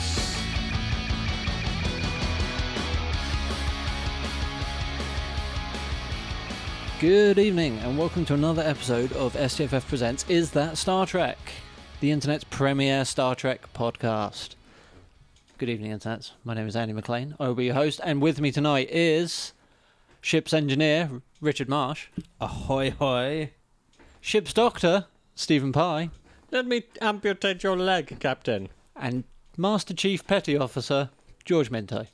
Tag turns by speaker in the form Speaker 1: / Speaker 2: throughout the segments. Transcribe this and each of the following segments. Speaker 1: Space.
Speaker 2: Good evening, and welcome to another episode of STFF Presents Is That Star Trek? The internet's premier Star Trek podcast. Good evening, internets. My name is Andy McLean. I will be your host, and with me tonight is ship's engineer, Richard Marsh,
Speaker 3: Ahoy, hoy.
Speaker 2: ship's doctor, Stephen Pye,
Speaker 1: Let me amputate your leg, Captain.
Speaker 2: and Master Chief Petty Officer, George Minto.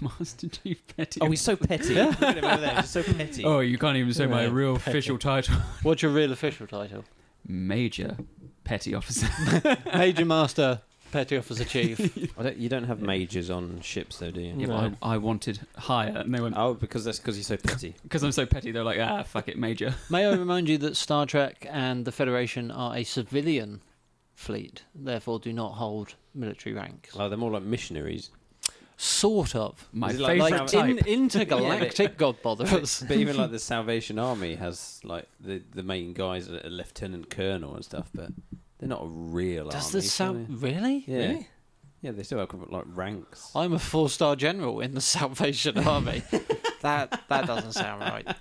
Speaker 4: Master Chief Petty.
Speaker 3: Are we Oh, so petty? Look at him over there, just so petty.
Speaker 4: oh, you can't even say my
Speaker 1: Yeah,
Speaker 4: real official title.
Speaker 2: What's your real official title?
Speaker 4: Major Petty Officer.
Speaker 2: Major Master Petty Officer Chief.
Speaker 3: I don't, you don't have majors on ships, though, do you?
Speaker 4: yeah, but I, I wanted higher, and they went
Speaker 3: Oh, because that's because he's so petty.
Speaker 4: because I'm so petty. They're like, ah, fuck it, Major.
Speaker 2: May I remind you that Star Trek and the Federation are a civilian fleet, therefore do not hold military ranks.
Speaker 3: Oh, they're more like missionaries.
Speaker 2: Sort of.
Speaker 4: My
Speaker 3: Is it like-
Speaker 4: favorite
Speaker 2: Like
Speaker 4: type.
Speaker 2: in, intergalactic god botherers.
Speaker 3: But even like the Salvation Army has like the the main guys a lieutenant colonel and stuff, but they're not a real
Speaker 2: Does
Speaker 3: army.
Speaker 2: this
Speaker 3: so
Speaker 2: sound really?
Speaker 3: Yeah. Yeah, they still have like ranks.
Speaker 2: I'm a four star general in the Salvation Army. that that doesn't sound right.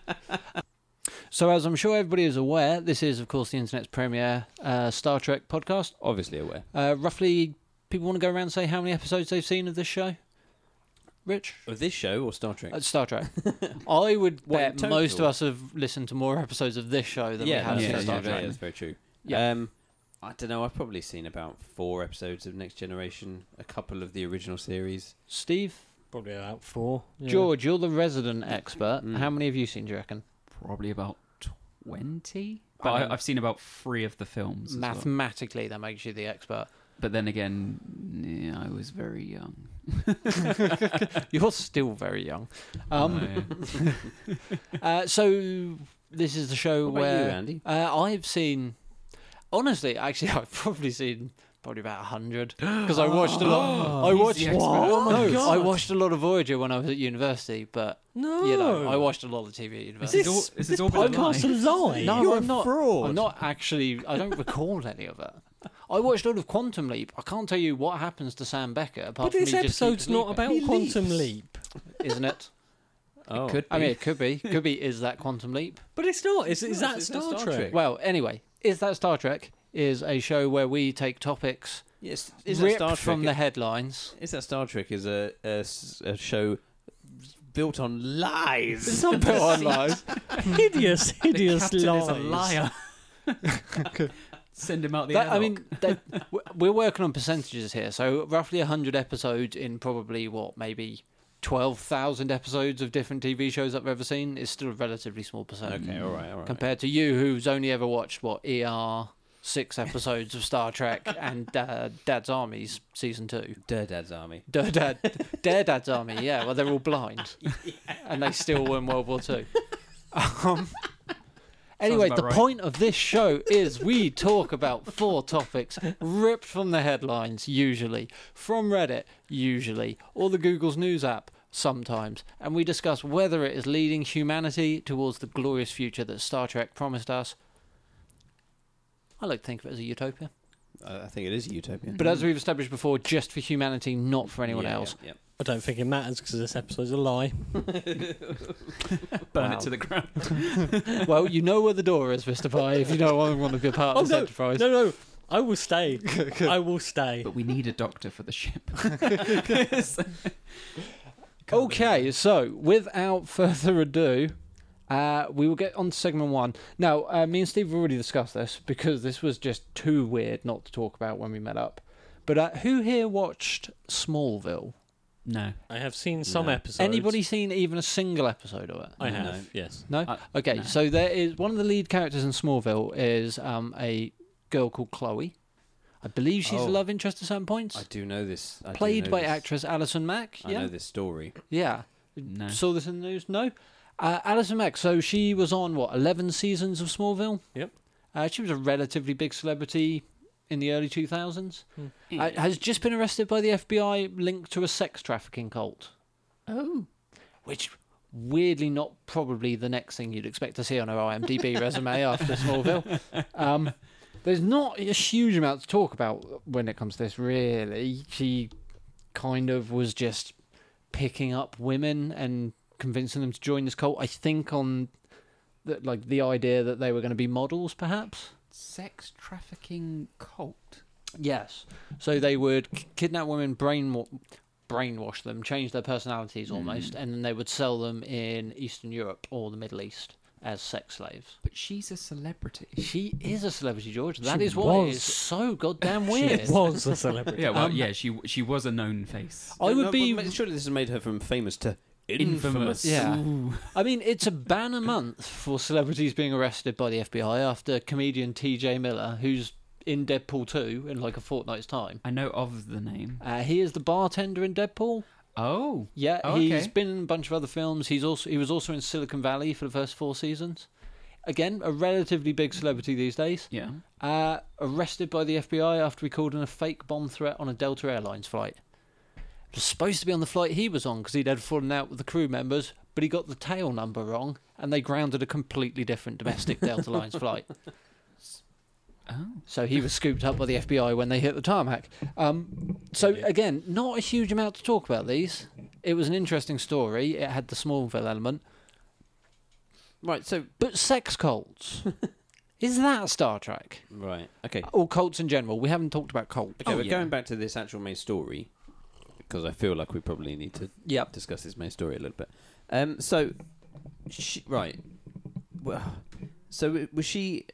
Speaker 2: So as I'm sure everybody is aware, this is of course the internet's premier uh, Star Trek podcast.
Speaker 3: Obviously aware.
Speaker 2: Uh, roughly, people want to go around and say how many episodes they've seen of this show. Rich,
Speaker 3: Of this show or Star Trek?
Speaker 2: Uh, Star Trek. I would
Speaker 3: What, in
Speaker 2: bet most of
Speaker 3: total?
Speaker 2: us have listened to more episodes of this show than
Speaker 3: yeah,
Speaker 2: we have
Speaker 3: that's,
Speaker 4: yeah,
Speaker 2: of
Speaker 3: that's,
Speaker 2: Star
Speaker 4: yeah,
Speaker 2: Trek.
Speaker 3: that's very true.
Speaker 2: Yeah.
Speaker 3: Um, I don't know. I've probably seen about four episodes of Next Generation, a couple of the original series.
Speaker 2: Steve,
Speaker 1: Probably about four.
Speaker 2: George, you're the resident expert.
Speaker 3: Mm.
Speaker 2: How many have you seen, do you reckon?
Speaker 4: Probably about twenty.
Speaker 2: I
Speaker 4: But
Speaker 2: mean-
Speaker 4: I, I've seen about three of the films. as well.
Speaker 2: Mathematically, that makes you the expert.
Speaker 4: But then again, yeah, I was very young.
Speaker 2: You're still very young.
Speaker 4: Oh,
Speaker 2: Um,
Speaker 4: yeah.
Speaker 2: uh, so, this is the show
Speaker 3: What about
Speaker 2: where.
Speaker 3: you, Andy?
Speaker 2: Uh, I've seen, honestly, actually, I've probably seen probably about hundred because I watched a lot. I
Speaker 4: He's
Speaker 2: watched.
Speaker 4: the expert. Oh
Speaker 1: my
Speaker 2: no,
Speaker 1: God.
Speaker 2: I watched a lot of Voyager when I was at university, but
Speaker 1: No.
Speaker 2: you know, I watched a lot of TV at
Speaker 1: Is
Speaker 2: university.
Speaker 1: Oh. this,
Speaker 4: This is all-
Speaker 1: this,
Speaker 4: this is all been a
Speaker 1: podcast a lie?
Speaker 2: No,
Speaker 1: You're
Speaker 2: I'm
Speaker 1: a
Speaker 2: not-
Speaker 1: fraud.
Speaker 2: I'm not actually. I don't recall any of it. I watched a lot of Quantum Leap. I can't tell you what happens to Sam Beckett apart
Speaker 1: but
Speaker 2: from
Speaker 1: this
Speaker 2: he just keeps
Speaker 1: episode's not
Speaker 2: leaping,
Speaker 1: about
Speaker 3: He
Speaker 1: Quantum
Speaker 3: leaps.
Speaker 1: Leap.
Speaker 2: isn't it?
Speaker 3: Oh,
Speaker 4: Could
Speaker 2: I mean, it could be. Could be. Is that Quantum Leap?
Speaker 1: But it's not. Is, is
Speaker 3: No,
Speaker 1: that
Speaker 3: it's
Speaker 1: Star,
Speaker 3: not Star
Speaker 1: Trek?
Speaker 3: Trek.
Speaker 2: Well, anyway, is that Star Trek? Is a show where we take topics
Speaker 3: yes, is
Speaker 2: ripped
Speaker 3: that Star Trek?
Speaker 2: from the headlines.
Speaker 3: Is that Star Trek? Is a, a s- a show built on
Speaker 1: It's
Speaker 3: lies?
Speaker 1: not
Speaker 2: Put on lies.
Speaker 1: hideous, hideous lies.
Speaker 4: Send him out the
Speaker 2: That- I
Speaker 4: airlock.
Speaker 2: mean, that, w- we're working on percentages here. So roughly 100 episodes in probably what, maybe 12,000 episodes of different TV shows I've ever seen is still a relatively small percentage
Speaker 3: Okay, all right, all right.
Speaker 2: compared to you, who's only ever watched what ER. Six episodes of Star Trek and uh, Dad's Army's season two.
Speaker 3: Durdad's Army.
Speaker 2: Dare Dad, Dare Dad's Army, yeah. Well, they're all blind, and they still won World War Two. Um, anyway,
Speaker 4: about
Speaker 2: the
Speaker 4: right.
Speaker 2: point of this show is we talk about four topics ripped from the headlines, usually from Reddit, usually or the Google's news app. Sometimes, and we discuss whether it is leading humanity towards the glorious future that Star Trek promised us. I like to think of it as a utopia,
Speaker 3: I I think it is a utopia.
Speaker 2: but as we've established before, just for humanity, not for anyone
Speaker 3: Yeah,
Speaker 2: else.
Speaker 3: Yeah,
Speaker 1: I don't think it matters because this episode's a lie.
Speaker 4: burn
Speaker 2: Wow.
Speaker 4: it to the ground.
Speaker 2: Well, you know where the door is, Mr. Pye, if you don't want one of your partners
Speaker 1: Oh,
Speaker 2: enterprise.
Speaker 1: No, no, I will stay. I will stay.
Speaker 4: But we need a doctor for the ship.
Speaker 2: Okay, so without further ado, uh, we will get on to segment one. Now, uh, me and Steve have already discussed this because this was just too weird not to talk about when we met up. But uh, who here watched Smallville?
Speaker 4: No.
Speaker 1: I have seen some
Speaker 3: No.
Speaker 1: episodes.
Speaker 2: Anybody seen even a single episode of it?
Speaker 1: I have.
Speaker 3: No.
Speaker 1: Yes.
Speaker 2: No.
Speaker 4: Uh,
Speaker 2: okay,
Speaker 4: no.
Speaker 2: so there is one of the lead characters in Smallville is um, a girl called Chloe. I believe she's
Speaker 3: Oh.
Speaker 2: a love interest at certain points.
Speaker 3: I do know this. I do
Speaker 2: played
Speaker 3: know
Speaker 2: by
Speaker 3: this.
Speaker 2: actress Alison Mack.
Speaker 3: I
Speaker 2: yeah,
Speaker 3: know this story.
Speaker 2: yeah.
Speaker 4: No.
Speaker 2: Saw this in the news. No, uh, Alison Mack. So she was on what eleven seasons of Smallville.
Speaker 1: Yep.
Speaker 2: Uh, she was a relatively big celebrity in the early two thousands.
Speaker 4: Mm.
Speaker 2: Uh, has just been arrested by the FBI linked to a sex trafficking cult,
Speaker 4: Oh.
Speaker 2: which weirdly not probably the next thing you'd expect to see on her IMDb resume after Smallville. Um, There's not a huge amount to talk about when it comes to this, really. She kind of was just picking up women and convincing them to join this cult. I think on the, like the idea that they were going to be models, perhaps.
Speaker 4: Sex trafficking cult.
Speaker 2: Yes. So they would k- kidnap women, brainwa- brainwash them, change their personalities almost, and then they would sell them in Eastern Europe or the Middle East as sex slaves.
Speaker 4: But she's a celebrity.
Speaker 2: She is a celebrity, George. That is why
Speaker 1: was.
Speaker 2: it is so goddamn
Speaker 1: She
Speaker 2: weird.
Speaker 1: was a celebrity.
Speaker 4: Yeah, well,
Speaker 2: Um,
Speaker 4: yeah, she she was a known face.
Speaker 2: I would
Speaker 3: No,
Speaker 2: be.
Speaker 3: but ma- Surely this has made her from famous to
Speaker 4: Infamous.
Speaker 3: infamous.
Speaker 2: Yeah.
Speaker 4: Ooh.
Speaker 2: I mean, it's a ban a month for celebrities being arrested by the FBI after comedian T.J. Miller, who's in Deadpool 2 in like a fortnight's time.
Speaker 4: I know of the name.
Speaker 2: Uh, he is the bartender in Deadpool.
Speaker 4: Oh,
Speaker 2: Yeah,
Speaker 4: Oh,
Speaker 2: he's
Speaker 4: okay.
Speaker 2: been in a bunch of other films. He's also he was also in Silicon Valley for the first four seasons. Again, a relatively big celebrity these days.
Speaker 4: yeah.
Speaker 2: Uh, arrested by the FBI after he called in a fake bomb threat on a Delta Airlines flight. It was supposed to be on the flight he was on because he'd had fallen out with the crew members, but he got the tail number wrong and they grounded a completely different domestic Delta Airlines flight.
Speaker 4: Oh,
Speaker 2: So he was scooped up by the FBI when they hit the tarmac. Um, so again, not a huge amount to talk about these. It was an interesting story. It had the Smallville element,
Speaker 3: Right. So
Speaker 2: but sex cults. Is that Star Trek
Speaker 3: right. Okay.
Speaker 2: or cults in general? We haven't talked about cults.
Speaker 3: Okay.
Speaker 4: Oh,
Speaker 3: we're
Speaker 4: yeah.
Speaker 3: going back to this actual main story because I feel like we probably need to
Speaker 2: Yep.
Speaker 3: discuss this main story a little bit. Um. So, she, right. Well, so w- was she?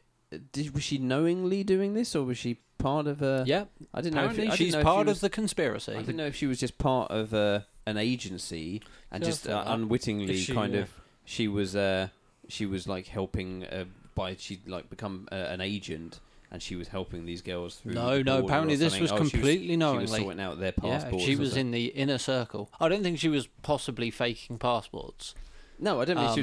Speaker 3: Did was she knowingly doing this, or was she part of a?
Speaker 2: Yep.
Speaker 3: I didn't know.
Speaker 2: Apparently,
Speaker 3: If, I didn't
Speaker 2: she's
Speaker 3: know if she
Speaker 2: part
Speaker 3: was-
Speaker 2: of the conspiracy.
Speaker 3: I didn't know if she was just part of uh, an agency and
Speaker 1: Yeah, I
Speaker 3: just
Speaker 1: thought
Speaker 3: uh,
Speaker 1: that.
Speaker 3: unwittingly
Speaker 1: If she,
Speaker 3: kind
Speaker 1: yeah.
Speaker 3: of she was uh, she was like helping uh, by she like become uh, an agent and she was helping these girls through.
Speaker 2: No, no,
Speaker 3: the border or
Speaker 2: apparently this
Speaker 3: something.
Speaker 2: was
Speaker 3: Oh,
Speaker 2: completely
Speaker 3: she was, She was
Speaker 2: knowingly.
Speaker 3: sorting out their
Speaker 2: Yeah,
Speaker 3: passports.
Speaker 2: she
Speaker 3: and
Speaker 2: was
Speaker 3: stuff.
Speaker 2: in the inner circle. I don't think she was possibly faking passports.
Speaker 3: No, I don't mean
Speaker 2: um,
Speaker 3: she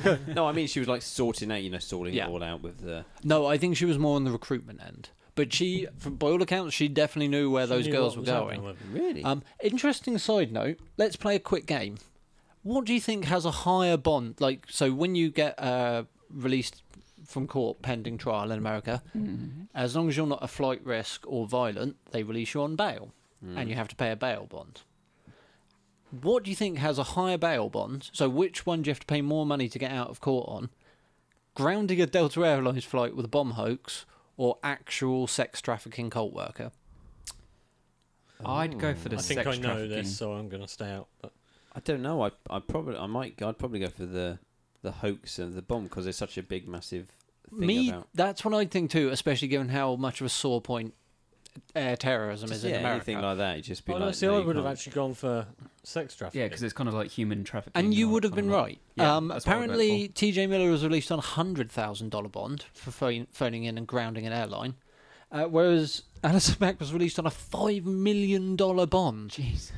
Speaker 3: was. no, I mean she was like sorting out, you know, sorting
Speaker 2: Yeah.
Speaker 3: it all out with the.
Speaker 2: No, I think she was more on the recruitment end. But she, from by all accounts, she definitely knew where those
Speaker 1: She knew
Speaker 2: girls
Speaker 1: what
Speaker 2: were
Speaker 1: was happening
Speaker 2: going.
Speaker 1: with them.
Speaker 3: Really?
Speaker 2: Um, interesting side note. Let's play a quick game. What do you think has a higher bond? Like, so when you get uh, released from court pending trial in America,
Speaker 4: Hmm.
Speaker 2: as long as you're not a flight risk or violent, they release you on bail,
Speaker 3: Mm.
Speaker 2: and you have to pay a bail bond. What do you think has a higher bail bond? So, which one do you have to pay more money to get out of court on? Grounding a Delta Airlines flight with a bomb hoax, or actual sex trafficking cult worker?
Speaker 4: I'd go for the
Speaker 1: I think
Speaker 4: sex
Speaker 1: I know
Speaker 4: trafficking.
Speaker 1: this, so I'm going to stay out. But
Speaker 3: I don't know. I I probably I might I'd probably go for the the hoax and the bomb because it's such a big massive thing
Speaker 2: Me,
Speaker 3: about.
Speaker 2: that's what I think too, especially given how much of a sore point air terrorism is
Speaker 3: yeah,
Speaker 2: in America.
Speaker 3: anything like that. It'd just be
Speaker 1: well,
Speaker 3: like.
Speaker 1: no, see,
Speaker 3: no,
Speaker 1: I
Speaker 3: you
Speaker 1: would have
Speaker 3: can't.
Speaker 1: actually gone for sex trafficking.
Speaker 4: Yeah, because it's kind of like human trafficking.
Speaker 2: and you
Speaker 4: or-
Speaker 2: would have
Speaker 4: or
Speaker 2: been
Speaker 4: not.
Speaker 2: right.
Speaker 4: Yeah,
Speaker 2: um,
Speaker 4: that's what I'd vote
Speaker 2: apparently, T.J. Miller was released on a hundred thousand dollar bond for phone, phoning in and grounding an airline, uh, whereas Alison Mack was released on a five million dollar bond.
Speaker 4: Jesus.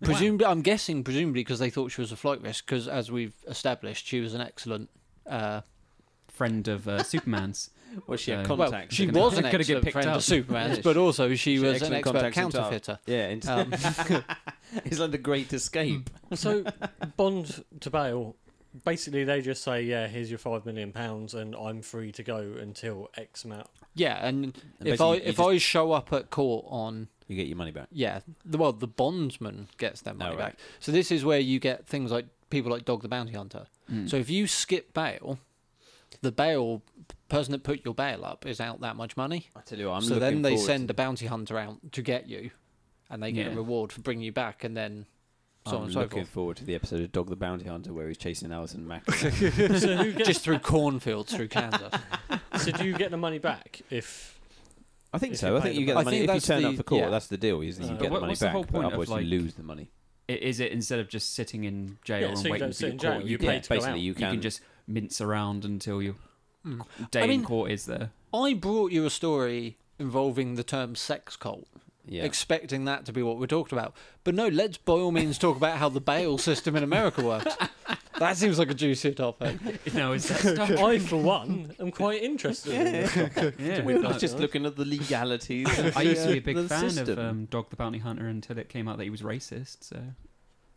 Speaker 2: Presumably, I'm guessing presumably because they thought she was a flight risk. Because as we've established, she was an excellent. Uh,
Speaker 4: Friend of uh, Superman's.
Speaker 3: Well, she had
Speaker 4: So-
Speaker 2: well,
Speaker 3: contacts.
Speaker 2: she
Speaker 4: They're gonna-
Speaker 2: was an
Speaker 4: they're gonna
Speaker 2: excellent
Speaker 4: get picked
Speaker 2: friend
Speaker 4: up.
Speaker 2: of Superman's,
Speaker 3: Yeah,
Speaker 2: but also she,
Speaker 3: she had
Speaker 2: was an
Speaker 3: excellent
Speaker 2: expert
Speaker 3: contacts in Tar-
Speaker 2: counterfeiter.
Speaker 3: yeah, it's,
Speaker 2: Um,
Speaker 3: it's like the Great Escape.
Speaker 1: So, bond to bail, basically they just say, yeah, here's your five million pounds, and I'm free to go until X amount.
Speaker 2: Yeah, and, if I
Speaker 3: basically you
Speaker 2: if
Speaker 3: just-
Speaker 2: I show up at court on
Speaker 3: You get your money back.
Speaker 2: yeah, the, well the bondsman gets their money
Speaker 3: Oh, right.
Speaker 2: back. So this is where you get things like people like Dog the Bounty Hunter.
Speaker 3: Hmm.
Speaker 4: Hmm.
Speaker 2: So if you skip bail, the bail person that put your bail up is out that much money.
Speaker 3: I tell you, what, I'm
Speaker 2: so
Speaker 3: looking
Speaker 2: then they
Speaker 3: forward
Speaker 2: send
Speaker 3: to-
Speaker 2: a bounty hunter out to get you, and they get a
Speaker 4: Yeah.
Speaker 2: reward for bringing you back, and then so on
Speaker 3: I'm
Speaker 2: and so
Speaker 3: looking
Speaker 2: forth.
Speaker 3: forward to the episode of Dog the Bounty Hunter where he's chasing Alison Mack.
Speaker 1: so, who gets,
Speaker 2: Just through cornfields through Kansas.
Speaker 1: so do you get the money back if?
Speaker 3: I think
Speaker 1: If
Speaker 3: so.
Speaker 1: you
Speaker 3: I
Speaker 1: pay
Speaker 3: think
Speaker 1: the
Speaker 3: you
Speaker 2: bill.
Speaker 3: get the
Speaker 2: I
Speaker 3: money
Speaker 2: think
Speaker 3: if you
Speaker 2: that's
Speaker 3: turn up
Speaker 2: the-
Speaker 3: for court.
Speaker 2: yeah.
Speaker 3: That's the deal. Is that you
Speaker 1: Uh,
Speaker 3: get
Speaker 1: But
Speaker 3: the money
Speaker 4: what's the
Speaker 3: back,
Speaker 4: whole
Speaker 3: but
Speaker 4: point of,
Speaker 3: otherwise
Speaker 4: like-
Speaker 3: you lose the money.
Speaker 4: I- Is it instead of just sitting in jail
Speaker 1: Yeah,
Speaker 4: and
Speaker 1: so you
Speaker 4: waiting
Speaker 1: don't
Speaker 4: for
Speaker 1: sit
Speaker 4: your
Speaker 1: in jail,
Speaker 4: court,
Speaker 1: you
Speaker 4: you,
Speaker 1: pay
Speaker 4: can,
Speaker 1: to go out.
Speaker 3: basically you
Speaker 4: you can
Speaker 3: can.
Speaker 4: just mince around until your
Speaker 2: Mm.
Speaker 4: day
Speaker 2: I mean-
Speaker 4: in court is there.
Speaker 2: I brought you a story involving the term sex cult.
Speaker 3: Yeah.
Speaker 2: expecting that to be what we're talking about. But no, let's by all means talk about how the bail system in America works. That seems like a juicy topic.
Speaker 4: No, is that stuff?
Speaker 1: I, for one, am quite interested. in this.
Speaker 4: yeah.
Speaker 1: We've
Speaker 3: I
Speaker 1: got-
Speaker 4: I,
Speaker 3: was just looking at the legalities.
Speaker 4: I used to be a big
Speaker 3: the
Speaker 4: fan of
Speaker 3: system.
Speaker 4: um, Dog the Bounty Hunter until it came out that he was racist. So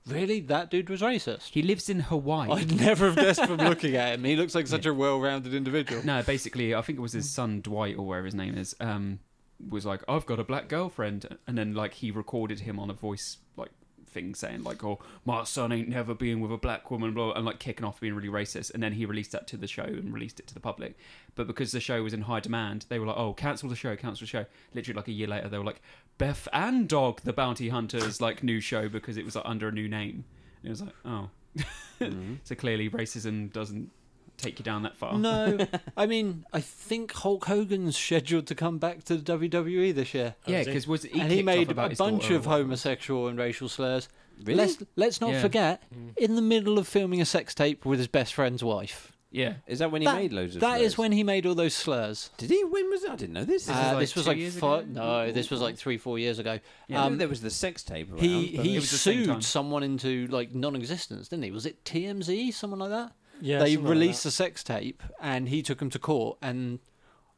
Speaker 2: really, that dude was racist.
Speaker 4: He lives in Hawaii.
Speaker 2: I'd never have guessed from looking at him. He looks like such a well-rounded individual.
Speaker 4: No, basically, I think it was his son Dwight or whatever his name is. Um, was like, I've got a black girlfriend, and then like he recorded him on a voice like thing saying like, oh, my son ain't never been with a black woman, blah, blah, and like kicking off being really racist. And then he released that to the show and released it to the public. But because the show was in high demand, they were like, oh, cancel the show, cancel the show. Literally like a year later, they were like, Beth and Dog, the Bounty Hunters, like new show because it was like, under a new name. And it was like, oh, so clearly racism doesn't take you down that far.
Speaker 2: No, I mean, I think Hulk Hogan's scheduled to come back to the WWE this year.
Speaker 4: Yeah,
Speaker 1: was it?
Speaker 4: because was he,
Speaker 2: and he
Speaker 4: kicked off
Speaker 2: made a
Speaker 4: about his
Speaker 2: bunch
Speaker 4: daughter
Speaker 2: of
Speaker 4: or whatever.
Speaker 2: homosexual and racial slurs.
Speaker 3: Really?
Speaker 2: Let's let's not
Speaker 4: Yeah.
Speaker 2: forget,
Speaker 1: Mm-hmm.
Speaker 2: in the middle of filming a sex tape with his best friend's wife.
Speaker 4: Yeah,
Speaker 3: Is that when he
Speaker 2: That-
Speaker 3: made loads of?
Speaker 2: That is
Speaker 3: those?
Speaker 2: when he made all those slurs.
Speaker 3: Did he? When was that? I didn't know this.
Speaker 4: This is
Speaker 2: Uh,
Speaker 4: like
Speaker 2: this was
Speaker 4: two
Speaker 2: like
Speaker 4: years
Speaker 2: fi-
Speaker 4: ago?
Speaker 2: no, this was like three, four years ago.
Speaker 3: Yeah, I knew
Speaker 2: um,
Speaker 3: there was the sex tape. Around,
Speaker 2: He
Speaker 3: but-
Speaker 2: he
Speaker 4: It was the same time.
Speaker 2: sued someone into like non-existence, didn't he? Was it TMZ, someone like that?
Speaker 1: Yeah,
Speaker 2: they
Speaker 1: something like
Speaker 2: released
Speaker 1: that.
Speaker 2: a sex tape, and he took him to court and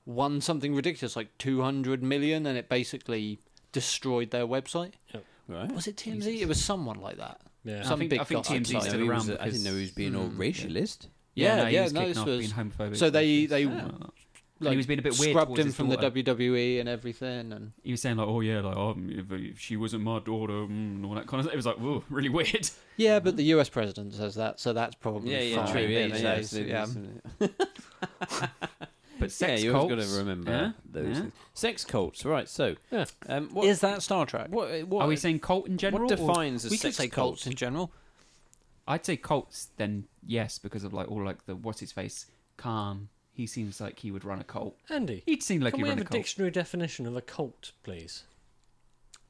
Speaker 2: won something ridiculous, like two hundred million, and it basically destroyed their website.
Speaker 3: right.
Speaker 2: Was it TMZ? It was someone like that.
Speaker 1: Yeah.
Speaker 2: Some
Speaker 4: think-
Speaker 2: big
Speaker 4: I think
Speaker 2: goddamn
Speaker 4: TMZ 's
Speaker 2: site.
Speaker 4: still
Speaker 3: he
Speaker 4: around
Speaker 3: was- I
Speaker 4: because-
Speaker 3: didn't know he was being all
Speaker 4: Mm,
Speaker 3: racialist.
Speaker 2: Yeah,
Speaker 4: no, he
Speaker 2: yeah,
Speaker 4: was
Speaker 2: no,
Speaker 4: kicking
Speaker 2: this
Speaker 4: off
Speaker 2: was-
Speaker 4: being homophobic.
Speaker 2: so they-
Speaker 4: racist.
Speaker 2: they-
Speaker 4: Yeah. And he was being a bit weird
Speaker 2: Scrubbed
Speaker 4: towards
Speaker 2: him
Speaker 4: his
Speaker 2: from
Speaker 4: daughter.
Speaker 2: the WWE and everything, and
Speaker 4: He was saying like, "Oh yeah, like um, if, if she wasn't my daughter, mm, and all that kind of." Stuff. It was like, "Whoa, really weird."
Speaker 2: yeah, but the US president says that, so that's probably fine
Speaker 4: true, yeah,
Speaker 2: these
Speaker 4: yeah,
Speaker 2: days. yeah.
Speaker 4: But
Speaker 3: Yeah,
Speaker 4: sex
Speaker 3: you
Speaker 4: cults,
Speaker 3: always got to remember
Speaker 4: yeah?
Speaker 3: those
Speaker 4: yeah.
Speaker 3: things. Sex cults, right? So,
Speaker 1: Yeah.
Speaker 3: um,
Speaker 2: Is
Speaker 3: what,
Speaker 2: that Star Trek?
Speaker 3: what, what,
Speaker 4: Are we saying cult in general?
Speaker 3: what
Speaker 4: or-
Speaker 3: defines a
Speaker 2: we could
Speaker 3: sex
Speaker 2: say
Speaker 3: cult?
Speaker 2: cults in general.
Speaker 4: I'd say cults. Then yes, because of like all like the what's his face, Khan. He seems like he would run a cult.
Speaker 1: Andy,
Speaker 4: He'd seem like
Speaker 1: can
Speaker 4: he'd
Speaker 1: we
Speaker 4: run
Speaker 1: have
Speaker 4: a
Speaker 1: a
Speaker 4: cult.
Speaker 1: dictionary definition of a cult, please?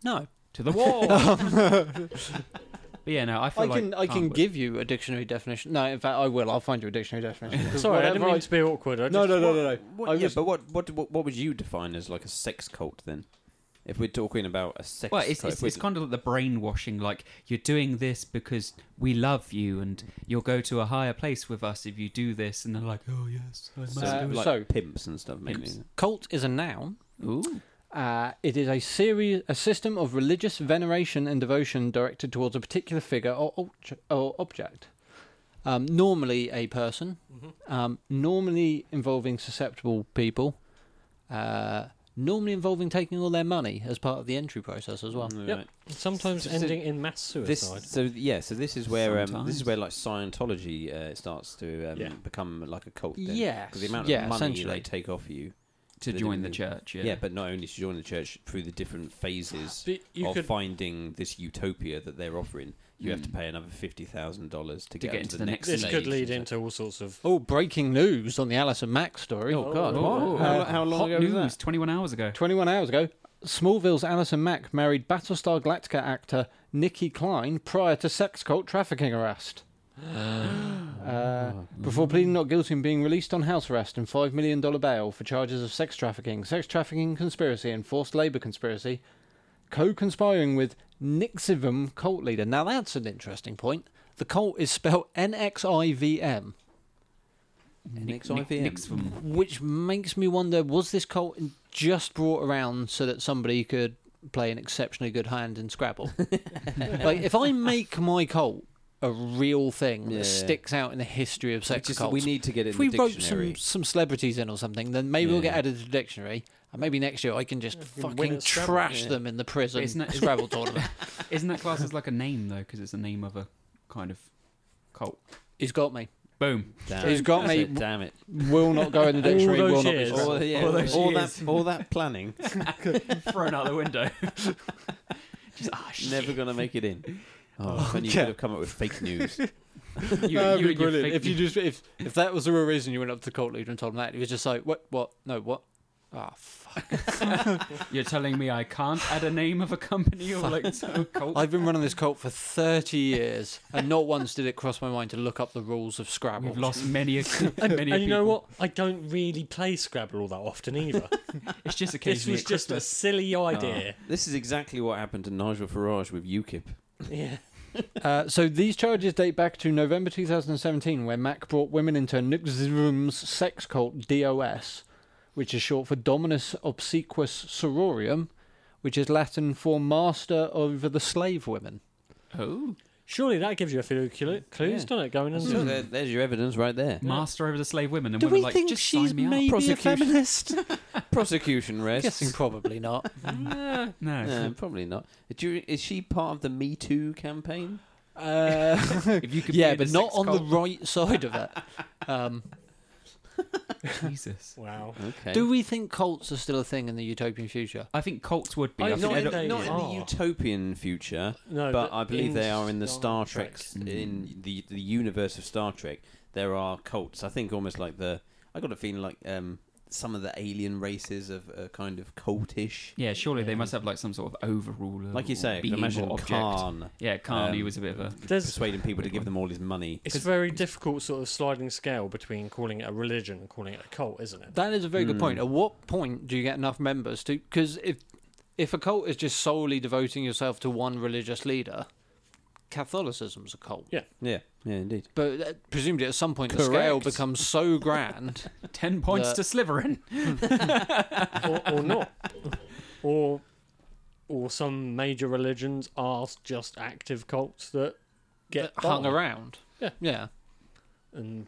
Speaker 2: No,
Speaker 4: to the wall. but yeah, no, I feel
Speaker 2: I
Speaker 4: like
Speaker 2: can I
Speaker 4: Khan
Speaker 2: can
Speaker 4: would.
Speaker 2: give you a dictionary definition. No, in fact, I will. I'll find you a dictionary definition. 'Cause
Speaker 1: Sorry, I didn't
Speaker 2: whatever
Speaker 1: mean to be awkward. I
Speaker 2: No,
Speaker 1: just-
Speaker 2: no, no, no, no.
Speaker 3: What,
Speaker 2: I
Speaker 3: yeah,
Speaker 2: was-
Speaker 3: but what, what, what, what would you define as like a sex cult then? If we're talking about a sex
Speaker 4: Well, it's,
Speaker 3: cult,
Speaker 4: it's, it's kind of like the brainwashing, like you're doing this because we love you, and you'll go to a higher place with us if you do this. And they're like, oh yes, I must
Speaker 3: so,
Speaker 2: Uh,
Speaker 4: do it.
Speaker 3: like
Speaker 2: so-
Speaker 3: pimps and stuff, maybe.
Speaker 4: Pimps.
Speaker 2: Cult is a noun.
Speaker 4: Ooh,
Speaker 2: Uh, it is a series, a system of religious veneration and devotion directed towards a particular figure or, obj- or object. Um, normally a person,
Speaker 3: Mm-hmm.
Speaker 2: um, normally involving susceptible people, uh, normally involving taking all their money as part of the entry process as well.
Speaker 4: Mm.
Speaker 1: Yep.
Speaker 3: Right.
Speaker 1: Sometimes
Speaker 3: So-
Speaker 1: ending in mass suicide.
Speaker 3: This, so yeah, so this is where um, this
Speaker 4: Sometimes.
Speaker 3: is where like Scientology uh, starts to um,
Speaker 1: Yeah.
Speaker 3: become like a cult. Then.
Speaker 2: Yes.
Speaker 3: because the amount of
Speaker 2: yeah,
Speaker 3: money
Speaker 2: essentially.
Speaker 3: they take off you.
Speaker 4: to
Speaker 3: They
Speaker 4: join
Speaker 3: didn't
Speaker 4: the
Speaker 3: do-
Speaker 4: church. Yeah,
Speaker 3: Yeah. but not only to join the church through the different phases
Speaker 1: But you
Speaker 3: of
Speaker 1: could
Speaker 3: finding this utopia that they're offering, you have to
Speaker 4: Mm.
Speaker 3: pay another fifty thousand dollars to get
Speaker 4: get
Speaker 3: onto
Speaker 4: into
Speaker 3: the
Speaker 4: the
Speaker 3: next.
Speaker 1: this
Speaker 3: stage.
Speaker 1: could lead
Speaker 3: So-
Speaker 1: into all sorts of
Speaker 2: Oh, breaking news on the Alison Mack story.
Speaker 1: Oh, God.
Speaker 4: Oh.
Speaker 3: How,
Speaker 2: Uh,
Speaker 3: how long
Speaker 4: hot
Speaker 3: ago
Speaker 4: news.
Speaker 3: was that?
Speaker 4: Twenty-one hours ago.
Speaker 2: 21 hours ago, Smallville's Alison Mack married Battlestar Galactica actor Nikki Klein prior to sex cult trafficking arrest. Uh, before pleading not guilty and being released on house arrest and $5 million bail for charges of sex trafficking, sex trafficking conspiracy, and forced labour conspiracy, co conspiring with Nixivum cult leader. Now, that's an interesting point. The cult is spelled NXIVM,
Speaker 3: Next
Speaker 4: Nick-
Speaker 3: IVM.
Speaker 4: Nick's from-
Speaker 2: which makes me wonder was this cult just brought around so that somebody could play an exceptionally good hand in Scrabble? like, if I make my cult a real thing
Speaker 3: Yeah.
Speaker 2: that sticks out in the history of
Speaker 3: We
Speaker 2: sex
Speaker 3: just-
Speaker 2: cults,
Speaker 3: we need to get it
Speaker 2: if
Speaker 3: in
Speaker 2: we
Speaker 3: the
Speaker 2: wrote
Speaker 3: dictionary.
Speaker 2: some, some celebrities in or something, then maybe we'll get
Speaker 3: Yeah.
Speaker 2: added to the dictionary. And maybe next year I can just
Speaker 1: we can win
Speaker 2: fucking
Speaker 1: at Scrabble,
Speaker 2: trash
Speaker 3: yeah.
Speaker 2: them in the prison
Speaker 4: Isn't that-
Speaker 2: Scrabble tournament.
Speaker 4: Isn't that class as like a name though? Because it's the name of a kind of cult.
Speaker 2: He's got me.
Speaker 4: Boom.
Speaker 3: Damn
Speaker 2: He's
Speaker 3: it.
Speaker 2: got
Speaker 3: That's
Speaker 2: me-
Speaker 3: it, Damn it!
Speaker 2: Will not go in the
Speaker 1: All
Speaker 2: dictionary.
Speaker 1: those
Speaker 2: will not be
Speaker 1: years.
Speaker 2: Scrabble.
Speaker 3: All, yeah,
Speaker 1: All
Speaker 3: all,
Speaker 1: those
Speaker 3: all
Speaker 1: years.
Speaker 3: that, all that planning,
Speaker 4: Thrown out the window. Just, ah, shit.
Speaker 3: never gonna make it in. Oh, when you
Speaker 2: Okay.
Speaker 3: could have come up with fake news.
Speaker 4: You, you
Speaker 2: That'd
Speaker 4: and
Speaker 2: be
Speaker 4: your
Speaker 2: brilliant.
Speaker 4: fake-
Speaker 2: if you just if if that was the real reason you went up to the cult leader and told him that, he was just like, what, what, no, what? Ah, fuck!
Speaker 4: You're telling me I can't add a name of a company or like some cult?
Speaker 2: I've been running this cult for thirty years, and not once did it cross my mind to look up the rules of Scrabble.
Speaker 4: We've lost many, a,
Speaker 1: And,
Speaker 4: many. a
Speaker 1: and you know
Speaker 4: people.
Speaker 1: what? I don't really play Scrabble all that often either.
Speaker 4: It's just
Speaker 1: this
Speaker 4: occasionally
Speaker 1: was
Speaker 4: at
Speaker 1: just a
Speaker 4: Christmas.
Speaker 1: silly
Speaker 3: Ah.
Speaker 1: idea.
Speaker 3: Oh. This is exactly what happened to Nigel Farage with UKIP.
Speaker 1: Yeah.
Speaker 2: Uh, so these charges date back to November 2017, where Mac brought women into Nixivum's sex cult DOS, which is short for Dominus Obsequus Sororium, which is Latin for Master over the Slave Women.
Speaker 4: Oh,
Speaker 1: Surely that gives you a few clu- clues,
Speaker 3: Yeah.
Speaker 1: doesn't it? Going
Speaker 3: That's-
Speaker 1: into it?
Speaker 3: there- there's your evidence right there.
Speaker 4: Master over the slave women, and
Speaker 2: Do
Speaker 4: women
Speaker 2: we
Speaker 4: like
Speaker 2: think
Speaker 4: just
Speaker 2: she's
Speaker 4: sign me
Speaker 2: maybe
Speaker 4: up.
Speaker 2: a
Speaker 3: Prosecution.
Speaker 2: feminist?
Speaker 3: Prosecution rests.
Speaker 2: Guessing probably not.
Speaker 4: Nah, no,
Speaker 3: No, probably not. Do you- is she part of the Me Too campaign?
Speaker 2: Uh,
Speaker 4: if you could,
Speaker 2: yeah,
Speaker 4: be
Speaker 2: but
Speaker 4: the
Speaker 2: not
Speaker 4: sex
Speaker 2: on the
Speaker 4: cult-
Speaker 2: right side of it. Um,
Speaker 4: Jesus.
Speaker 1: Wow.
Speaker 3: Okay.
Speaker 2: Do we think cults are still a thing in the utopian future?
Speaker 4: I think cults would be.
Speaker 1: I
Speaker 4: I,
Speaker 1: think
Speaker 4: think
Speaker 3: not,
Speaker 4: they'd-
Speaker 1: they
Speaker 3: in, not in
Speaker 1: are.
Speaker 3: the utopian future,
Speaker 1: No,
Speaker 3: but I believe they are in the Star Trek,
Speaker 4: Trek.
Speaker 3: in the the universe of Star Trek. There are cults. I think almost like the. I got a feeling like um, some of the alien races of uh, kind of cultish.
Speaker 4: yeah, surely they must have like some sort of overruler.
Speaker 3: Like you
Speaker 4: or
Speaker 3: say, I could
Speaker 4: being or
Speaker 3: imagine
Speaker 4: object.
Speaker 3: Khan
Speaker 4: Yeah, Khan. he
Speaker 3: Um,
Speaker 4: was a bit of a.
Speaker 1: There's,
Speaker 3: persuading people to give them all his money.
Speaker 1: it's very difficult sort of sliding scale between calling it a religion and calling it a cult, isn't it?
Speaker 2: That is a very good
Speaker 3: Hmm.
Speaker 2: point. At what point do you get enough members to? Because if if a cult is just solely devoting yourself to one religious leader, Catholicism's a cult.
Speaker 1: Yeah.
Speaker 3: Yeah, yeah, indeed.
Speaker 2: But uh, presumably, at some point, the scale
Speaker 4: Correct.
Speaker 2: becomes so grand.
Speaker 4: Ten points
Speaker 2: The-
Speaker 4: to Slytherin.
Speaker 1: or, or not, or or some major religions are just active cults that get
Speaker 2: that hung
Speaker 1: by.
Speaker 2: around.
Speaker 1: Yeah.
Speaker 2: yeah.
Speaker 1: And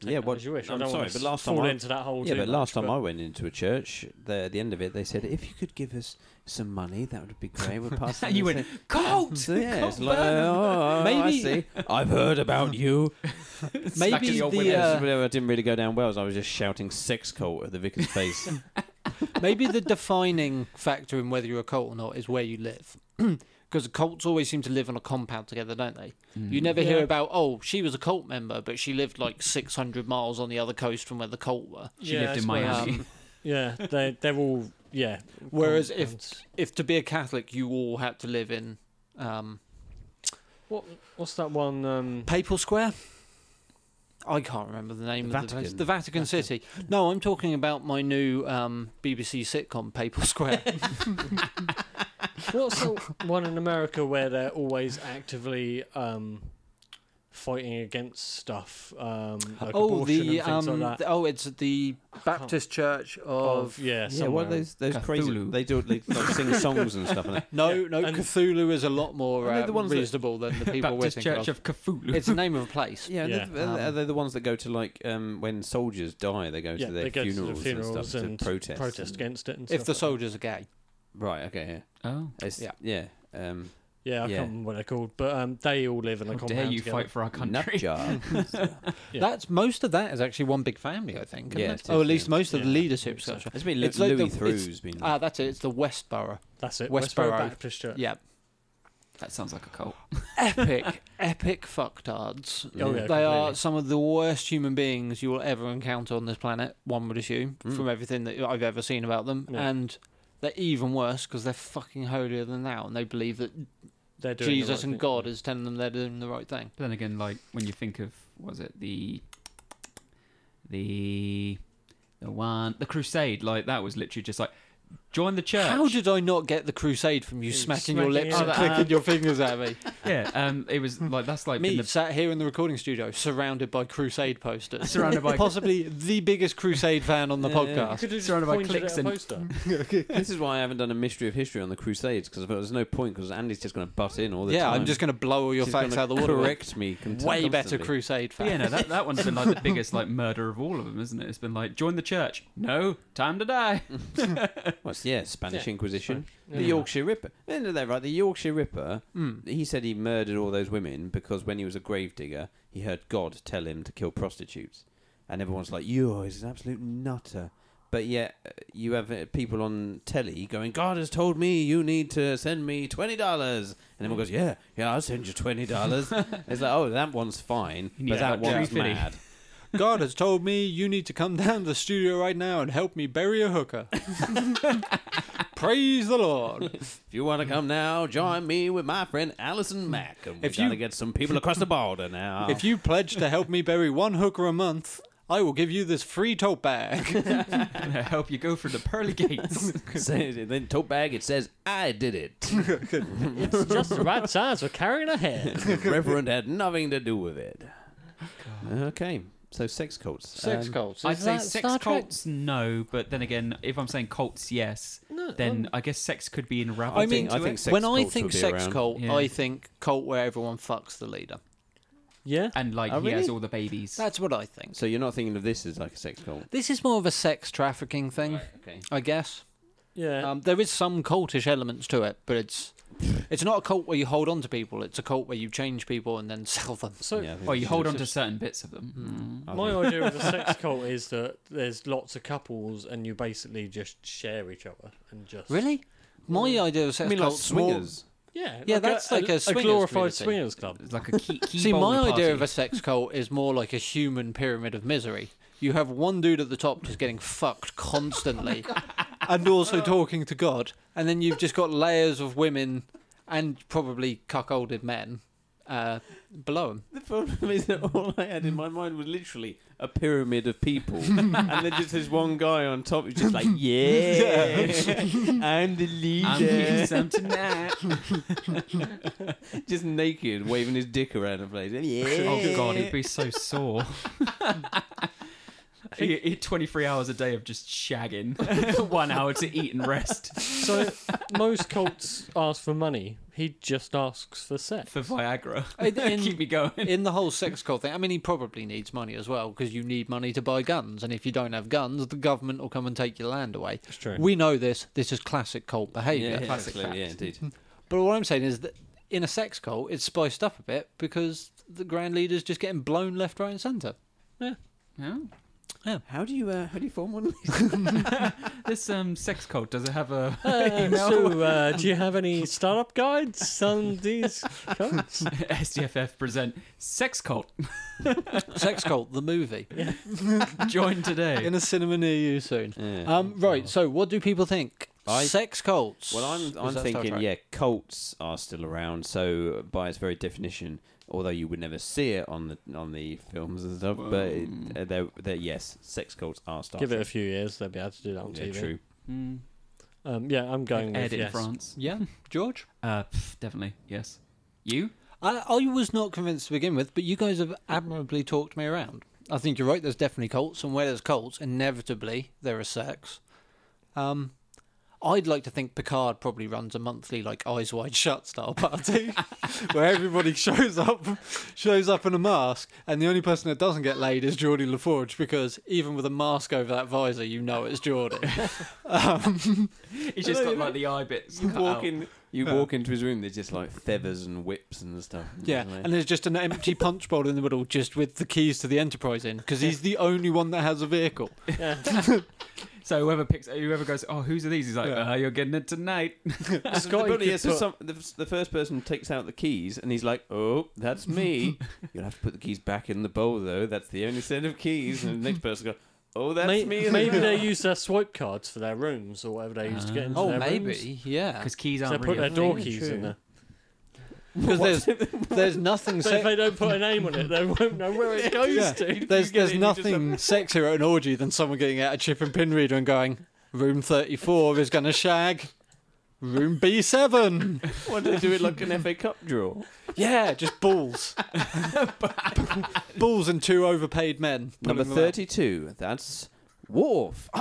Speaker 1: take
Speaker 3: Yeah,
Speaker 1: that
Speaker 3: what-
Speaker 1: as you wish. I
Speaker 3: I'm
Speaker 1: don't
Speaker 3: sorry,
Speaker 1: want to
Speaker 3: but last time
Speaker 1: fall
Speaker 3: I-
Speaker 1: into that hole.
Speaker 3: Yeah,
Speaker 1: too
Speaker 3: but last
Speaker 1: much,
Speaker 3: time I went into a church, the, at the end of it, they said, "If you could give us some money, that would be great." We're passing.
Speaker 4: You
Speaker 3: this
Speaker 4: went
Speaker 3: thing."
Speaker 4: cult.
Speaker 3: So, yeah, it's
Speaker 4: Cult
Speaker 3: like,
Speaker 4: burn."
Speaker 3: oh,
Speaker 2: Maybe-
Speaker 3: I see. I've heard about you.
Speaker 4: Smacking
Speaker 2: Maybe
Speaker 4: the old
Speaker 2: the,
Speaker 4: women.
Speaker 2: uh,
Speaker 3: That's where I didn't really go down well. so I was just shouting "sex cult" at the vicar's face.
Speaker 2: Maybe the defining factor in whether you're a cult or not is where you live. Because cults always seem to live on a compound together, don't they? You
Speaker 4: Mm.
Speaker 2: never hear
Speaker 1: Yeah.
Speaker 2: about, oh, she was a cult member, but she lived like 600 miles on the other coast from where the cult were.
Speaker 4: She
Speaker 1: Yeah,
Speaker 4: lived
Speaker 1: that's
Speaker 4: in
Speaker 1: where-
Speaker 4: Miami.
Speaker 2: Um,
Speaker 1: yeah, they they're all yeah.
Speaker 2: Whereas
Speaker 1: cult-
Speaker 2: if-
Speaker 1: cults.
Speaker 2: if to be a Catholic, you all had to live in um,
Speaker 1: what what's that one? Um,
Speaker 2: Papal Square? I can't remember the name
Speaker 3: The
Speaker 2: of the place.
Speaker 3: Vatican.
Speaker 2: The Vatican City. No, I'm talking about my new um, BBC sitcom, Papal Square.
Speaker 1: what's that one in America where they're always actively um, fighting against stuff? Um, like
Speaker 2: oh,
Speaker 1: abortion
Speaker 2: the,
Speaker 1: and things
Speaker 2: um,
Speaker 1: like that.
Speaker 2: the- oh, it's the Baptist Church of
Speaker 1: of yeah,
Speaker 3: yeah, what
Speaker 1: somewhere.
Speaker 3: are those those crazy?
Speaker 4: Cthulhu.
Speaker 3: They do they like, sing songs and stuff. And that.
Speaker 2: No,
Speaker 1: Yeah,
Speaker 2: no,
Speaker 1: and-
Speaker 2: Cthulhu is a lot more
Speaker 3: Are they
Speaker 2: uh,
Speaker 3: the ones that-
Speaker 2: reasonable than the people we're
Speaker 4: Baptist
Speaker 2: thinking
Speaker 4: Church
Speaker 2: of.
Speaker 4: of Cthulhu.
Speaker 2: It's the name of a place.
Speaker 3: Yeah, um,
Speaker 1: Yeah.
Speaker 3: Are, they, are they the ones that go to like um, when soldiers die? They go
Speaker 1: Yeah,
Speaker 3: to their
Speaker 1: they go to the
Speaker 3: funerals, and
Speaker 1: funerals
Speaker 3: stuff
Speaker 1: and
Speaker 3: to protest.
Speaker 1: protest
Speaker 3: and-
Speaker 1: against it. And
Speaker 2: If the
Speaker 1: stuff like
Speaker 2: soldiers are gay,
Speaker 3: Right. Okay. Yeah.
Speaker 4: oh,
Speaker 3: It's, yeah.
Speaker 2: Yeah.
Speaker 3: Um,
Speaker 1: that. yeah, I
Speaker 3: yeah.
Speaker 1: can't remember what they're called, but um, they all live in a
Speaker 4: how
Speaker 1: compound
Speaker 4: dare you
Speaker 1: together.
Speaker 4: fight for our country?
Speaker 3: Nutjar.
Speaker 1: Yeah.
Speaker 2: that's most of that is actually one big family, I think. isn't
Speaker 3: Yeah,
Speaker 2: it?
Speaker 3: it
Speaker 2: oh,
Speaker 3: is,
Speaker 2: at least
Speaker 3: yeah.
Speaker 2: most of the
Speaker 1: Yeah.
Speaker 2: leadership structure.
Speaker 3: It's been Lu-
Speaker 2: It's like
Speaker 3: Louis
Speaker 2: the-
Speaker 3: Throux's been.
Speaker 2: Ah, that's it. It's the West Borough.
Speaker 1: That's it.
Speaker 2: Westboro.
Speaker 1: Westboro Baptist Church.
Speaker 2: Yeah,
Speaker 4: That sounds like a cult.
Speaker 2: epic, epic fucktards.
Speaker 1: Oh, yeah.
Speaker 2: They are
Speaker 1: completely.
Speaker 2: some of the worst human beings you will ever encounter on this planet. One would assume
Speaker 3: Mm.
Speaker 2: from everything that I've ever seen about them,
Speaker 1: Yeah.
Speaker 2: and they're even worse because they're fucking holier than thou, and they believe that
Speaker 1: They're doing the
Speaker 2: Jesus
Speaker 1: right
Speaker 2: and
Speaker 1: thing.
Speaker 2: God is telling them they're doing the right thing.
Speaker 4: But then again, like when you think of was it the the the one the crusade, like that was literally just like join the church.
Speaker 2: How did I not get the crusade from you
Speaker 1: Yeah,
Speaker 2: smacking your
Speaker 1: smacking
Speaker 2: lips
Speaker 1: your
Speaker 2: and
Speaker 1: lips.
Speaker 2: clicking your fingers at me?
Speaker 4: yeah, um, it was like that's like
Speaker 2: me
Speaker 4: in the,
Speaker 2: sat here in the recording studio surrounded by crusade posters.
Speaker 4: surrounded by
Speaker 2: Possibly the biggest crusade fan on the
Speaker 3: Yeah,
Speaker 1: You
Speaker 2: podcast.
Speaker 1: could have just
Speaker 4: Surrounded by
Speaker 1: pointed at
Speaker 4: clicks
Speaker 1: a
Speaker 4: and-
Speaker 1: poster.
Speaker 3: this is why I haven't done a mystery of history on the Crusades because there's no point because Andy's just going to butt in all the
Speaker 2: Yeah,
Speaker 3: time.
Speaker 2: I'm just going to blow all your
Speaker 3: She's
Speaker 2: facts
Speaker 3: gonna
Speaker 2: out of the water. with
Speaker 3: Correct me. con-
Speaker 2: Way better
Speaker 3: constantly.
Speaker 2: crusade fan.
Speaker 4: yeah, no, that, that one's been like the biggest like murder of all of them, isn't it? It's been like join the church, no time to die.
Speaker 3: What's yeah? Spanish
Speaker 1: Yeah,
Speaker 3: Inquisition,
Speaker 1: Spanish.
Speaker 3: the
Speaker 1: Yeah.
Speaker 3: Yorkshire Ripper. Isn't that right? The Yorkshire Ripper.
Speaker 2: Mm.
Speaker 3: He said he murdered all those women because when he was a gravedigger, he heard God tell him to kill prostitutes, and everyone's like, "You is an absolute nutter." But yet, uh, you have uh, people on telly going, "God has told me you need to send me twenty dollars," and everyone goes, "Yeah, yeah, I'll send you twenty dollars." it's like, "Oh, that one's fine,
Speaker 4: You need
Speaker 3: but
Speaker 4: to
Speaker 3: that
Speaker 4: have Jack
Speaker 3: one's
Speaker 4: Finney.
Speaker 3: mad."
Speaker 2: God has told me you need to come down to the studio right now and help me bury a hooker. Praise the Lord.
Speaker 3: If you want to come now, join me with my friend Alison Mack. And we're
Speaker 2: If you-
Speaker 3: going to get some people across the border now.
Speaker 2: If you pledge to help me bury one hooker a month, I will give you this free tote bag.
Speaker 4: and I help you go through the pearly gates.
Speaker 3: Say- then tote bag, it says, I did it.
Speaker 1: It's just the right size for carrying a head.
Speaker 3: the reverend had nothing to do with it. Okay. So sex cults.
Speaker 2: Sex
Speaker 3: Um,
Speaker 2: cults.
Speaker 4: I'd
Speaker 2: Is
Speaker 4: say
Speaker 2: that
Speaker 4: sex
Speaker 2: Star Trek?
Speaker 4: cults, no. But then again, if I'm saying cults, yes,
Speaker 1: No,
Speaker 4: then
Speaker 1: um,
Speaker 4: I guess sex could be enraveled
Speaker 2: I mean,
Speaker 4: into
Speaker 3: I think
Speaker 4: it.
Speaker 3: sex
Speaker 2: when I
Speaker 3: cults
Speaker 2: think
Speaker 3: would be
Speaker 2: sex
Speaker 3: around.
Speaker 2: cult,
Speaker 4: Yeah.
Speaker 2: I think cult where everyone fucks the leader.
Speaker 1: yeah.
Speaker 4: And like
Speaker 2: Oh,
Speaker 4: he has
Speaker 2: really?
Speaker 4: all the babies.
Speaker 2: That's what I think.
Speaker 3: So you're not thinking of this as like a sex cult.
Speaker 2: This is more of a sex trafficking thing,
Speaker 3: okay.
Speaker 2: I guess.
Speaker 1: Yeah.
Speaker 2: Um, there is some cultish elements to it, but it's it's not a cult where you hold on to people. It's a cult where you change people and then sell them.
Speaker 1: so
Speaker 3: Yeah, I think
Speaker 2: oh,
Speaker 4: well, Oh, you
Speaker 3: it's
Speaker 4: hold on
Speaker 3: just-
Speaker 4: to certain bits of them.
Speaker 3: I
Speaker 1: my
Speaker 3: think-
Speaker 1: idea of a sex cult is that there's lots of couples and you basically just share each other and just
Speaker 2: Really? My idea of
Speaker 3: I
Speaker 2: sex
Speaker 3: mean, like
Speaker 2: cults more-
Speaker 3: swingers.
Speaker 1: yeah
Speaker 2: Yeah, that's like a swingers
Speaker 1: glorified
Speaker 2: community.
Speaker 1: swingers club.
Speaker 4: It's like a key. key
Speaker 2: See,
Speaker 4: bowl
Speaker 2: my idea
Speaker 4: party.
Speaker 2: of a sex cult is more like a human pyramid of misery. You have one dude at the top just getting fucked constantly
Speaker 3: Oh
Speaker 2: and also talking to God, and then you've just got layers of women and probably cuckolded men uh, below him.
Speaker 3: The problem is that all I had in my mind was literally a pyramid of people, and then just this one guy on top who's just like, "Yeah, I'm the
Speaker 4: I'm eating
Speaker 3: leader,"
Speaker 4: Um, some tonight.
Speaker 3: just naked, waving his dick around the place. Yeah.
Speaker 4: Oh god, he'd be so sore. He eat 23 hours a day of just shagging. One hour to eat and rest
Speaker 1: So most cults ask for money. He just asks for sex.
Speaker 4: for Viagra.
Speaker 2: I- in-
Speaker 4: Keep me going.
Speaker 2: In the whole sex cult thing, I mean, he probably needs money as well because you need money to buy guns, and if you don't have guns, the government will come and take your land away.
Speaker 1: It's true.
Speaker 2: We know this. This is classic cult behaviour.
Speaker 3: Yeah,
Speaker 4: classic
Speaker 3: absolutely, yeah,
Speaker 4: fact.
Speaker 3: indeed.
Speaker 2: But what I'm saying is that in a sex cult, it's spiced up a bit because the grand leader's just getting blown left, right, and centre.
Speaker 4: No?
Speaker 3: How do you uh, how do you form one?
Speaker 4: This um, sex cult, does it have a
Speaker 1: Uh,
Speaker 4: email?
Speaker 1: so, uh, do you have any startup guides on these cults?
Speaker 4: SDFF present sex cult.
Speaker 2: sex cult, the movie.
Speaker 4: Join today.
Speaker 2: In a cinema near you soon.
Speaker 3: Yeah.
Speaker 2: Um, right, so what do people think?
Speaker 3: I-
Speaker 2: sex cults.
Speaker 3: Well, I'm
Speaker 2: Is
Speaker 3: I'm
Speaker 2: that Star
Speaker 3: thinking,
Speaker 2: Trek?
Speaker 3: yeah, cults are still around. So by its very definition, although you would never see it on the on the films and stuff, but it, uh, they're, they're yes, sex cults are Star
Speaker 1: Give it a
Speaker 3: Trek.
Speaker 1: few years, they'll be able to do that on
Speaker 3: yeah,
Speaker 1: TV.
Speaker 3: true.
Speaker 4: Mm.
Speaker 1: Um, yeah, I'm going
Speaker 4: Aired
Speaker 1: with
Speaker 4: in
Speaker 1: yes.
Speaker 4: France.
Speaker 2: Yeah, George?
Speaker 4: Uh, pff, definitely, yes. You?
Speaker 2: I, I was not convinced to begin with, but you guys have admirably talked me around. I think you're right, there's definitely cults, and where there's cults, inevitably there are sex. Um, I'd like to think Picard probably runs a monthly, like, eyes wide shut style party where everybody shows up shows up in a mask, and the only person that doesn't get laid is Geordie LaForge because even with a mask over that visor, you know it's Geordie. um,
Speaker 4: He's just got like the eye bits.
Speaker 3: You
Speaker 4: cut
Speaker 3: walk
Speaker 4: out.
Speaker 3: in, you walk into his room. There's just like feathers and whips and stuff.
Speaker 2: Yeah, and there's just an empty punch bowl in the middle, just with the keys to the Enterprise in, because he's the only one that has a vehicle.
Speaker 1: Yeah.
Speaker 4: So whoever picks, whoever goes, oh, wose are these? He's like,
Speaker 2: Yeah.
Speaker 4: uh, you're getting it tonight.
Speaker 1: Scotty
Speaker 3: But
Speaker 1: could
Speaker 3: yeah, so
Speaker 1: put-
Speaker 3: some, the, the first person takes out the keys and he's like, "Oh, that's me." You'll have to put the keys back in the bowl, though. That's the only set of keys. And the next person goes, "Oh, that's
Speaker 1: May-
Speaker 3: me." as
Speaker 1: maybe
Speaker 3: well."
Speaker 1: they use their swipe cards for their rooms or whatever they use to get into
Speaker 2: Oh,
Speaker 1: their rooms.
Speaker 2: maybe, yeah.
Speaker 4: Because keys
Speaker 1: So they
Speaker 4: aren't
Speaker 1: put
Speaker 4: really a
Speaker 1: their door
Speaker 4: thing.
Speaker 1: keys in there.
Speaker 2: Because there's there's nothing.
Speaker 1: So if
Speaker 2: Se-
Speaker 1: they don't put a name on it, they won't know where it goes
Speaker 2: Yeah.
Speaker 1: to.
Speaker 2: there's
Speaker 3: you get
Speaker 2: there's
Speaker 3: it, you just
Speaker 2: nothing sexier at an orgy than someone getting out a chip and pin reader and going, "Room 34 is gonna shag." Room B7.
Speaker 3: Why do they do it like an FA Cup draw?
Speaker 2: Yeah, just balls. balls and two overpaid men.
Speaker 3: Number
Speaker 2: pulling them out.
Speaker 3: thirty-two. That's Worf.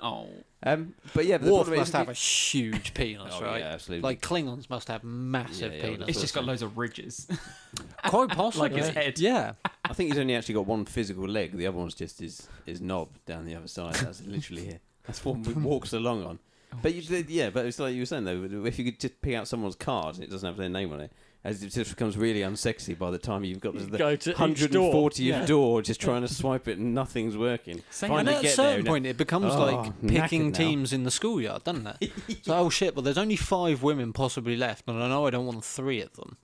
Speaker 4: Oh,
Speaker 3: Um, but yeah, but the
Speaker 2: Worf
Speaker 3: problem is
Speaker 2: must
Speaker 3: if
Speaker 2: have
Speaker 3: you-
Speaker 2: a huge penis,
Speaker 3: Oh,
Speaker 2: right?
Speaker 3: yeah, absolutely.
Speaker 2: Like Klingons must have massive
Speaker 3: Yeah, yeah, well,
Speaker 2: penises.
Speaker 4: it's
Speaker 3: what
Speaker 4: just
Speaker 3: I
Speaker 4: got loads of ridges,
Speaker 2: quite possibly.
Speaker 4: like his head.
Speaker 2: Yeah.
Speaker 3: I think he's only actually got one physical leg. The other one's just his his knob down the other side. That's literally it. That's what he walks along on. But you, did- yeah, but it's like you were saying though. If you could just pick out someone's card and it doesn't have their name on it, as it just becomes really unsexy by the time you've got to the
Speaker 1: Go to each
Speaker 3: hundred
Speaker 1: door.
Speaker 3: and fortieth
Speaker 1: Yeah.
Speaker 3: door, just trying to swipe it and nothing's working.
Speaker 4: Same
Speaker 3: Finally
Speaker 2: and at a
Speaker 3: get
Speaker 2: certain
Speaker 3: there, and-
Speaker 2: point, it becomes
Speaker 3: Oh,
Speaker 2: like
Speaker 3: knackered
Speaker 2: picking
Speaker 3: now.
Speaker 2: teams in the schoolyard, doesn't it? so, oh shit, well, there's only five women possibly left, and I know I don't want three of them.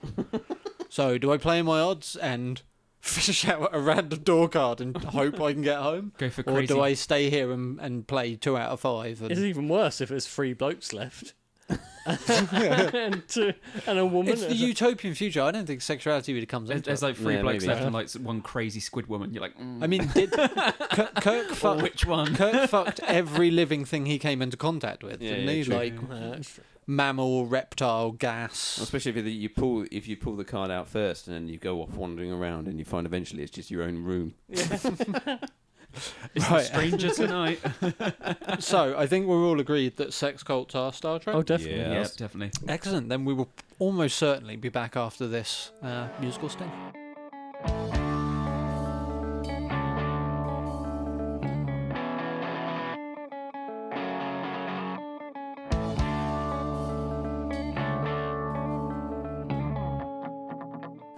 Speaker 2: so, do I play my odds and fish out a random door card and hope I can get home?
Speaker 4: Go for
Speaker 2: Or
Speaker 4: crazy.
Speaker 2: do I stay here and, and play two out of five?
Speaker 1: It's
Speaker 2: And...
Speaker 1: even worse if it's three blokes left. and, to, and a woman.
Speaker 2: It's the utopian future. I don't think sexuality really comes
Speaker 4: There's,
Speaker 2: into
Speaker 4: there's
Speaker 2: it.
Speaker 4: like three
Speaker 3: Yeah,
Speaker 4: blokes
Speaker 3: maybe.
Speaker 4: left and like one crazy squid woman. You're like, mm,
Speaker 2: I mean, did Kirk, Kirk
Speaker 4: or
Speaker 2: fucked?
Speaker 4: which one?
Speaker 2: Kirk fucked every living thing he came into contact with,
Speaker 3: Yeah,
Speaker 2: didn't
Speaker 3: yeah,
Speaker 2: he?
Speaker 3: true.
Speaker 2: Like
Speaker 1: Yeah, that's true.
Speaker 2: mammal, reptile, gas.
Speaker 3: Especially if you, you pull if you pull the card out first, and then you go off wandering around, and you find eventually it's just your own room.
Speaker 4: It's the
Speaker 2: Right.
Speaker 4: stranger tonight.
Speaker 2: so I think we're all agreed that sex cults are Star Trek.
Speaker 1: Oh, definitely.
Speaker 3: Yeah.
Speaker 4: yeah,
Speaker 3: Yes.
Speaker 4: definitely.
Speaker 2: Excellent. Then we will almost certainly be back after this uh, musical sting.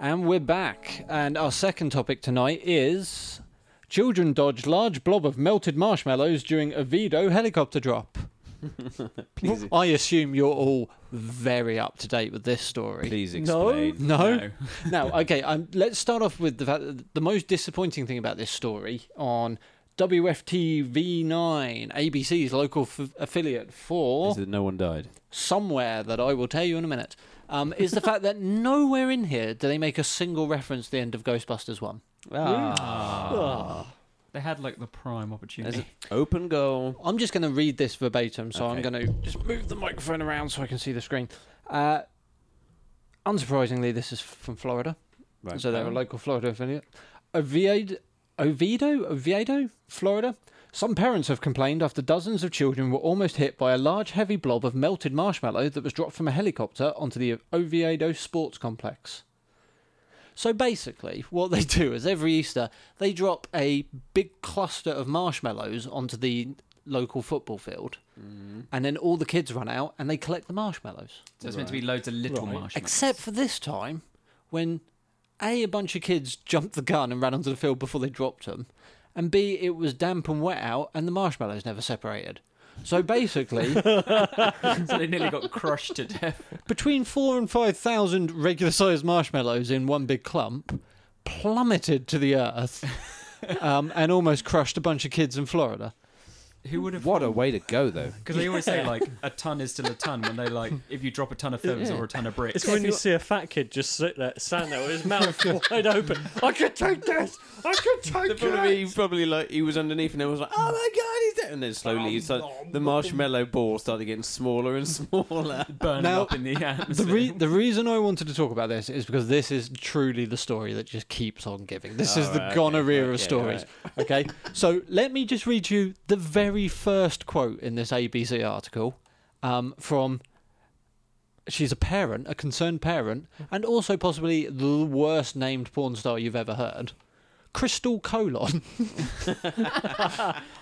Speaker 2: And we're back. And our second topic tonight is children dodge large blob of melted marshmallows during a Vido helicopter drop.
Speaker 3: Please,
Speaker 2: I assume you're all very up to date with this story.
Speaker 3: please
Speaker 1: No.
Speaker 3: explain.
Speaker 2: No. No, okay. Um, let's start off with the fact that the most disappointing thing about this story on WFTV9, ABC's local f- affiliate for
Speaker 3: Is that no one died?
Speaker 2: somewhere that I will tell you in a minute, um, is the fact that nowhere in here do they make a single reference to the end of Ghostbusters 1. Ah.
Speaker 1: Ah.
Speaker 4: They had like the prime
Speaker 3: There's
Speaker 4: opportunity.
Speaker 3: an open goal.
Speaker 2: I'm just going to read this verbatim, so I'm
Speaker 3: Okay.
Speaker 2: going to just move the microphone around so I can see the screen. Uh, unsurprisingly, this is from Florida.
Speaker 3: Right.
Speaker 2: So they're a local Florida affiliate. Oviedo, Oviedo, Oviedo, Florida. Some parents have complained after dozens of children were almost hit by a large, heavy blob of melted marshmallow that was dropped from a helicopter onto the Oviedo Sports Complex. So basically, what they do is every Easter they drop a big cluster of marshmallows onto the local football field, and then all the kids run out and they collect the marshmallows.
Speaker 4: So it's meant to be loads of
Speaker 1: Right.
Speaker 4: little marshmallows.
Speaker 2: Except for this time, when A, a bunch of kids jumped the gun and ran onto the field before they dropped them, and B, it was damp and wet out and the marshmallows never separated. So basically,
Speaker 4: so they nearly got crushed to death.
Speaker 2: between four and 5,000 regular sized marshmallows in one big clump plummeted to the earth um, and almost crushed a bunch of kids in Florida.
Speaker 4: Who would have?
Speaker 3: What a way to go, though.
Speaker 4: Because they always say like a ton is still a ton when they like if you drop a ton of films or a ton of bricks.
Speaker 1: It's when you see a fat kid just sit there, stand there with his mouth wide open. I could take this. I could
Speaker 3: The
Speaker 1: take
Speaker 3: problem
Speaker 1: it.
Speaker 3: is he probably like he was underneath and everyone was like, "Oh my god, he's dead!" And then slowly, it's like the marshmallow ball started getting smaller and smaller.
Speaker 4: burn
Speaker 2: Now,
Speaker 4: up in the
Speaker 2: The,
Speaker 4: atmosphere.
Speaker 2: re- the reason I wanted to talk about this is because this is truly the story that just keeps on giving. This is the
Speaker 3: Alright, Oh, okay,
Speaker 2: gonorrhea
Speaker 3: right,
Speaker 2: of
Speaker 3: yeah,
Speaker 2: stories. Okay, so let me just read you the very first quote in this ABC article um, from. She's a parent, a concerned parent, and also possibly the worst named porn star you've ever heard. Crystal Colon.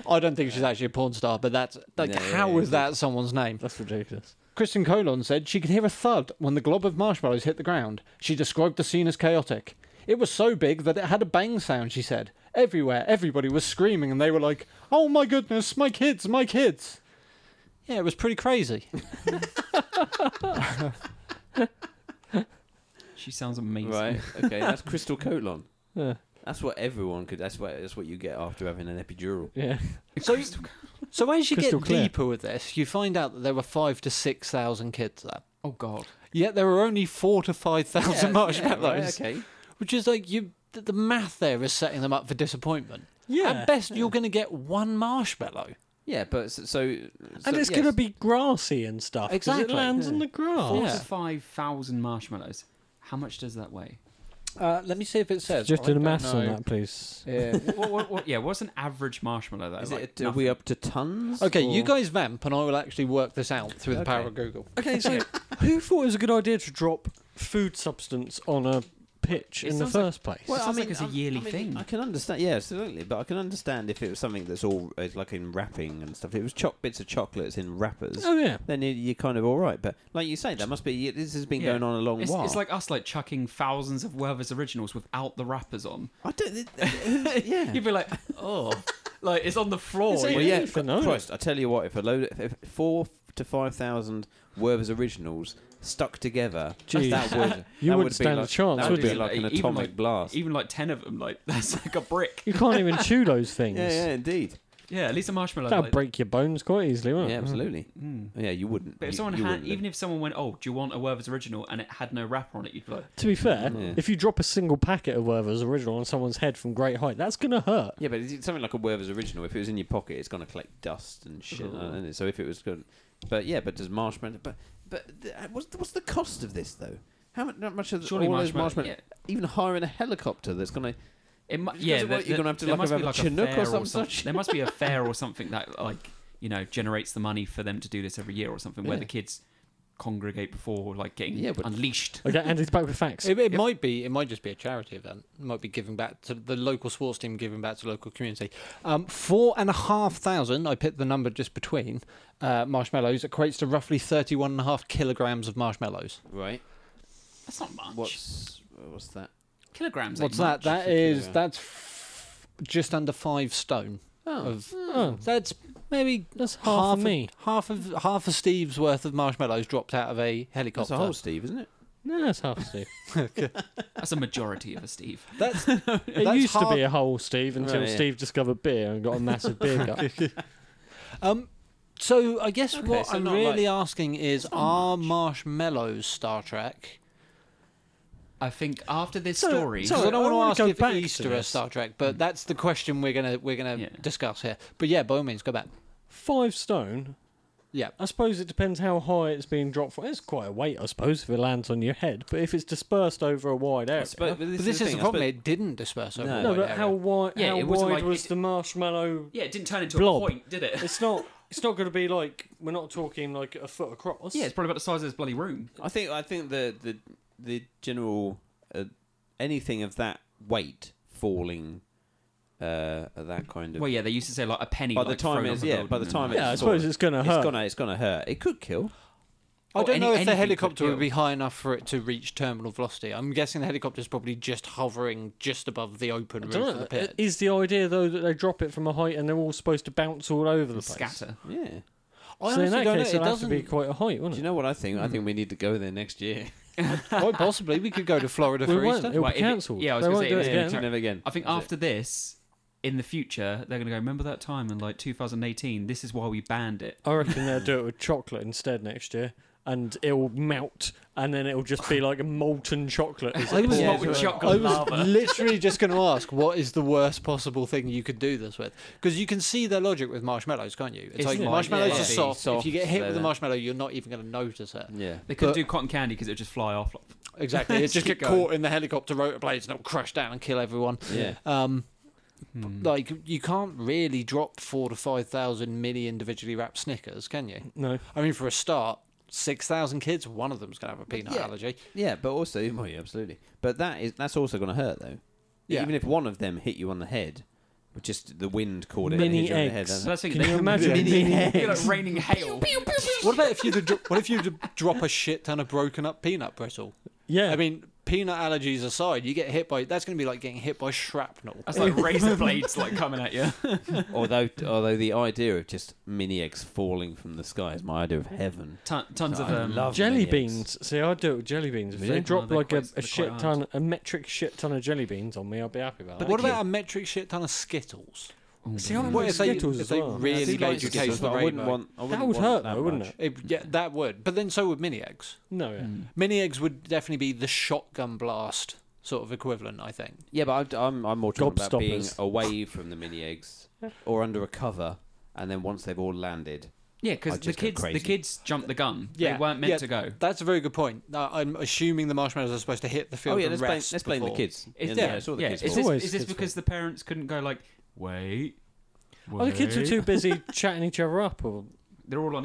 Speaker 2: I don't think she's actually a porn star, but that's like,
Speaker 3: No,
Speaker 2: how
Speaker 3: yeah,
Speaker 2: is that someone's name?
Speaker 1: That's ridiculous.
Speaker 2: Kristen Colon said she could hear a thud when the glob of marshmallows hit the ground. She described the scene as chaotic. It was so big that it had a bang sound, she said. Everywhere, everybody was screaming and they were like, oh my goodness, my kids, my kids. Yeah, it was pretty crazy.
Speaker 4: she sounds amazing.
Speaker 3: Right. Okay. That's crystal colon.
Speaker 1: Yeah.
Speaker 3: That's what everyone could. That's what. That's what you get after having an epidural.
Speaker 1: Yeah.
Speaker 2: so, so as you
Speaker 1: Crystal
Speaker 2: get
Speaker 1: clear.
Speaker 2: deeper with this, you find out that there were five to 6,000 kids there.
Speaker 4: Oh God.
Speaker 2: Yet there were only four to 5,000 marshmallows.
Speaker 3: okay.
Speaker 2: Which is like, you, the, the math there is setting them up for disappointment.
Speaker 1: Yeah.
Speaker 2: At best, you're going to get one marshmallow.
Speaker 3: Yeah, but s- so, so
Speaker 1: and it's
Speaker 3: yes.
Speaker 1: gonna be grassy and stuff. 'cause
Speaker 2: Exactly.
Speaker 1: It lands
Speaker 2: Yeah.
Speaker 1: on the grass.
Speaker 2: Yeah.
Speaker 4: Forty-five thousand marshmallows. How much does that weigh?
Speaker 2: Uh, let me see if it says.
Speaker 1: Just
Speaker 2: I
Speaker 1: do the
Speaker 2: don't
Speaker 1: maths on
Speaker 2: know.
Speaker 1: that, please.
Speaker 2: Yeah.
Speaker 4: what, what, what, yeah, what's an average marshmallow? That
Speaker 3: Is
Speaker 4: like
Speaker 3: it, are we up to tons?
Speaker 2: okay, you
Speaker 3: or-
Speaker 2: guys vamp, and I will actually work this out through the power
Speaker 3: Okay.
Speaker 2: of Google.
Speaker 1: Okay, so who thought it was a good idea to drop food substance on a pitch
Speaker 4: It
Speaker 1: in the
Speaker 4: sounds like-
Speaker 1: first place?
Speaker 4: Well, It sounds like it's a
Speaker 3: I'm-
Speaker 4: yearly
Speaker 3: I mean,
Speaker 4: thing.
Speaker 3: I can understand, yeah, absolutely, but I can understand if it was something that's all it's like in wrapping and stuff. If it was choc bits of chocolates in wrappers,
Speaker 1: oh yeah.
Speaker 3: then you, you're kind of all right. But like you say, that must be this has been
Speaker 4: Yeah.
Speaker 3: going on a long
Speaker 4: It's,
Speaker 3: while.
Speaker 4: it's like us like chucking thousands of Werther's originals without the wrappers on.
Speaker 3: I don't, it- it- yeah.
Speaker 4: You'd be like, oh, like it's on the floor.
Speaker 1: It's
Speaker 3: Well,
Speaker 1: Well,
Speaker 3: yeah,
Speaker 1: you can own
Speaker 3: Christ, I tell you what, if a load, if, if four to five thousand Werther's originals stuck together,
Speaker 1: Jeez.
Speaker 3: that would
Speaker 1: You
Speaker 3: that
Speaker 1: wouldn't
Speaker 3: would be
Speaker 1: stand a
Speaker 3: like-
Speaker 1: chance,
Speaker 3: That
Speaker 1: would
Speaker 3: would be
Speaker 1: you?
Speaker 3: like an
Speaker 4: Even
Speaker 3: atomic
Speaker 4: like-
Speaker 3: blast.
Speaker 4: Even like ten of them, like that's like a brick.
Speaker 1: You can't even chew those things.
Speaker 3: Yeah, yeah, indeed.
Speaker 4: Yeah, at least a marshmallow.
Speaker 1: That'll
Speaker 4: like-
Speaker 1: break your bones quite easily, won't
Speaker 3: yeah,
Speaker 1: it?
Speaker 3: absolutely.
Speaker 4: Mm.
Speaker 3: Yeah, you wouldn't.
Speaker 4: But if
Speaker 3: you-
Speaker 4: someone
Speaker 3: you
Speaker 4: had,
Speaker 3: wouldn't.
Speaker 4: even if someone went, "Oh, do you want a Werther's original?" and it had no wrapper on it, you'd be like,
Speaker 1: To be fair,
Speaker 3: Yeah.
Speaker 1: if you drop a single packet of Werther's original on someone's head from great height, that's going to hurt.
Speaker 3: Yeah, but it's something like a Werther's original. If it was in your pocket, it's going to collect dust and shit.
Speaker 4: Ooh.
Speaker 3: And so if it was good, but yeah, but does marshmallow? But but th- what's the, what's the cost of this though? How much, how much of the-
Speaker 4: "Surely
Speaker 3: all those
Speaker 4: marshmallow."
Speaker 3: marshmallow?
Speaker 4: Yeah,
Speaker 3: Even hiring a helicopter that's going to
Speaker 4: it mu-
Speaker 3: Because
Speaker 4: yeah
Speaker 3: of
Speaker 4: there-
Speaker 3: what,
Speaker 4: there-
Speaker 3: you're gonna have to
Speaker 4: there
Speaker 3: like
Speaker 4: must
Speaker 3: have
Speaker 4: be
Speaker 3: a
Speaker 4: like a
Speaker 3: Chinook or
Speaker 4: fair
Speaker 3: some
Speaker 4: some-
Speaker 3: such.
Speaker 4: There must be a fair or something that like you know generates the money for them to do this every year or something, where
Speaker 3: Yeah.
Speaker 4: the kids congregate before like getting
Speaker 3: Yeah, but-
Speaker 4: unleashed.
Speaker 1: Okay, Andy's back with facts.
Speaker 2: It, it might be. It might just be a charity event. It might be giving back to the local sports team, giving back to local community. Um, four and a half thousand. I picked the number just between uh, marshmallows. Equates to roughly thirty-one and a half kilograms of marshmallows.
Speaker 3: right.
Speaker 4: That's not much.
Speaker 3: What's what's that?
Speaker 4: Kilograms.
Speaker 2: What's
Speaker 4: ain't much.
Speaker 2: that? That
Speaker 3: a
Speaker 2: is
Speaker 3: kilogram.
Speaker 2: that's f- just under five stone.
Speaker 3: Oh,
Speaker 2: Of
Speaker 1: Oh,
Speaker 2: that's maybe
Speaker 1: that's half,
Speaker 2: half
Speaker 1: of me.
Speaker 2: half of half of Steve's worth of marshmallows dropped out of a
Speaker 3: that's
Speaker 2: helicopter.
Speaker 3: a whole Steve, isn't it?
Speaker 1: No, that's half Steve.
Speaker 4: That's a majority of a Steve.
Speaker 2: That's
Speaker 1: It
Speaker 2: That's
Speaker 1: used to
Speaker 2: half-
Speaker 1: be a whole Steve until
Speaker 3: Right, yeah.
Speaker 1: Steve discovered beer and got a massive beer gut.
Speaker 2: Um, so I guess
Speaker 3: Okay,
Speaker 2: what
Speaker 3: so
Speaker 2: I'm
Speaker 3: not
Speaker 2: really asking is, are marshmallows Star Trek?
Speaker 4: I think after this
Speaker 1: So-
Speaker 4: story,
Speaker 1: so-
Speaker 2: Because I
Speaker 1: Sorry,
Speaker 2: don't
Speaker 1: I wanna
Speaker 2: want to
Speaker 1: go
Speaker 2: ask
Speaker 1: back
Speaker 2: if
Speaker 1: to
Speaker 2: Easter is
Speaker 1: this.
Speaker 2: Star Trek, but that's the question we're gonna we're gonna
Speaker 4: Yeah.
Speaker 2: discuss here. But yeah, by all means, go back.
Speaker 1: Five stone.
Speaker 2: Yeah,
Speaker 1: I suppose it depends how high it's being dropped from. It's quite a weight, I suppose, if it lands on your head. But if it's dispersed over a wide area,
Speaker 2: but this is the
Speaker 3: thing, I
Speaker 2: problem.
Speaker 3: suppose-
Speaker 2: It didn't disperse over.
Speaker 3: No.
Speaker 2: a
Speaker 1: no.
Speaker 2: wide
Speaker 1: But
Speaker 2: area.
Speaker 1: how wide?
Speaker 4: Yeah,
Speaker 1: how
Speaker 4: it
Speaker 1: wide
Speaker 4: wasn't like-
Speaker 1: was
Speaker 4: it-
Speaker 1: the marshmallow?
Speaker 4: yeah, it didn't turn into
Speaker 1: Blob.
Speaker 4: a point, did it?
Speaker 1: It's not. It's not going to be like we're not talking like a foot across.
Speaker 4: Yeah, it's probably about the size of this bloody room.
Speaker 3: I think I think the the the general uh, anything of that weight falling uh, at that kind of
Speaker 4: Well, yeah, they used to say like a penny.
Speaker 3: by the
Speaker 4: like,
Speaker 3: time
Speaker 4: thrown
Speaker 3: it's
Speaker 4: off a
Speaker 3: yeah by the
Speaker 4: building
Speaker 3: time
Speaker 4: and-
Speaker 1: Yeah, I
Speaker 3: it's
Speaker 1: suppose
Speaker 3: fallen,
Speaker 1: it's gonna hurt.
Speaker 3: It's gonna it's gonna hurt. It could kill.
Speaker 2: I
Speaker 4: or
Speaker 2: don't
Speaker 4: any-
Speaker 2: know if
Speaker 4: anything
Speaker 2: the
Speaker 4: could
Speaker 2: helicopter would
Speaker 4: kill.
Speaker 2: be high enough for it to reach terminal velocity. I'm guessing the helicopter is probably just hovering just above the open
Speaker 1: I
Speaker 2: roof
Speaker 1: don't
Speaker 2: of
Speaker 1: know.
Speaker 2: the pit.
Speaker 1: Is the idea though that they drop it from a height and they're all supposed to bounce all over the place?
Speaker 4: scatter.
Speaker 3: Yeah.
Speaker 2: I
Speaker 1: so in
Speaker 2: honestly
Speaker 1: that case,
Speaker 2: don't know. It
Speaker 1: it'll have to
Speaker 2: doesn't.
Speaker 1: be quite Hmm. a height,
Speaker 3: Do
Speaker 1: wouldn't
Speaker 3: you
Speaker 1: it?
Speaker 3: know what I think? I think we need to go there next year.
Speaker 2: Quite possibly, we could go to Florida
Speaker 1: we
Speaker 2: for
Speaker 1: won't.
Speaker 2: Easter.
Speaker 1: It'll
Speaker 4: Well, if
Speaker 1: be
Speaker 4: it-
Speaker 1: cancelled.
Speaker 4: yeah, I was
Speaker 1: They
Speaker 4: gonna
Speaker 1: won't
Speaker 4: say,
Speaker 1: do
Speaker 4: if
Speaker 1: it
Speaker 4: it
Speaker 1: again.
Speaker 4: turns-
Speaker 3: Never again.
Speaker 4: I think
Speaker 3: That's
Speaker 4: after this, in the future, they're going to go. Remember that time in like 2018? This is why we banned it.
Speaker 1: I reckon they'll do it with chocolate instead next year, and it'll melt, and then it'll just be like a molten chocolate. as
Speaker 2: I
Speaker 1: it
Speaker 2: was-
Speaker 1: pours
Speaker 2: Yeah,
Speaker 1: out.
Speaker 4: Molten
Speaker 2: so-
Speaker 4: chocolate
Speaker 2: I was
Speaker 4: lava.
Speaker 2: literally just going to ask, what is the worst possible thing you could do this with? Because you can see their logic with marshmallows, can't you? It's,
Speaker 4: It's
Speaker 2: like
Speaker 4: like-
Speaker 2: marshmallows
Speaker 4: yeah,
Speaker 2: are
Speaker 4: yeah.
Speaker 2: soft. If
Speaker 3: Soft,
Speaker 2: you get hit
Speaker 3: they're
Speaker 2: with a
Speaker 3: there.
Speaker 2: marshmallow, you're not even going to notice it.
Speaker 3: Yeah.
Speaker 4: They couldn't
Speaker 2: But-
Speaker 4: do cotton candy because it would just fly off. Like,
Speaker 2: Exactly. It just
Speaker 4: Keep
Speaker 2: get
Speaker 4: going.
Speaker 2: caught in the helicopter rotor blades and it'll crash down and kill everyone.
Speaker 3: Yeah.
Speaker 2: Um, Like you can't really drop four to five thousand milli individually wrapped Snickers, can you?
Speaker 1: No,
Speaker 2: I mean, for a start, six thousand kids, one of them's going to have a peanut
Speaker 3: yeah.
Speaker 2: allergy.
Speaker 3: Yeah, but also, well, yeah, absolutely. But that is that's also going to hurt though.
Speaker 2: Yeah.
Speaker 3: Even if one of them hit you on the head, but just the wind caught it.
Speaker 1: Mini
Speaker 3: and hit you on the head,
Speaker 1: eggs.
Speaker 3: that's-
Speaker 4: so that's the thing,
Speaker 1: Can
Speaker 4: they-
Speaker 1: you imagine? Mini
Speaker 4: it'd be like raining hail.
Speaker 2: What about if you to dro- what if you to drop a shit ton of broken up peanut brittle?
Speaker 1: yeah.
Speaker 2: I mean, peanut allergies aside, you get hit by that's going to be like getting hit by shrapnel.
Speaker 4: That's like razor blades like coming at you.
Speaker 3: although, although the idea of just mini eggs falling from the sky is my idea of heaven.
Speaker 4: Ton- tons of
Speaker 3: I
Speaker 4: um,
Speaker 3: love
Speaker 1: jelly
Speaker 3: mini eggs.
Speaker 1: beans. See, I'd do it with jelly beans. If
Speaker 3: Really?
Speaker 1: they drop
Speaker 4: No, they're
Speaker 1: like
Speaker 4: quite-
Speaker 1: a, a
Speaker 4: they're quite
Speaker 1: shit
Speaker 4: hard.
Speaker 1: ton, a metric shit ton of jelly beans on me, I'd be happy about
Speaker 2: But
Speaker 1: that.
Speaker 2: what about a metric shit ton of Skittles?
Speaker 1: See, I'm
Speaker 2: What if they,
Speaker 1: Skittles
Speaker 2: if
Speaker 1: as
Speaker 2: they
Speaker 1: well.
Speaker 2: really
Speaker 3: See,
Speaker 2: gave
Speaker 3: like
Speaker 2: you
Speaker 3: Skittles,
Speaker 2: taste the
Speaker 3: but I wouldn't
Speaker 2: rainbow?
Speaker 3: want. I wouldn't
Speaker 1: would
Speaker 3: want
Speaker 1: hurt
Speaker 3: that
Speaker 1: though, wouldn't
Speaker 3: much.
Speaker 1: it?
Speaker 2: It- yeah, that would. But then so would mini eggs.
Speaker 1: No, yeah.
Speaker 2: Mini eggs would definitely be the shotgun blast sort of equivalent, I think.
Speaker 3: Yeah, but I, I'm I'm more talking about being
Speaker 1: Gobstoppers.
Speaker 3: away from the mini eggs or under a cover, and then once they've all landed,
Speaker 4: Yeah,
Speaker 3: I
Speaker 4: because the
Speaker 3: just go
Speaker 4: kids, the
Speaker 3: crazy.
Speaker 4: kids jumped the gun.
Speaker 2: Yeah,
Speaker 4: they weren't meant
Speaker 2: yeah.
Speaker 4: to go.
Speaker 2: That's a very good point. Uh, I'm assuming the marshmallows are supposed to hit the field
Speaker 3: oh yeah,
Speaker 2: and
Speaker 3: let's blame,
Speaker 2: rest.
Speaker 3: let's blame the
Speaker 2: before.
Speaker 3: kids.
Speaker 4: Is
Speaker 3: yeah,
Speaker 4: yeah,
Speaker 3: it's all the
Speaker 4: yeah.
Speaker 3: kids.
Speaker 4: Is
Speaker 3: fault.
Speaker 4: this,
Speaker 1: Always
Speaker 4: is this
Speaker 1: kids'
Speaker 4: because the parents couldn't go like, wait,
Speaker 1: Oh, the kids were
Speaker 4: wait."
Speaker 1: too busy chatting each other up, or
Speaker 4: They're all on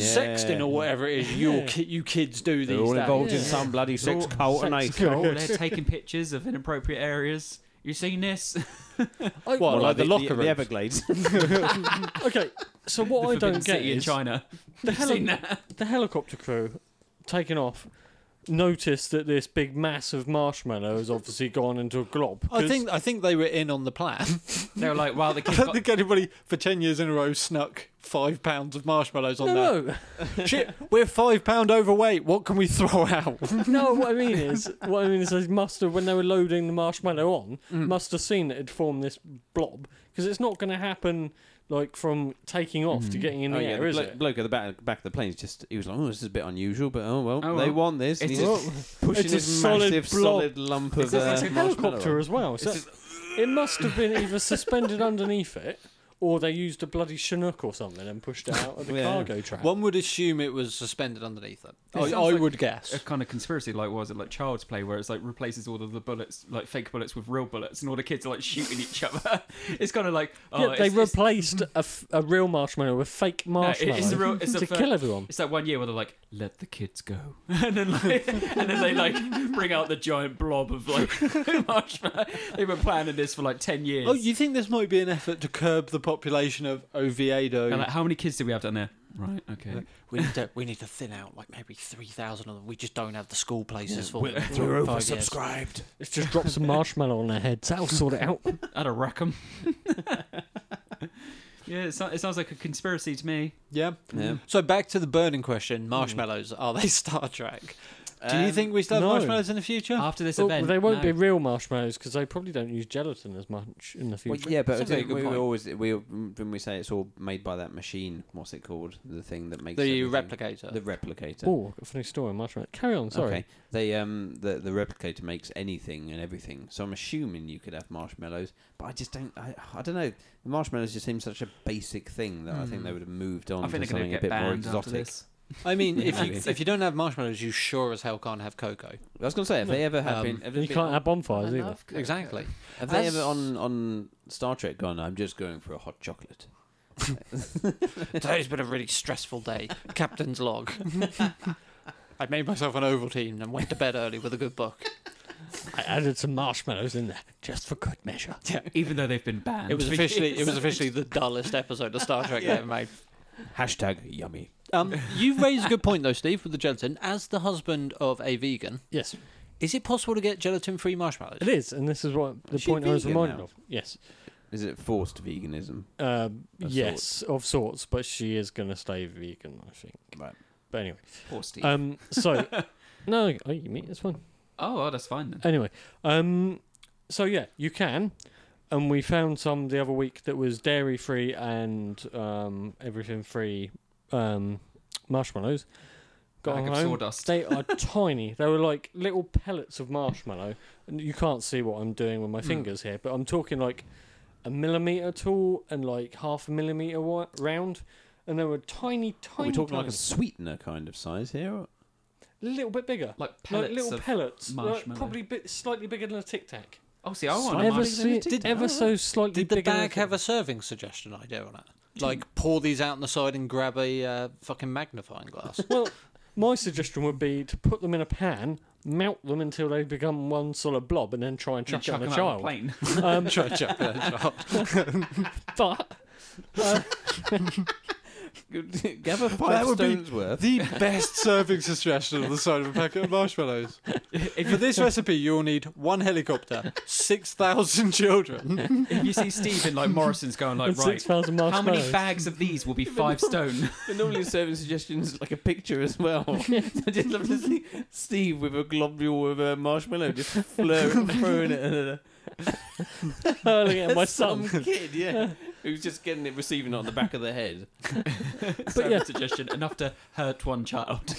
Speaker 1: Something.
Speaker 3: Yeah.
Speaker 2: Sexting or whatever it is your ki- you kids do
Speaker 3: They're
Speaker 2: these
Speaker 3: all
Speaker 2: days.
Speaker 3: involved in
Speaker 1: Yeah.
Speaker 3: some bloody sex
Speaker 4: They're all
Speaker 3: cult and
Speaker 4: sex
Speaker 3: they-
Speaker 4: cult. Oh, They're taking pictures of inappropriate areas. You seen this?
Speaker 2: Well, like, the, locker room.
Speaker 3: the Everglades.
Speaker 1: okay. So what
Speaker 4: the
Speaker 1: I
Speaker 4: Forbidden
Speaker 1: don't get
Speaker 4: City in
Speaker 1: is
Speaker 4: China.
Speaker 1: the,
Speaker 4: You've seen
Speaker 1: heli-
Speaker 4: that?
Speaker 1: the helicopter crew taking off noticed that this big mass of marshmallow has obviously gone into a glob.
Speaker 2: I
Speaker 1: 'cause-
Speaker 2: think I think they were in on the plan.
Speaker 4: They were like, wow, the
Speaker 2: I
Speaker 4: kids
Speaker 2: don't
Speaker 4: got
Speaker 2: think anybody for ten years in a row snuck five pounds of marshmallows on
Speaker 1: no, no,
Speaker 2: there. Shit, we're five pound overweight. What can we throw out?
Speaker 1: no. What I mean is, what I mean is, they must have when they were
Speaker 2: Hmm. Mm.
Speaker 1: loading the marshmallow on, must have seen that it formed this blob because it's not going to happen like from taking off to getting in the
Speaker 3: oh, yeah,
Speaker 1: air,
Speaker 3: the
Speaker 1: is
Speaker 3: blo-
Speaker 1: it?
Speaker 3: bloke at the back, back of the plane is just, he was like, oh, this is a bit unusual, but oh, well,
Speaker 4: Oh,
Speaker 3: they
Speaker 4: well.
Speaker 3: want this. And
Speaker 4: It's
Speaker 3: he's
Speaker 4: a-
Speaker 3: just pushing
Speaker 1: it's a
Speaker 3: this
Speaker 1: solid
Speaker 3: massive,
Speaker 1: blob.
Speaker 3: solid lump of uh,
Speaker 1: it's a helicopter
Speaker 3: marshmallow.
Speaker 1: as well. So it must have been either suspended underneath it, or they used a bloody Chinook or something and pushed it out of the
Speaker 3: Yeah.
Speaker 1: cargo track.
Speaker 2: One would assume it was suspended underneath it.
Speaker 4: It
Speaker 2: I,
Speaker 4: sounds
Speaker 2: I
Speaker 4: like
Speaker 2: would guess.
Speaker 4: a kind of conspiracy like was it like child's play where it's like replaces all of the bullets like fake bullets with real bullets and all the kids are like shooting each other it's kind of like oh
Speaker 1: yeah, they
Speaker 4: it's, it's,
Speaker 1: replaced a, f- a real marshmallow with fake
Speaker 4: it-
Speaker 1: marshmallow
Speaker 4: it's the real- it's
Speaker 1: to
Speaker 4: the fir-
Speaker 1: kill everyone.
Speaker 4: it's that one year where they're like let the kids go and then like and then they like bring out the giant blob of like marshmallow they've been planning this for like 10 years
Speaker 2: Oh, you think this might be an effort to curb the population of Oviedo?
Speaker 4: and like how many kids do we have down there right okay
Speaker 2: we need to we need to thin out like maybe three thousand of them. We just don't have the school places for them.
Speaker 3: We're
Speaker 2: Five years.
Speaker 3: oversubscribed.
Speaker 1: Let's just drop some marshmallow on their heads. That'll sort it out.
Speaker 4: I'd a rack 'em. yeah it, so- it sounds like a conspiracy to me
Speaker 2: Yeah.
Speaker 3: Yeah.
Speaker 2: So back to the burning question: marshmallows are they Star Trek? Do you
Speaker 3: Um,
Speaker 2: think we still have
Speaker 1: no.
Speaker 2: marshmallows in the future?
Speaker 4: after this
Speaker 1: Well,
Speaker 4: event
Speaker 1: they won't
Speaker 4: no.
Speaker 1: be real marshmallows because they probably don't use gelatin as much in the
Speaker 3: Well,
Speaker 1: future.
Speaker 3: yeah, but
Speaker 4: Sounds like a good
Speaker 3: we, we
Speaker 4: point.
Speaker 3: always we when we say it's all made by that machine, what's it called? The thing that makes
Speaker 2: the
Speaker 3: everything.
Speaker 2: replicator.
Speaker 3: The replicator.
Speaker 1: Oh, I've got a funny story on marshmallow. Carry on, sorry.
Speaker 3: Okay. They um the the replicator makes anything and everything. So I'm assuming you could have marshmallows, but I just don't. I, I don't know. Marshmallows just seem such a basic thing that I think
Speaker 1: Hmm.
Speaker 3: they would have moved on
Speaker 4: I think
Speaker 3: to
Speaker 4: they're going
Speaker 3: something
Speaker 4: to
Speaker 3: a
Speaker 4: get
Speaker 3: bit more
Speaker 4: banned after
Speaker 3: exotic.
Speaker 4: this.
Speaker 2: I mean, if you
Speaker 3: Yeah.
Speaker 2: if you don't have marshmallows, you sure as hell can't have cocoa.
Speaker 3: I was going to say, if they ever have
Speaker 2: Um,
Speaker 3: been, have, they
Speaker 1: You
Speaker 3: been
Speaker 1: can't
Speaker 3: on-
Speaker 1: have bonfires either.
Speaker 2: Exactly.
Speaker 3: have they
Speaker 2: as-
Speaker 3: ever on on Star Trek gone? I'm just going for a hot chocolate.
Speaker 2: Today's been a really stressful day. Captain's log. I made myself an Ovaltine and went to bed early with a good book.
Speaker 1: I added some marshmallows in there just for good measure.
Speaker 2: Yeah.
Speaker 4: Even though they've been banned.
Speaker 2: It was officially it was officially the dullest episode of Star Trek they ever made.
Speaker 3: Hashtag yummy.
Speaker 2: Um, you raise a good point though, Steve, with the gelatin. As the husband of a vegan,
Speaker 1: Yes,
Speaker 2: is it possible to get gelatin-free marshmallows?
Speaker 1: it is, and this is what the
Speaker 3: Is she
Speaker 1: point I was
Speaker 3: vegan
Speaker 1: reminded
Speaker 3: now?
Speaker 1: of. Yes,
Speaker 3: Is it forced veganism?
Speaker 1: um,
Speaker 3: Of
Speaker 1: yes, of sorts, but she is going to stay vegan, I think.
Speaker 3: Right.
Speaker 1: But anyway,
Speaker 4: Poor Steve.
Speaker 1: um, so no, oh, you mean it's fine.
Speaker 4: oh, well, that's fine then.
Speaker 1: Anyway, um, so yeah, you can, and we found some the other week that was dairy free and um, everything free um, marshmallows. Got
Speaker 4: Bag
Speaker 1: them
Speaker 4: of
Speaker 1: home.
Speaker 4: sawdust.
Speaker 1: They are tiny. They were like little pellets of marshmallow, and you can't see what I'm doing with my
Speaker 3: Hmm.
Speaker 1: fingers here, but I'm talking like a millimeter tall and like half a millimeter wi- round, and they were tiny,
Speaker 3: Are
Speaker 1: tiny,
Speaker 3: we talking
Speaker 1: tiny
Speaker 3: like a sweetener kind of size here? or-
Speaker 1: little bit bigger,
Speaker 4: Like
Speaker 1: like
Speaker 4: pellets
Speaker 1: little
Speaker 4: of
Speaker 1: pellets, like
Speaker 4: marshmallow.
Speaker 1: probably bit slightly bigger than a tic tac.
Speaker 4: Oh, see, I want a
Speaker 1: ever,
Speaker 4: marshmallow.
Speaker 1: so,
Speaker 2: Did-
Speaker 1: ever so slightly
Speaker 2: Did the
Speaker 1: bigger than
Speaker 2: bag have a serving suggestion idea on it? Like pour these out on the side and grab a uh, fucking magnifying glass.
Speaker 1: well my suggestion would be to put them in a pan melt them until they become one solid blob and then try and chuck,
Speaker 4: chuck
Speaker 1: it on
Speaker 4: them
Speaker 1: a
Speaker 4: out of
Speaker 1: child
Speaker 4: a plane.
Speaker 1: um,
Speaker 2: Try to chuck that out.
Speaker 1: but
Speaker 3: Gather
Speaker 2: That
Speaker 3: five
Speaker 2: would be-
Speaker 3: stones worth.
Speaker 2: The best serving suggestion on the side of a packet of marshmallows. For this recipe, you'll need one helicopter, 6,000 children.
Speaker 4: if you see Steve in like Morrison's going like,
Speaker 1: and
Speaker 4: right,
Speaker 1: 6,000
Speaker 4: how
Speaker 1: uh, marshmallows
Speaker 4: many bags of these will be five stone?
Speaker 3: But normally serving suggestions like a picture as well. I just love to see Steve with a globule of a marshmallow just flirting, throwing it at,
Speaker 1: hurling at
Speaker 3: a,
Speaker 1: Oh, my
Speaker 3: some
Speaker 1: son
Speaker 3: kid, yeah, who's just getting it, receiving it on the back of the head.
Speaker 4: But
Speaker 1: yeah.
Speaker 4: suggestion enough to hurt one child.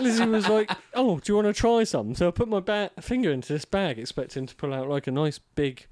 Speaker 1: Lizzie was like oh do you want to try some so I put my ba- finger into this bag expecting to pull out like a nice big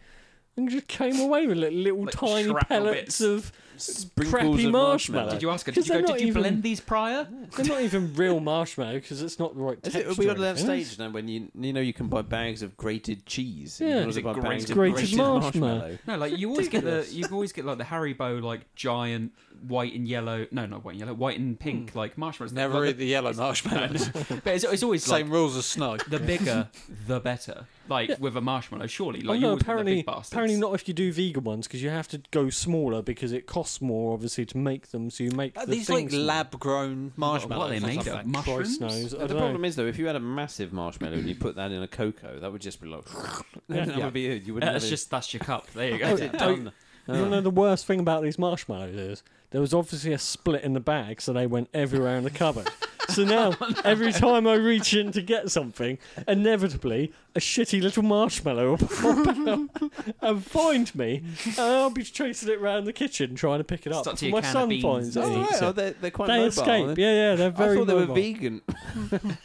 Speaker 1: and just came away with little, little
Speaker 4: Like
Speaker 1: tiny
Speaker 4: shrapnel
Speaker 1: pellets
Speaker 4: bits.
Speaker 1: of
Speaker 3: Sprinkles
Speaker 1: Crappy
Speaker 3: of marshmallow.
Speaker 1: marshmallow.
Speaker 4: Did you ask her?
Speaker 1: Because
Speaker 4: Did you
Speaker 1: they're
Speaker 4: go? Did
Speaker 1: not
Speaker 4: you
Speaker 1: even-
Speaker 4: blend these prior?
Speaker 1: they're not even real marshmallow because it's not the right
Speaker 3: Is
Speaker 1: texture
Speaker 3: it, are we got to
Speaker 1: or
Speaker 3: that
Speaker 1: anything.
Speaker 3: stage now when you you know you can buy bags of grated cheese.
Speaker 1: Yeah.
Speaker 3: you can
Speaker 4: Is
Speaker 3: also
Speaker 4: it
Speaker 3: buy
Speaker 4: grated-
Speaker 3: bags of
Speaker 4: grated
Speaker 1: marshmallow?
Speaker 4: No, like you always get the you always get like the Haribo like giant white and yellow. No, not white and yellow. White and pink like marshmallows.
Speaker 2: Never
Speaker 4: Like
Speaker 2: eat the yellow marshmallows.
Speaker 4: the- But it's, it's always
Speaker 2: Same
Speaker 4: like
Speaker 2: rules as snow.
Speaker 4: the bigger the better. Like
Speaker 1: Yeah.
Speaker 4: with a marshmallow, surely.
Speaker 1: Oh
Speaker 4: Like you
Speaker 1: no,
Speaker 4: always get the
Speaker 1: apparently,
Speaker 4: big bastards.
Speaker 1: apparently not if you do vegan ones because you have to go smaller because it costs more, obviously, to make them. So you make the
Speaker 2: These like
Speaker 1: things smaller.
Speaker 2: lab grown marshmallows.
Speaker 4: What are they
Speaker 2: or
Speaker 4: made of?
Speaker 2: something.
Speaker 4: Mushrooms.
Speaker 1: Christ knows. I
Speaker 3: the
Speaker 1: don't
Speaker 3: problem
Speaker 1: know.
Speaker 3: is though, if you had a massive marshmallow and you put that in a cocoa, that would just be like. that
Speaker 1: Yeah.
Speaker 3: would be it. You wouldn't.
Speaker 4: Yeah,
Speaker 3: have
Speaker 4: that's
Speaker 3: it.
Speaker 4: just that's your cup. There you go.
Speaker 1: Oh, oh, You
Speaker 4: Ah.
Speaker 1: wanna know the worst thing about these marshmallows is there was obviously a split in the bag, so they went everywhere in the cupboard. So now,
Speaker 4: Oh,
Speaker 1: every time I reach in to get something, inevitably a shitty little marshmallow will pop out and find me, and I'll be chasing it round the kitchen trying to pick it up.
Speaker 4: Stuck to your
Speaker 1: my
Speaker 4: can of
Speaker 1: son
Speaker 4: beans
Speaker 1: finds it.
Speaker 4: and
Speaker 1: and
Speaker 3: Oh,
Speaker 4: eats
Speaker 1: eats
Speaker 3: right. oh,
Speaker 1: it.
Speaker 3: they're, they're quite
Speaker 1: They
Speaker 3: mobile.
Speaker 1: escape.
Speaker 3: They-
Speaker 1: Yeah, yeah, they're very
Speaker 3: I thought they
Speaker 1: mobile.
Speaker 3: were vegan.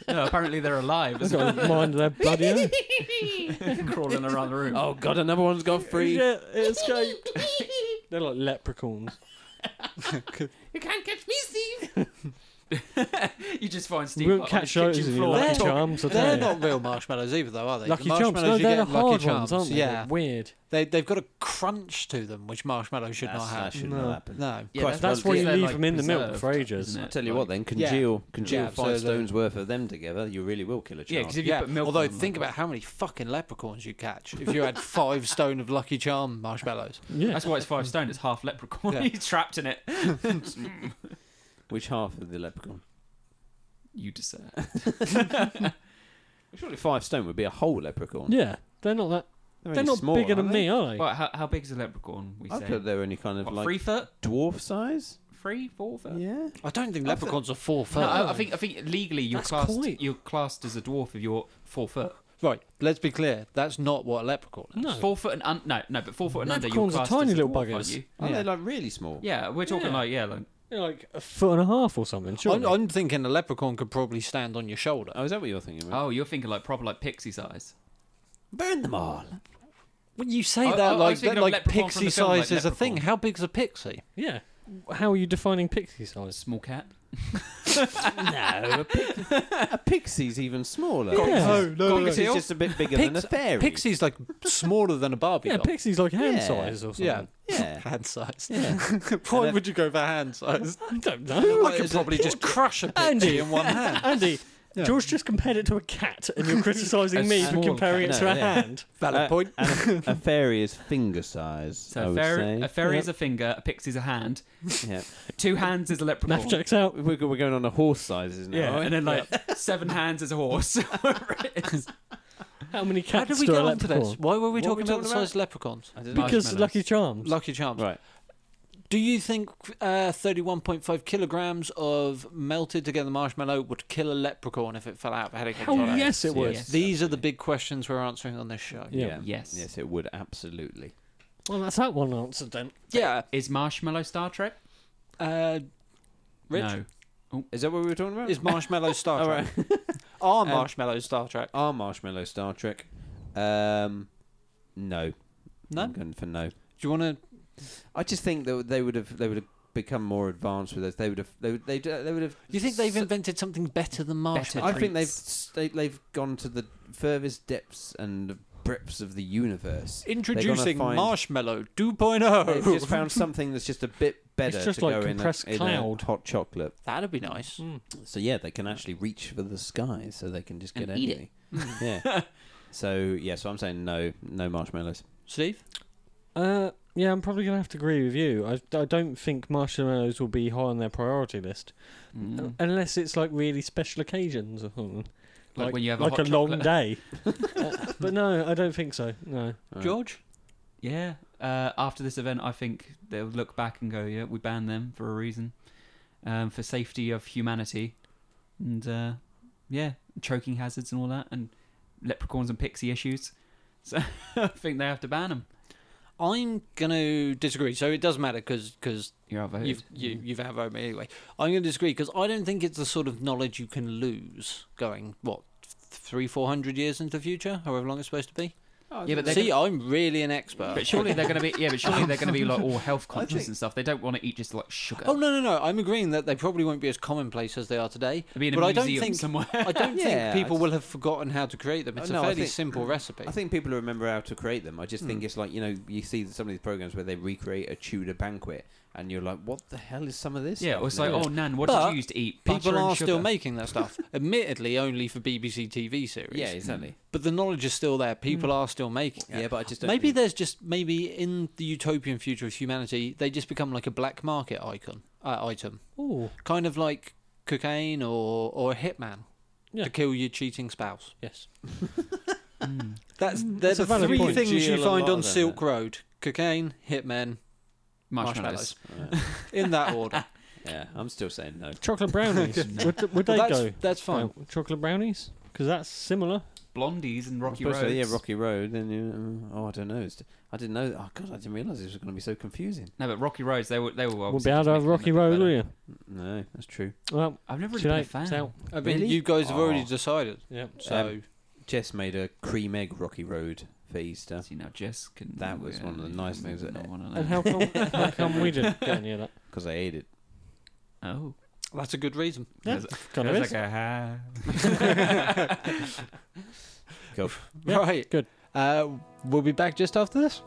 Speaker 4: No, apparently they're alive.
Speaker 1: They've
Speaker 4: It's
Speaker 1: Oh. got a mind of their bloody own.
Speaker 4: crawling around the room.
Speaker 3: oh god, another one's gone free.
Speaker 1: Yeah, it escaped. They're like leprechauns.
Speaker 5: You can't catch me, Steve.
Speaker 4: you just find
Speaker 1: You
Speaker 4: Steve
Speaker 1: won't
Speaker 4: like,
Speaker 1: catch
Speaker 4: on
Speaker 1: those
Speaker 4: his kitchen
Speaker 1: in your
Speaker 4: floor.
Speaker 1: lucky
Speaker 2: They're-
Speaker 1: charms. I tell
Speaker 2: They're
Speaker 1: you.
Speaker 2: not real marshmallows either, though, are they?
Speaker 1: lucky
Speaker 2: the
Speaker 1: charms.
Speaker 2: marshmallows
Speaker 1: No,
Speaker 2: you
Speaker 1: they're
Speaker 2: get
Speaker 1: the
Speaker 2: at
Speaker 1: hard
Speaker 2: Lucky Charms.
Speaker 1: ones, aren't they?
Speaker 2: Yeah,
Speaker 1: They're weird.
Speaker 2: they they've got a crunch to them, which marshmallows should
Speaker 3: That's-
Speaker 2: not have.
Speaker 3: That shouldn't
Speaker 1: No.
Speaker 3: have happened.
Speaker 2: No.
Speaker 4: Yeah,
Speaker 3: Christ,
Speaker 1: That's
Speaker 3: well,
Speaker 1: why you
Speaker 4: they're,
Speaker 1: leave
Speaker 4: like,
Speaker 1: them in the milk
Speaker 4: preserved,
Speaker 1: for ages.
Speaker 4: isn't
Speaker 3: I
Speaker 4: it?
Speaker 3: tell you
Speaker 4: Like-
Speaker 3: what, then congeal congeal
Speaker 2: Yeah,
Speaker 3: five
Speaker 2: so they're-
Speaker 3: stones worth of them together. You really will kill a
Speaker 4: Yeah,
Speaker 3: child.
Speaker 4: because if you
Speaker 2: Yeah.
Speaker 4: put milk.
Speaker 2: Although
Speaker 4: on them,
Speaker 2: think about how many fucking leprechauns you catch if you had five stone of Lucky Charm marshmallows.
Speaker 1: Yeah.
Speaker 4: That's why it's five stone. It's half leprechaun.
Speaker 2: Yeah.
Speaker 4: He's trapped in it.
Speaker 3: Which half of the leprechaun?
Speaker 4: You decide.
Speaker 3: Surely five stone would be a whole leprechaun.
Speaker 1: Yeah, they're not that.
Speaker 3: they're,
Speaker 1: They're
Speaker 3: only
Speaker 1: not
Speaker 3: small,
Speaker 1: bigger
Speaker 3: aren't
Speaker 1: than
Speaker 3: they?
Speaker 1: me, are they?
Speaker 4: Right, how, how big is a leprechaun? We
Speaker 3: I
Speaker 4: say
Speaker 3: thought they were any kind of
Speaker 4: what,
Speaker 3: like
Speaker 4: three foot,
Speaker 3: dwarf size.
Speaker 4: three, four foot.
Speaker 3: Yeah.
Speaker 2: I don't think
Speaker 3: I thought-
Speaker 2: leprechauns are four foot.
Speaker 4: No, I, I think I think legally you're
Speaker 1: That's
Speaker 4: classed
Speaker 1: quite-
Speaker 4: you're classed as a dwarf if you're four foot.
Speaker 2: Right, let's be clear. That's not what a leprechaun is.
Speaker 1: No.
Speaker 4: Four foot and un- no, no, but four foot and under you're
Speaker 1: Leprechauns are
Speaker 4: classed
Speaker 1: tiny
Speaker 4: as a
Speaker 1: little
Speaker 4: dwarf, aren't
Speaker 1: buggers.
Speaker 4: you?
Speaker 3: Are
Speaker 2: Yeah.
Speaker 3: they like really small?
Speaker 4: Yeah, we're talking
Speaker 1: Yeah.
Speaker 4: like yeah, like
Speaker 1: They're like a foot and a half or something.
Speaker 2: I'm,
Speaker 1: Surely.
Speaker 2: I'm thinking a leprechaun could probably stand on your shoulder.
Speaker 3: Oh, is that what you're thinking? About?
Speaker 4: oh, you're thinking like proper like pixie size.
Speaker 3: burn them all.
Speaker 2: Well, you say
Speaker 4: I-
Speaker 2: that
Speaker 4: I- I was
Speaker 2: like
Speaker 4: thinking
Speaker 2: that,
Speaker 4: of
Speaker 2: like
Speaker 4: leprechaun from
Speaker 2: pixie
Speaker 4: the film,
Speaker 2: size
Speaker 4: like
Speaker 2: is a thing.
Speaker 4: leprechaun.
Speaker 2: How big's a pixie?
Speaker 1: yeah. How are you defining pixie size?
Speaker 4: Small cat.
Speaker 3: no, a, pix- a pixie's even smaller.
Speaker 1: Yeah. No,
Speaker 4: no,
Speaker 3: Pixie's
Speaker 4: no.
Speaker 3: just a bit bigger than a
Speaker 2: Pix-
Speaker 3: fairy.
Speaker 2: Pixie's like smaller than a Barbie
Speaker 1: Yeah,
Speaker 2: doll.
Speaker 1: pixie's like hand
Speaker 3: Yeah.
Speaker 1: size or something.
Speaker 2: Yeah.
Speaker 3: Yeah.
Speaker 2: Hand size.
Speaker 3: Yeah.
Speaker 2: Why would you go for hand size?
Speaker 1: I don't know.
Speaker 2: I could probably just crush a
Speaker 1: Andy.
Speaker 2: pixie in one hand.
Speaker 1: Andy, George just compared it to a cat, and you're criticising
Speaker 4: A
Speaker 1: me for
Speaker 4: small
Speaker 1: comparing
Speaker 3: cat.
Speaker 1: it to a
Speaker 3: No, yeah.
Speaker 1: hand.
Speaker 2: Valid
Speaker 3: Uh,
Speaker 2: point.
Speaker 3: and a, a fairy is finger size. I
Speaker 4: So a
Speaker 3: would
Speaker 4: fairy,
Speaker 3: say.
Speaker 4: a fairy is a finger, a pixie's a hand,
Speaker 3: Yeah.
Speaker 4: two hands is a leprechaun,
Speaker 1: Math checks out.
Speaker 3: We're, go- we're going on the horse sizes now.
Speaker 1: Yeah.
Speaker 3: aren't
Speaker 4: and then like seven hands is a horse. Whatever it is.
Speaker 1: How many
Speaker 2: How
Speaker 1: cats
Speaker 2: did we
Speaker 1: do
Speaker 2: get
Speaker 1: a
Speaker 2: onto this?
Speaker 1: leprechaun?
Speaker 2: Why were we
Speaker 3: What were we
Speaker 2: talking about the
Speaker 3: talking about?
Speaker 2: size of leprechauns?
Speaker 3: we? I don't know.
Speaker 1: Because
Speaker 4: Marshmallows.
Speaker 1: Lucky Charms.
Speaker 2: Lucky charms.
Speaker 3: Right.
Speaker 2: Do you think uh, 31.5 kilograms of melted together marshmallow would kill a leprechaun if it fell out of a headache?
Speaker 1: Hell
Speaker 2: attack?
Speaker 1: yes, it would.
Speaker 4: Yes.
Speaker 2: These are the big questions we're answering on this show.
Speaker 1: Yeah.
Speaker 4: Yes.
Speaker 3: Yes, it would absolutely.
Speaker 1: Well, that's that one answered then.
Speaker 2: Yeah.
Speaker 4: Is marshmallow Star Trek?
Speaker 2: Uh, Rich,
Speaker 4: No.
Speaker 3: Is that what we were talking about?
Speaker 2: is marshmallow Star
Speaker 3: All
Speaker 2: Trek?
Speaker 3: right.
Speaker 2: Are
Speaker 3: Um,
Speaker 2: marshmallow Star Trek?
Speaker 3: Are marshmallow Star Trek? Um, no.
Speaker 2: No.
Speaker 3: I'm
Speaker 2: Do
Speaker 3: going for no.
Speaker 2: you want to?
Speaker 3: I just think that they would have they would have become more advanced with us. They would have they would, they they would have.
Speaker 2: You think they've
Speaker 3: s-
Speaker 2: invented something better than marshmallow?
Speaker 3: I think they've s- they, they've gone to the furthest depths and breadths of the universe.
Speaker 2: Introducing
Speaker 3: find-
Speaker 2: marshmallow
Speaker 3: They've
Speaker 2: 2.0.
Speaker 3: just found something that's just a bit better
Speaker 1: just
Speaker 3: to
Speaker 1: like
Speaker 3: go in a,
Speaker 1: compressed
Speaker 3: in a
Speaker 1: cloud.
Speaker 3: hot chocolate.
Speaker 2: That'd be nice.
Speaker 1: Hmm.
Speaker 3: So yeah, they can actually reach for the sky, so they can just get
Speaker 4: And eat
Speaker 3: anything. yeah. So yeah, so I'm saying no, no marshmallows.
Speaker 2: Steve,
Speaker 1: Uh, yeah, I'm probably going to have to agree with you. I, I don't think marshmallows will be high on their priority list uh,
Speaker 4: Mm.
Speaker 1: unless it's like really special occasions or something.
Speaker 4: Like when you have a
Speaker 1: like
Speaker 4: hot
Speaker 1: a long
Speaker 4: chocolate.
Speaker 1: day. Uh, but no, I don't think so. No.
Speaker 3: Right.
Speaker 2: George,
Speaker 4: Yeah. Uh, after this event, I think they'll look back and go, "Yeah, we banned them for a reason, um, for safety of humanity, and uh, yeah, choking hazards and all that, and leprechauns and pixie issues." So I think they have to ban them.
Speaker 2: I'm gonna disagree. So it does matter because
Speaker 4: You're outvoted.
Speaker 2: you've you, you've outvoted me anyway. I'm going to disagree because I don't think it's the sort of knowledge you can lose going what th- three four hundred years into the future, however long it's supposed to be.
Speaker 4: yeah, but they're
Speaker 2: See,
Speaker 4: gonna,
Speaker 2: I'm really an expert.
Speaker 4: but surely they're going to be yeah, but surely they're going to be like all health conscious
Speaker 3: think-
Speaker 4: and stuff. They don't want to eat just like sugar.
Speaker 2: Oh no no no! I'm agreeing that they probably won't be as commonplace as they are today.
Speaker 4: It'd be in a
Speaker 2: but I don't
Speaker 4: museum
Speaker 2: think
Speaker 4: somewhere.
Speaker 2: I don't
Speaker 3: Yeah,
Speaker 2: think people
Speaker 3: I-
Speaker 2: will have forgotten how to create them. It's
Speaker 3: No,
Speaker 2: a
Speaker 3: I
Speaker 2: fairly
Speaker 3: think-
Speaker 2: simple recipe.
Speaker 3: I think people remember how to create them. I just think it's like you know you see some of these programs where they recreate a Tudor banquet, and you're like, what the hell is some of this?
Speaker 4: yeah,
Speaker 3: stuff
Speaker 4: or it's
Speaker 3: now?
Speaker 4: like, oh, Nan, what
Speaker 2: But
Speaker 4: did you use to eat? Butter
Speaker 2: people
Speaker 4: and
Speaker 2: are
Speaker 4: sugar.
Speaker 2: still making that stuff, admittedly only for BBC TV series.
Speaker 3: yeah, exactly.
Speaker 2: but the knowledge is still there. People
Speaker 4: Hmm.
Speaker 2: are still making it.
Speaker 3: Yeah. but I just don't.
Speaker 2: Hmm. Maybe
Speaker 3: think-
Speaker 2: there's just maybe in the utopian future of humanity, they just become like a black market icon uh, item,
Speaker 1: Oh,
Speaker 2: kind of like cocaine or or a hitman
Speaker 1: Yeah.
Speaker 2: to kill your cheating spouse.
Speaker 1: yes.
Speaker 4: Mm.
Speaker 2: That's they're
Speaker 1: It's a
Speaker 2: the
Speaker 1: valid
Speaker 2: three
Speaker 1: point.
Speaker 2: things
Speaker 3: Congeal
Speaker 2: you
Speaker 3: a
Speaker 2: find
Speaker 3: lot
Speaker 2: on
Speaker 3: of them,
Speaker 2: Silk Road: cocaine, hitmen,
Speaker 4: marshmallows.
Speaker 2: marshmallows. In that order.
Speaker 3: uh, Yeah, I'm still saying no.
Speaker 1: Chocolate brownies. would, th- would they
Speaker 2: Well, that's,
Speaker 1: go?
Speaker 2: that's fine.
Speaker 1: Oh, chocolate brownies? Because that's similar.
Speaker 4: Blondies and Rocky
Speaker 3: I suppose
Speaker 4: Roads.
Speaker 3: so, yeah, Rocky Road. And you, oh, I don't know. It's, I didn't know. Oh God, I didn't realize this was going to be so confusing.
Speaker 4: No, but Rocky Roads, they were they were.
Speaker 1: we'll be
Speaker 4: obviously
Speaker 1: out
Speaker 4: just
Speaker 1: of
Speaker 4: making them
Speaker 1: Rocky
Speaker 4: look
Speaker 1: Road,
Speaker 4: better.
Speaker 1: will you?
Speaker 3: No, that's true.
Speaker 1: Well,
Speaker 4: I've never really
Speaker 1: too
Speaker 4: been a
Speaker 1: late.
Speaker 4: fan.
Speaker 1: It's out.
Speaker 2: I mean,
Speaker 3: Really?
Speaker 2: you guys have already
Speaker 3: Oh.
Speaker 2: decided.
Speaker 1: Yeah.
Speaker 2: So
Speaker 3: Um, Jess made a cream egg Rocky Road for Easter.
Speaker 4: See now, Jess can.
Speaker 3: That was one of the nice things that-
Speaker 4: Not one of
Speaker 1: And
Speaker 4: those.
Speaker 1: how come, how come we didn't get any of that?
Speaker 3: 'Cause I ate it.
Speaker 4: Oh,
Speaker 2: that's a good reason.
Speaker 1: Yeah,
Speaker 4: There's
Speaker 1: kind of
Speaker 4: There's
Speaker 1: is.
Speaker 4: like a ha.
Speaker 1: Yeah,
Speaker 2: right.
Speaker 1: good.
Speaker 2: Uh, we'll be back just after this.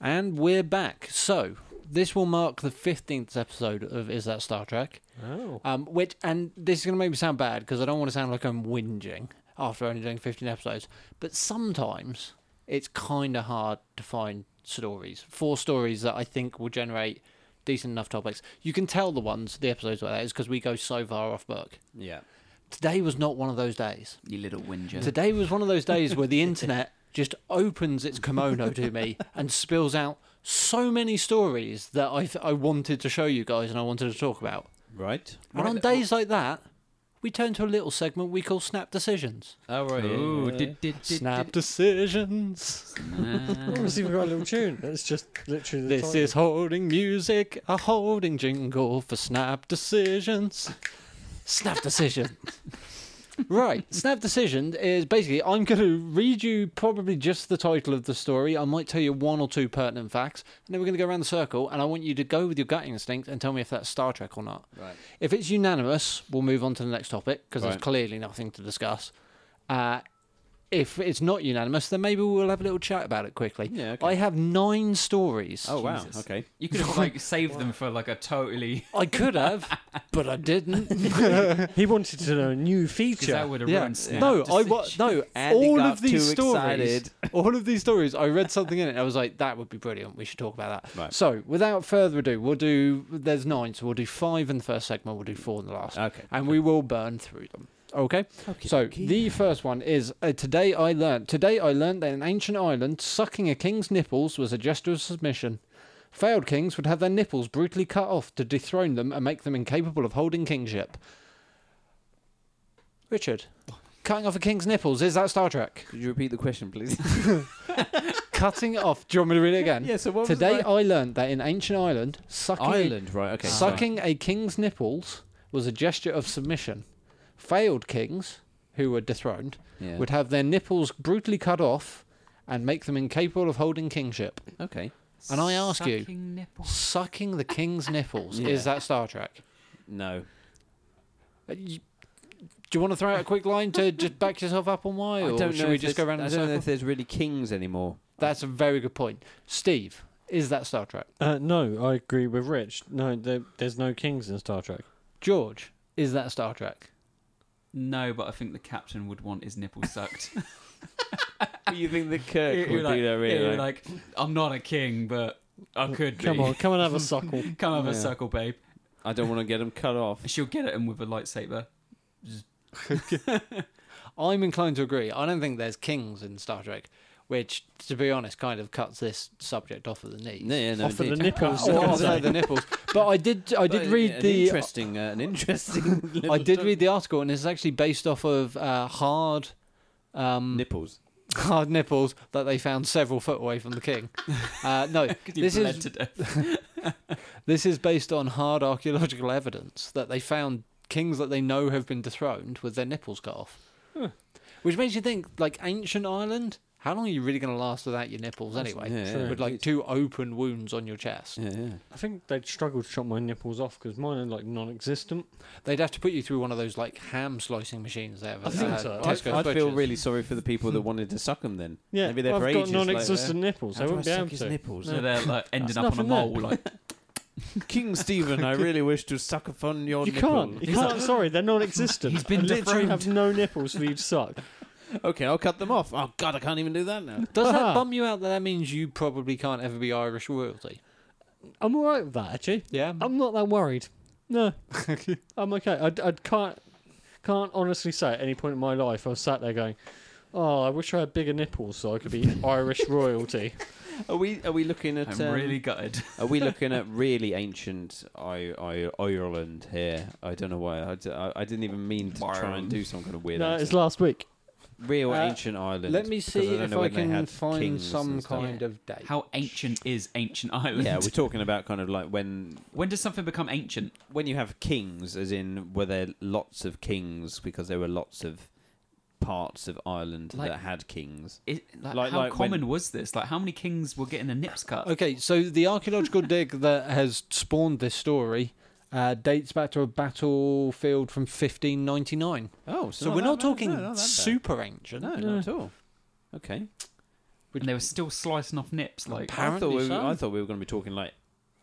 Speaker 2: And we're back. So, this will mark the 15th episode of Is That Star Trek?
Speaker 1: Oh.
Speaker 2: Um, which, and this is going to make me sound bad because I don't want to sound like I'm whinging after only doing 15 episodes, but sometimes it's kind of hard to find stories, four stories that I think will generate decent enough topics. You can tell the ones, the episodes like that, is because we go so far off book.
Speaker 3: Yeah.
Speaker 2: Today was not one of those days.
Speaker 4: You little whinger.
Speaker 2: Today was one of those days where the internet just opens its kimono to me and spills out so many stories that I, I wanted to show you guys and I wanted to talk about.
Speaker 3: Right.
Speaker 2: And on days like that, we turn to a little segment we call Snap Decisions.
Speaker 3: Oh right. yeah,
Speaker 4: Oh,
Speaker 3: yeah.
Speaker 4: did did did.
Speaker 2: Snap Decisions.
Speaker 1: Oh, it's even got a little tune. That's just literally the
Speaker 2: This
Speaker 1: title.
Speaker 2: is holding music, a holding jingle for Snap Decisions. Snap Decision. right, Snap Decision is basically I'm going to read you probably just the title of the story. I might tell you one or two pertinent facts, and then we're going to go around the circle, and I want you to go with your gut instinct and tell me if that's Star Trek or not.
Speaker 3: Right.
Speaker 2: If it's unanimous, we'll move on to the next topic because
Speaker 3: Right.
Speaker 2: there's clearly nothing to discuss. Uh, if it's not unanimous, then maybe we'll have a little chat about it quickly.
Speaker 3: Yeah.
Speaker 2: I
Speaker 3: Okay.
Speaker 2: have nine stories.
Speaker 3: oh wow.
Speaker 4: Jesus.
Speaker 3: Okay.
Speaker 4: You could have like saved them for like a totally.
Speaker 2: I could have, but I didn't.
Speaker 1: He wanted to know a new
Speaker 4: Because
Speaker 1: feature.
Speaker 4: that would have
Speaker 2: Yeah.
Speaker 4: ruined. Snap
Speaker 2: No, I wa-
Speaker 4: Decision.
Speaker 2: no.
Speaker 3: Andy
Speaker 2: all
Speaker 3: got
Speaker 2: of these
Speaker 3: too
Speaker 2: stories,
Speaker 3: excited.
Speaker 2: all of these stories. I read something in it. and I was like, that would be brilliant. We should talk about that.
Speaker 3: Right.
Speaker 2: So, without further ado, we'll do. There's nine, so we'll do five in the first segment. We'll do four in the last,
Speaker 3: Uh, Okay.
Speaker 2: and we will burn through them. Okay.
Speaker 3: Okay.
Speaker 2: So the first one is uh, today I learned. Today I learned that in ancient Ireland, sucking a king's nipples was a gesture of submission. Failed kings would have their nipples brutally cut off to dethrone them and make them incapable of holding kingship. Richard, cutting off a king's nipples is that Star Trek?
Speaker 3: Could you repeat the question, please?
Speaker 2: cutting off. Do you want me to read it again?
Speaker 3: So what
Speaker 2: Today I learned that in ancient Ireland, sucking a-
Speaker 3: Ireland. Right. Okay. sorry.
Speaker 2: Sucking a king's nipples was a gesture of submission. Failed kings, who were dethroned,
Speaker 3: Yeah.
Speaker 2: would have their nipples brutally cut off and make them incapable of holding kingship.
Speaker 3: Okay.
Speaker 2: And I ask you-
Speaker 4: Sucking nipples.
Speaker 2: Sucking the king's nipples,
Speaker 3: Yeah.
Speaker 2: is that Star Trek?
Speaker 3: No.
Speaker 2: Uh, you- do you want to throw out a quick line to just back yourself up on why? Or should we
Speaker 3: if
Speaker 2: just go
Speaker 3: there's-
Speaker 2: around in
Speaker 3: I
Speaker 2: a
Speaker 3: don't know
Speaker 2: circle?
Speaker 3: if there's really kings anymore.
Speaker 2: That's a very good point. Steve, is that Star Trek?
Speaker 1: uh, no, I agree with Rich. No, there, there's no kings in Star Trek.
Speaker 2: George, is that Star Trek?
Speaker 4: No, but I think the captain would want his nipples sucked.
Speaker 3: you think the Kirk
Speaker 4: He'd be like, he'd be like, I'm not a king, but I could
Speaker 1: Come
Speaker 4: be.
Speaker 1: on, come and have a suckle.
Speaker 4: Come have a
Speaker 3: Yeah.
Speaker 4: suckle, babe.
Speaker 3: I don't want to get them cut off.
Speaker 4: She'll get at him with a lightsaber.
Speaker 2: I'm inclined to agree. I don't think there's kings in Star Trek, which, to be honest, kind of cuts this subject off at the knees.
Speaker 3: No, yeah, no,
Speaker 1: Offer the
Speaker 3: indeed.
Speaker 1: nipples.
Speaker 2: Oh, I'll say the nipples. But I did, I did
Speaker 3: But
Speaker 2: read
Speaker 3: an
Speaker 2: the,
Speaker 3: interesting, uh, an interesting.
Speaker 2: I did read the article, and it's actually based off of uh, hard, um,
Speaker 3: nipples.
Speaker 2: hard nipples that they found several foot away from the king. Uh, no,
Speaker 4: Because
Speaker 2: This
Speaker 4: you bled
Speaker 2: is-
Speaker 4: to death.
Speaker 2: this is based on hard archaeological evidence that they found kings that they know have been dethroned with their nipples cut off.
Speaker 1: Huh.
Speaker 2: Which makes you think, like ancient Ireland, how long are you really going to last without your nipples anyway?
Speaker 3: yeah,
Speaker 1: True.
Speaker 3: yeah,
Speaker 2: with like
Speaker 3: indeed.
Speaker 2: two open wounds on your chest.
Speaker 3: yeah, yeah.
Speaker 1: I think they'd struggle to chop my nipples off because mine are like non-existent.
Speaker 2: They'd have to put you through one of those like ham slicing machines there. uh,
Speaker 1: I think so.
Speaker 3: I'd,
Speaker 2: Tesco
Speaker 3: I'd feel
Speaker 2: butchers.
Speaker 3: really sorry for the people that wanted to suck them. Then
Speaker 1: Yeah,
Speaker 3: They'd be there
Speaker 1: I've
Speaker 3: for
Speaker 1: got
Speaker 3: ages, like,
Speaker 1: non-existent nipples. I
Speaker 3: How do
Speaker 1: wouldn't be
Speaker 3: suck
Speaker 1: able
Speaker 3: his
Speaker 1: to.
Speaker 3: nipples.
Speaker 4: So they're like ending up on a
Speaker 1: nothing there.
Speaker 4: mole. Like,
Speaker 3: King Stephen, I really wish to suck upon your
Speaker 1: You
Speaker 3: nipple.
Speaker 1: can't. You can't. sorry, they're non-existent.
Speaker 4: He's been
Speaker 1: I literally have
Speaker 4: dethroned.
Speaker 1: no nipples for you to suck.
Speaker 3: Okay, I'll cut them off. Oh God, I can't even do that now.
Speaker 2: Does
Speaker 1: Ah.
Speaker 2: that bum you out that that means you probably can't ever be Irish royalty? Oh,
Speaker 1: I'm all right with that actually.
Speaker 2: Yeah.
Speaker 1: I'm not that worried. No, I'm okay. I, I can't can't honestly say at any point in my life I was sat there going, "Oh, I wish I had bigger nipples so I could be Irish royalty."
Speaker 3: Are we are we looking at
Speaker 4: I'm
Speaker 3: um,
Speaker 4: really gutted.
Speaker 3: Are we looking at really ancient I- I- Ireland here? I don't know why. I, d- I- I didn't even mean to try and do some kind of weird.
Speaker 1: no,
Speaker 3: accent.
Speaker 1: it's last week.
Speaker 3: real
Speaker 2: Uh,
Speaker 3: ancient Ireland.
Speaker 2: Let me
Speaker 3: because
Speaker 2: see
Speaker 3: don't
Speaker 2: if
Speaker 3: know
Speaker 2: I
Speaker 3: when they
Speaker 2: can
Speaker 3: had
Speaker 2: find
Speaker 3: kings
Speaker 2: some
Speaker 3: and stuff.
Speaker 2: kind of date.
Speaker 4: How ancient is ancient Ireland?
Speaker 3: Yeah, we're talking about kind of like when
Speaker 4: when does something become ancient?
Speaker 3: when you have kings, as in were there lots of kings because there were lots of parts of Ireland
Speaker 4: Like-
Speaker 3: that had kings.
Speaker 4: It, like,
Speaker 3: Like-
Speaker 4: how
Speaker 3: like when-
Speaker 4: common was this? Like, how many kings were getting their nips cut?
Speaker 2: Okay, so the archaeological dig that has spawned this story uh, dates back to a battlefield from 1599.
Speaker 3: Oh,
Speaker 2: So we're not talking super ancient.
Speaker 3: No,
Speaker 1: No.
Speaker 3: not at all. Okay.
Speaker 4: And they were still slicing off nips. Like,
Speaker 3: I thought,
Speaker 2: Apparently
Speaker 3: we,
Speaker 2: so.
Speaker 3: I thought we were going to be talking like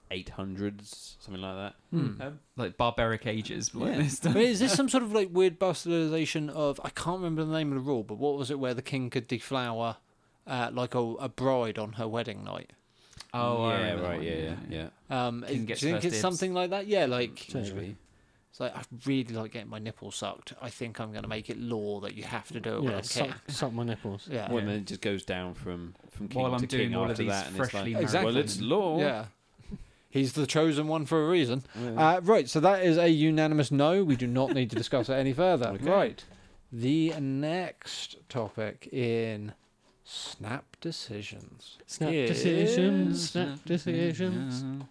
Speaker 3: 800s, something like that.
Speaker 4: Mm. like barbaric ages. Like
Speaker 3: Yeah.
Speaker 2: Hmm.
Speaker 4: this
Speaker 2: I
Speaker 4: stuff.
Speaker 2: mean, is this some sort of like weird bastardization of I can't remember the name of the rule, but what was it where the king could deflower uh, like a, a bride on her wedding night?
Speaker 4: Oh, I
Speaker 3: yeah,
Speaker 4: remember that
Speaker 3: right,
Speaker 4: one,
Speaker 3: yeah, yeah, yeah.
Speaker 2: Um,
Speaker 4: King
Speaker 2: do you
Speaker 4: gets
Speaker 2: think
Speaker 4: first
Speaker 2: it's
Speaker 4: dibs.
Speaker 2: something like that? Yeah, like
Speaker 1: Maybe.
Speaker 3: Maybe.
Speaker 2: it's like I really like getting my nipple sucked. I think I'm going to make it law that you have to
Speaker 3: Oh,
Speaker 2: do it. when
Speaker 1: Yeah,
Speaker 2: I
Speaker 1: suck,
Speaker 2: can.
Speaker 1: suck my nipples.
Speaker 2: Yeah,
Speaker 3: Well, then it just goes down from from king
Speaker 4: While
Speaker 3: to
Speaker 4: I'm
Speaker 3: king
Speaker 4: doing all
Speaker 3: after
Speaker 4: of these
Speaker 3: that, and it's like,
Speaker 4: freshly married
Speaker 2: Exactly.
Speaker 3: well, it's law.
Speaker 2: yeah. He's the chosen one for a reason.
Speaker 3: Yeah.
Speaker 2: Uh, right, so that is a unanimous no. We do not need to discuss it any further. Right. The next topic in snap decisions.
Speaker 1: Snap
Speaker 2: Yeah.
Speaker 1: decisions. Snap decisions.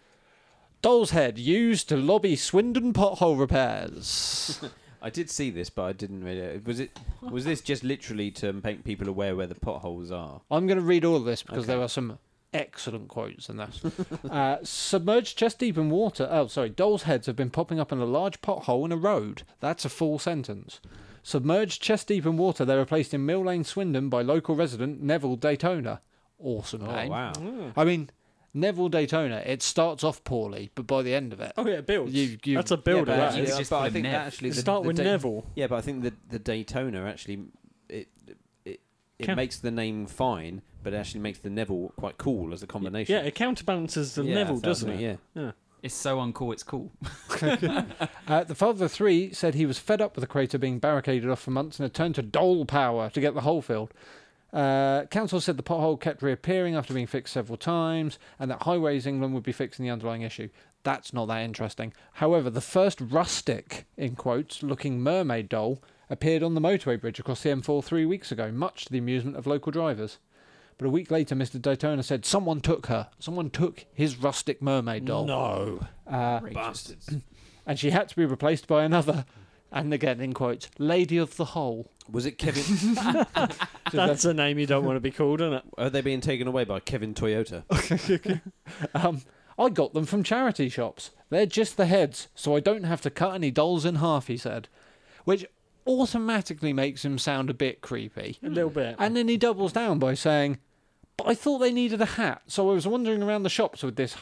Speaker 2: Doll's head used to lobby Swindon pothole repairs.
Speaker 3: I did see this, but I didn't really. Was it? Was this just literally to make people aware where the potholes are?
Speaker 2: I'm going to read all of this because
Speaker 3: Okay.
Speaker 2: there are some excellent quotes in this. uh, submerged chest deep in water. Oh, sorry. Dolls' heads have been popping up in a large pothole in a road. That's a full sentence. Submerged chest deep in water, they were placed in Mill Lane, Swindon by local resident Neville Daytona. Awesome
Speaker 3: Oh
Speaker 2: name.
Speaker 3: wow!
Speaker 2: I mean, Neville Daytona, it starts off poorly, but by the end of it,
Speaker 1: Oh yeah, builds.
Speaker 2: You- you-
Speaker 1: That's a
Speaker 3: Yeah,
Speaker 1: builder.
Speaker 3: but,
Speaker 1: that
Speaker 4: actually-
Speaker 1: is.
Speaker 4: just
Speaker 3: but
Speaker 4: put
Speaker 3: I
Speaker 4: a
Speaker 3: think
Speaker 4: Nev.
Speaker 3: that actually the,
Speaker 1: Start
Speaker 3: the
Speaker 1: with
Speaker 3: Da-
Speaker 1: Neville.
Speaker 3: Yeah, but I think the the Daytona actually it it it
Speaker 1: Can-
Speaker 3: makes the name fine, but it actually makes the Neville quite cool as a combination.
Speaker 1: Yeah, it counterbalances the
Speaker 3: Yeah,
Speaker 1: Neville,
Speaker 3: that's
Speaker 1: doesn't it?
Speaker 3: Yeah.
Speaker 4: It's so uncool. It's cool.
Speaker 2: Uh, the father of three said he was fed up with the crater being barricaded off for months and had turned to dole power to get the hole filled. Uh, council said the pothole kept reappearing after being fixed several times and that Highways England would be fixing the underlying issue. That's not that interesting. However, the first rustic, in quotes, looking mermaid doll appeared on the motorway bridge across the M4 three weeks ago, much to the amusement of local drivers. But a week later, Mr. Daytona said someone took her. Someone took his rustic mermaid doll.
Speaker 1: No.
Speaker 2: Uh,
Speaker 3: Bastards.
Speaker 2: and she had to be replaced by another. And again, in quotes, Lady of the Hole.
Speaker 3: Was it Kevin?
Speaker 1: That's a name you don't want to be called, isn't it?
Speaker 3: are they being taken away by Kevin Toyota?
Speaker 2: Um, I got them from charity shops. They're just the heads, so I don't have to cut any dolls in half, he said. Which automatically makes him sound a bit creepy.
Speaker 1: A little bit.
Speaker 2: And then he doubles down by saying, But I thought they needed a hat, so I was wandering around the shops with this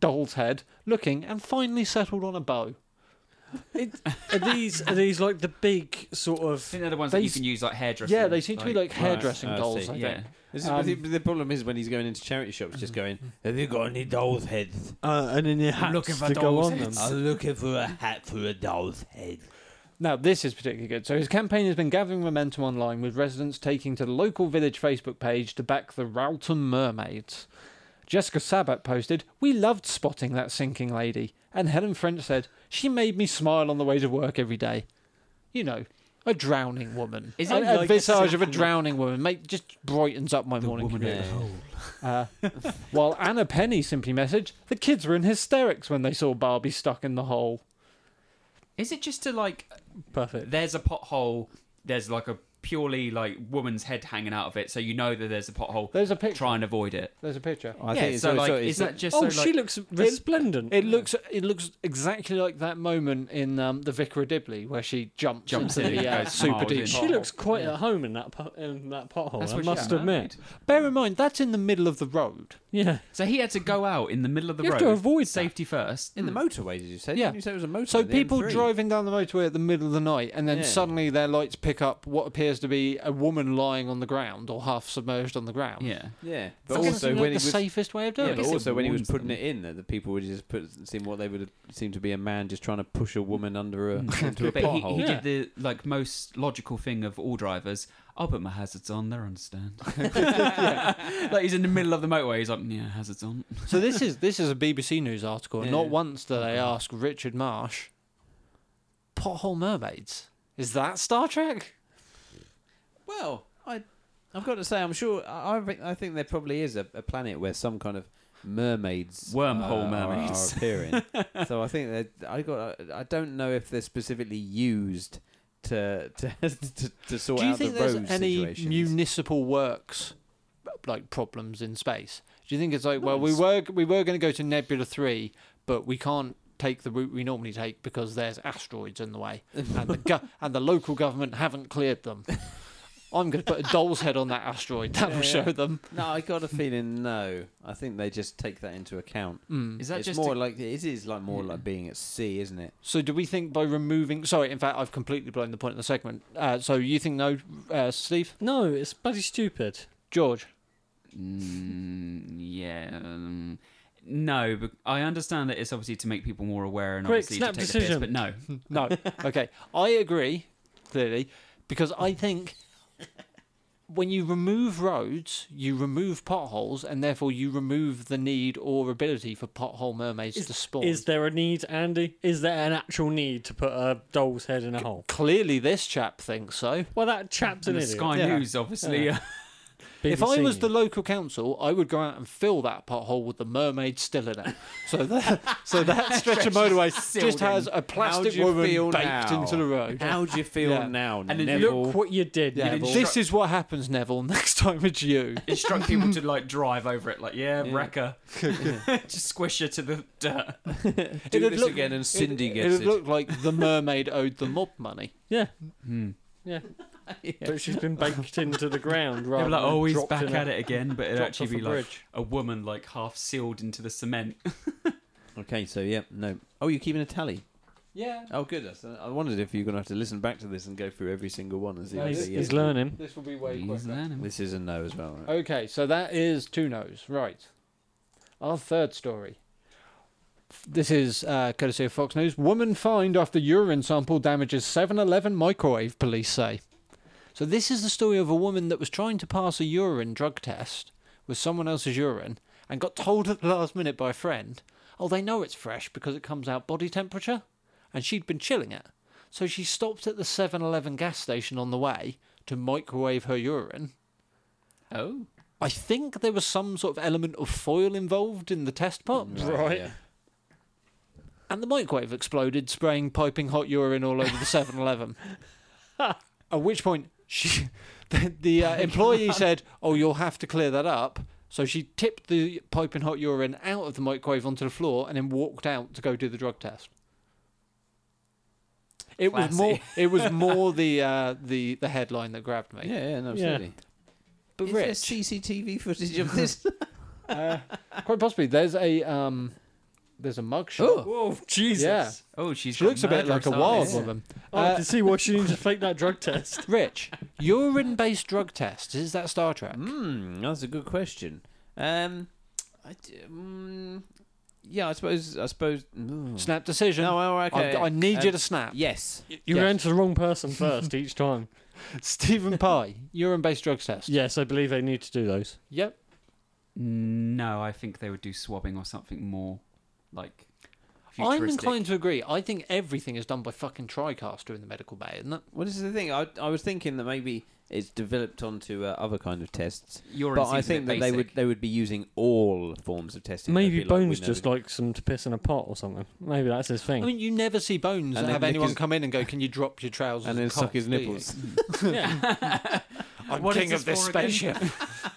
Speaker 2: doll's head, looking, and finally settled on a bow.
Speaker 1: are these are these like the big sort
Speaker 4: I
Speaker 1: of
Speaker 4: think they're the ones
Speaker 2: They
Speaker 4: that you
Speaker 2: s-
Speaker 4: can use like hairdressing.
Speaker 2: Yeah, they seem to be like hairdressing
Speaker 3: I
Speaker 2: dolls,
Speaker 3: see.
Speaker 2: I think.
Speaker 4: yeah.
Speaker 3: This is-
Speaker 2: Um,
Speaker 3: the, the problem is when he's going into charity shops, just going, "Have you got any doll's heads?
Speaker 1: uh, and then your hats
Speaker 4: looking for
Speaker 1: to go
Speaker 4: dolls'
Speaker 1: on them.
Speaker 4: heads.
Speaker 3: I'm looking for a hat for a doll's head."
Speaker 2: Now, this is particularly good. So, his campaign has been gathering momentum online, with residents taking to the local village Facebook page to back the Ralton Mermaids. Jessica Sabat posted, We loved spotting that sinking lady. And Helen French said, She made me smile on the way to work every day. You know, a drowning woman.
Speaker 4: Is
Speaker 2: a,
Speaker 4: it
Speaker 2: a
Speaker 4: like-
Speaker 2: visage of a drowning woman make, just brightens up my morning. commute. Uh, while Anna Penny simply messaged, The kids were in hysterics when they saw Barbie stuck in the hole.
Speaker 4: Is it just to like?
Speaker 1: Perfect.
Speaker 4: There's a pothole. There's like a purely like woman's head hanging out of it, so you know that there's a pothole.
Speaker 2: There's a picture.
Speaker 4: Try and avoid it.
Speaker 2: There's a picture.
Speaker 3: Oh, I
Speaker 4: yeah.
Speaker 3: think it's
Speaker 4: so
Speaker 3: all-
Speaker 4: like,
Speaker 3: so
Speaker 4: is
Speaker 3: it's
Speaker 4: that
Speaker 3: not-
Speaker 4: just?
Speaker 1: Oh,
Speaker 4: so,
Speaker 1: she
Speaker 4: like,
Speaker 1: looks resplendent.
Speaker 2: It looks it looks exactly like that moment in um, the Vicar of Dibley where she jumps,
Speaker 4: Jumps
Speaker 2: into
Speaker 4: in and
Speaker 2: the uh,
Speaker 4: goes
Speaker 2: super
Speaker 4: miles
Speaker 2: deep.
Speaker 4: in.
Speaker 1: she
Speaker 2: pothole.
Speaker 1: looks quite at home in that po- in that pothole.
Speaker 4: That's
Speaker 1: I
Speaker 4: what she
Speaker 1: must
Speaker 4: got
Speaker 1: admit.
Speaker 2: Bear in mind that's in the middle of the road.
Speaker 1: Yeah.
Speaker 4: So he had to go out in the middle of the
Speaker 1: You
Speaker 4: road.
Speaker 1: have to avoid that. Hmm.
Speaker 4: safety first.
Speaker 3: in the motorway. Did you say?
Speaker 2: Yeah.
Speaker 3: Didn't you say it was a motorway?
Speaker 2: So
Speaker 3: the
Speaker 2: people
Speaker 3: M3?
Speaker 2: driving down the motorway at the middle of the night and then
Speaker 3: Yeah.
Speaker 2: suddenly their lights pick up what appears appears to be a woman lying on the ground or half submerged on the ground.
Speaker 4: Yeah.
Speaker 3: Yeah, but
Speaker 2: But
Speaker 3: also when he
Speaker 2: the
Speaker 3: was
Speaker 2: safest way of doing
Speaker 3: yeah,
Speaker 2: it.
Speaker 3: but
Speaker 4: guess it
Speaker 3: also when he was
Speaker 4: warns
Speaker 3: putting
Speaker 4: them.
Speaker 3: it in, that the people would just put seem what they would have seemed to be a man just trying to push a woman under a into
Speaker 4: Hmm.
Speaker 3: a
Speaker 4: but he,
Speaker 3: pothole.
Speaker 4: he
Speaker 2: Yeah.
Speaker 4: did the like most logical thing of all drivers. I'll put my hazards on. They will understand. Like he's in the middle of the motorway. He's like, yeah, hazards on.
Speaker 2: So this is this is a BBC News article. and Not
Speaker 3: Yeah.
Speaker 2: once do they ask Richard Marsh. Pothole mermaids. Is that Star Trek?
Speaker 3: Well, I I've got to say, I'm sure I I think- I think there probably is a, a planet where some kind of mermaids
Speaker 4: Wormhole
Speaker 3: are-
Speaker 4: mermaids.
Speaker 3: are appearing. so I think that I got I don't know if they're specifically used to to to, to sort
Speaker 2: Do you
Speaker 3: out
Speaker 2: think
Speaker 3: the
Speaker 2: there's
Speaker 3: road
Speaker 2: any
Speaker 3: situations.
Speaker 2: municipal works like problems in space? Do you think it's like well we were we were going to go to Nebula Three, but we can't take the route we normally take because there's asteroids in the way, and the go- and the local government haven't cleared them. I'm going to put a doll's head on that asteroid. That will show them.
Speaker 3: no, I got a feeling no. I think they just take that into account.
Speaker 2: Mm.
Speaker 4: Is that
Speaker 3: it's
Speaker 4: just
Speaker 3: more
Speaker 4: a-
Speaker 3: like it is like more
Speaker 4: Yeah.
Speaker 3: like being at sea, isn't it?
Speaker 2: So do we think by removing? Sorry, in fact, I've completely blown the point of the segment. Uh, so you think no, uh, Steve,
Speaker 1: No, it's bloody stupid.
Speaker 2: George?
Speaker 4: Mm, yeah. Um, no, but I understand that it's obviously to make people more aware and
Speaker 1: Quick,
Speaker 4: obviously
Speaker 1: snap
Speaker 4: to take
Speaker 1: decision.
Speaker 4: the piss, but no.
Speaker 2: No. Okay, I agree clearly because I think when you remove roads, you remove potholes, and therefore you remove the need or ability for pothole mermaids to spawn.
Speaker 1: Is there a need, Andy? Is there an actual need to put a doll's head in a hole?
Speaker 2: Clearly, this chap thinks so.
Speaker 1: Well, that chap's an
Speaker 4: And the
Speaker 1: idiot.
Speaker 4: Sky
Speaker 2: Yeah.
Speaker 4: News, obviously. uh,
Speaker 1: Yeah.
Speaker 2: If I was the local council, I would go out and fill that pothole with the mermaid still in it. So that, so that stretch of motorway just has a plastic
Speaker 3: do you
Speaker 2: woman
Speaker 3: feel
Speaker 2: baked
Speaker 3: now?
Speaker 2: into the road.
Speaker 3: How do you feel
Speaker 2: Yeah.
Speaker 3: now,
Speaker 4: then you
Speaker 3: Neville?
Speaker 1: look what you did,
Speaker 2: Yeah,
Speaker 1: Neville.
Speaker 2: this is what happens, Neville. Next time it's you.
Speaker 4: Instruct people to like drive over it, like yeah, wrecker, just squish her to the dirt.
Speaker 3: do
Speaker 2: it'd
Speaker 3: this
Speaker 2: look-
Speaker 3: again, and Cindy
Speaker 2: it,
Speaker 3: gets
Speaker 2: It
Speaker 3: it.
Speaker 2: would look like the mermaid owed the mob money.
Speaker 1: Yeah,
Speaker 4: Hmm.
Speaker 1: yeah. But she's been baked into the ground rather
Speaker 4: like,
Speaker 1: than
Speaker 4: oh, he's
Speaker 1: dropped
Speaker 4: back
Speaker 1: in
Speaker 4: at
Speaker 1: a-
Speaker 4: it again, but it'd
Speaker 1: dropped
Speaker 4: actually
Speaker 1: off a
Speaker 4: be like
Speaker 1: bridge.
Speaker 4: a woman like half sealed into the cement.
Speaker 3: Okay, so yeah, no. Oh, you're keeping a tally.
Speaker 2: Yeah.
Speaker 3: Oh, good. I- I wondered if you're going to have to listen back to this and go through every single one. As
Speaker 2: No,
Speaker 1: He's,
Speaker 2: he's-
Speaker 1: he's learning.
Speaker 2: This will be way
Speaker 4: He's
Speaker 2: quicker.
Speaker 4: learning.
Speaker 3: uh, This is a no as well. Right?
Speaker 2: Okay, so that is two no's. Right. Our third story. F- This is uh, courtesy of Fox News. Woman fined after urine sample damages 7 Eleven microwave, police say. So, this is the story of a woman that was trying to pass a urine drug test with someone else's urine and got told at the last minute by a friend, oh, they know it's fresh because it comes out body temperature. And she'd been chilling it. So, she stopped at the 7 Eleven gas station on the way to microwave her urine.
Speaker 4: Oh,
Speaker 2: I think there was some sort of element of foil involved in the test
Speaker 4: Oh,
Speaker 2: pot,
Speaker 1: Right.
Speaker 3: yeah.
Speaker 2: and the microwave exploded, spraying piping hot urine all over the 7 Eleven. At which point, she, the, the uh, employee said, Oh, you'll have to clear that up. So she tipped the piping hot urine out of the microwave onto the floor and then walked out to go do the drug test. It was
Speaker 4: Classy.
Speaker 2: more. It was more the uh, the the headline that grabbed me.
Speaker 3: Yeah, yeah, no, absolutely.
Speaker 2: But
Speaker 3: Is
Speaker 2: Rich,
Speaker 3: there CCTV footage of this?
Speaker 2: Uh, quite possibly. There's a um, there's a mugshot.
Speaker 1: Whoa, Jesus!
Speaker 2: Yeah.
Speaker 4: oh, she's
Speaker 2: She looks a
Speaker 4: got
Speaker 2: bit like a
Speaker 4: murderous
Speaker 2: wild
Speaker 4: eyes.
Speaker 2: woman.
Speaker 1: Oh, I
Speaker 2: Uh,
Speaker 1: can see why she needs to fake that drug test.
Speaker 2: Rich, urine-based drug tests. Is that Star Trek?
Speaker 3: Hmm, that's a good question. Um, I d- mm, yeah, I suppose. I suppose. mm. No,
Speaker 2: Snap decision.
Speaker 3: no oh,
Speaker 2: I-
Speaker 3: okay.
Speaker 2: I, need you
Speaker 3: Um,
Speaker 2: to snap.
Speaker 3: Yes.
Speaker 1: You're
Speaker 2: Yes.
Speaker 1: going to the wrong person first each time.
Speaker 2: Stephen Pye, urine-based drug test.
Speaker 1: Yes, I believe they need to do those.
Speaker 2: Yep.
Speaker 4: No, I think they would do swabbing or something more like.
Speaker 2: I'm
Speaker 4: futuristic.
Speaker 2: inclined to agree. I think everything is done by fucking TriCaster in the medical bay, isn't it?
Speaker 3: Well, this is the thing. I, I was thinking that maybe it's developed onto uh, other kind of tests,
Speaker 4: Urine
Speaker 3: but I
Speaker 4: seems a
Speaker 3: think
Speaker 4: bit
Speaker 3: that they would
Speaker 4: basic.
Speaker 3: they would be using all forms of testing. They'd
Speaker 1: Maybe
Speaker 3: be like, we
Speaker 1: Bones
Speaker 3: know
Speaker 1: just likes them to piss in a pot or something. Maybe that's his
Speaker 2: I
Speaker 1: thing.
Speaker 2: mean, you never see Bones
Speaker 3: And
Speaker 2: and
Speaker 3: then
Speaker 2: have
Speaker 3: lick
Speaker 2: anyone
Speaker 3: his-
Speaker 2: come in and go, "Can you drop your trousers?"
Speaker 3: and then
Speaker 2: cough,
Speaker 3: suck his
Speaker 2: do you?"
Speaker 3: nipples.
Speaker 1: yeah.
Speaker 2: I'm
Speaker 4: What is
Speaker 2: king of
Speaker 4: this
Speaker 2: this
Speaker 4: for again?
Speaker 2: spaceship.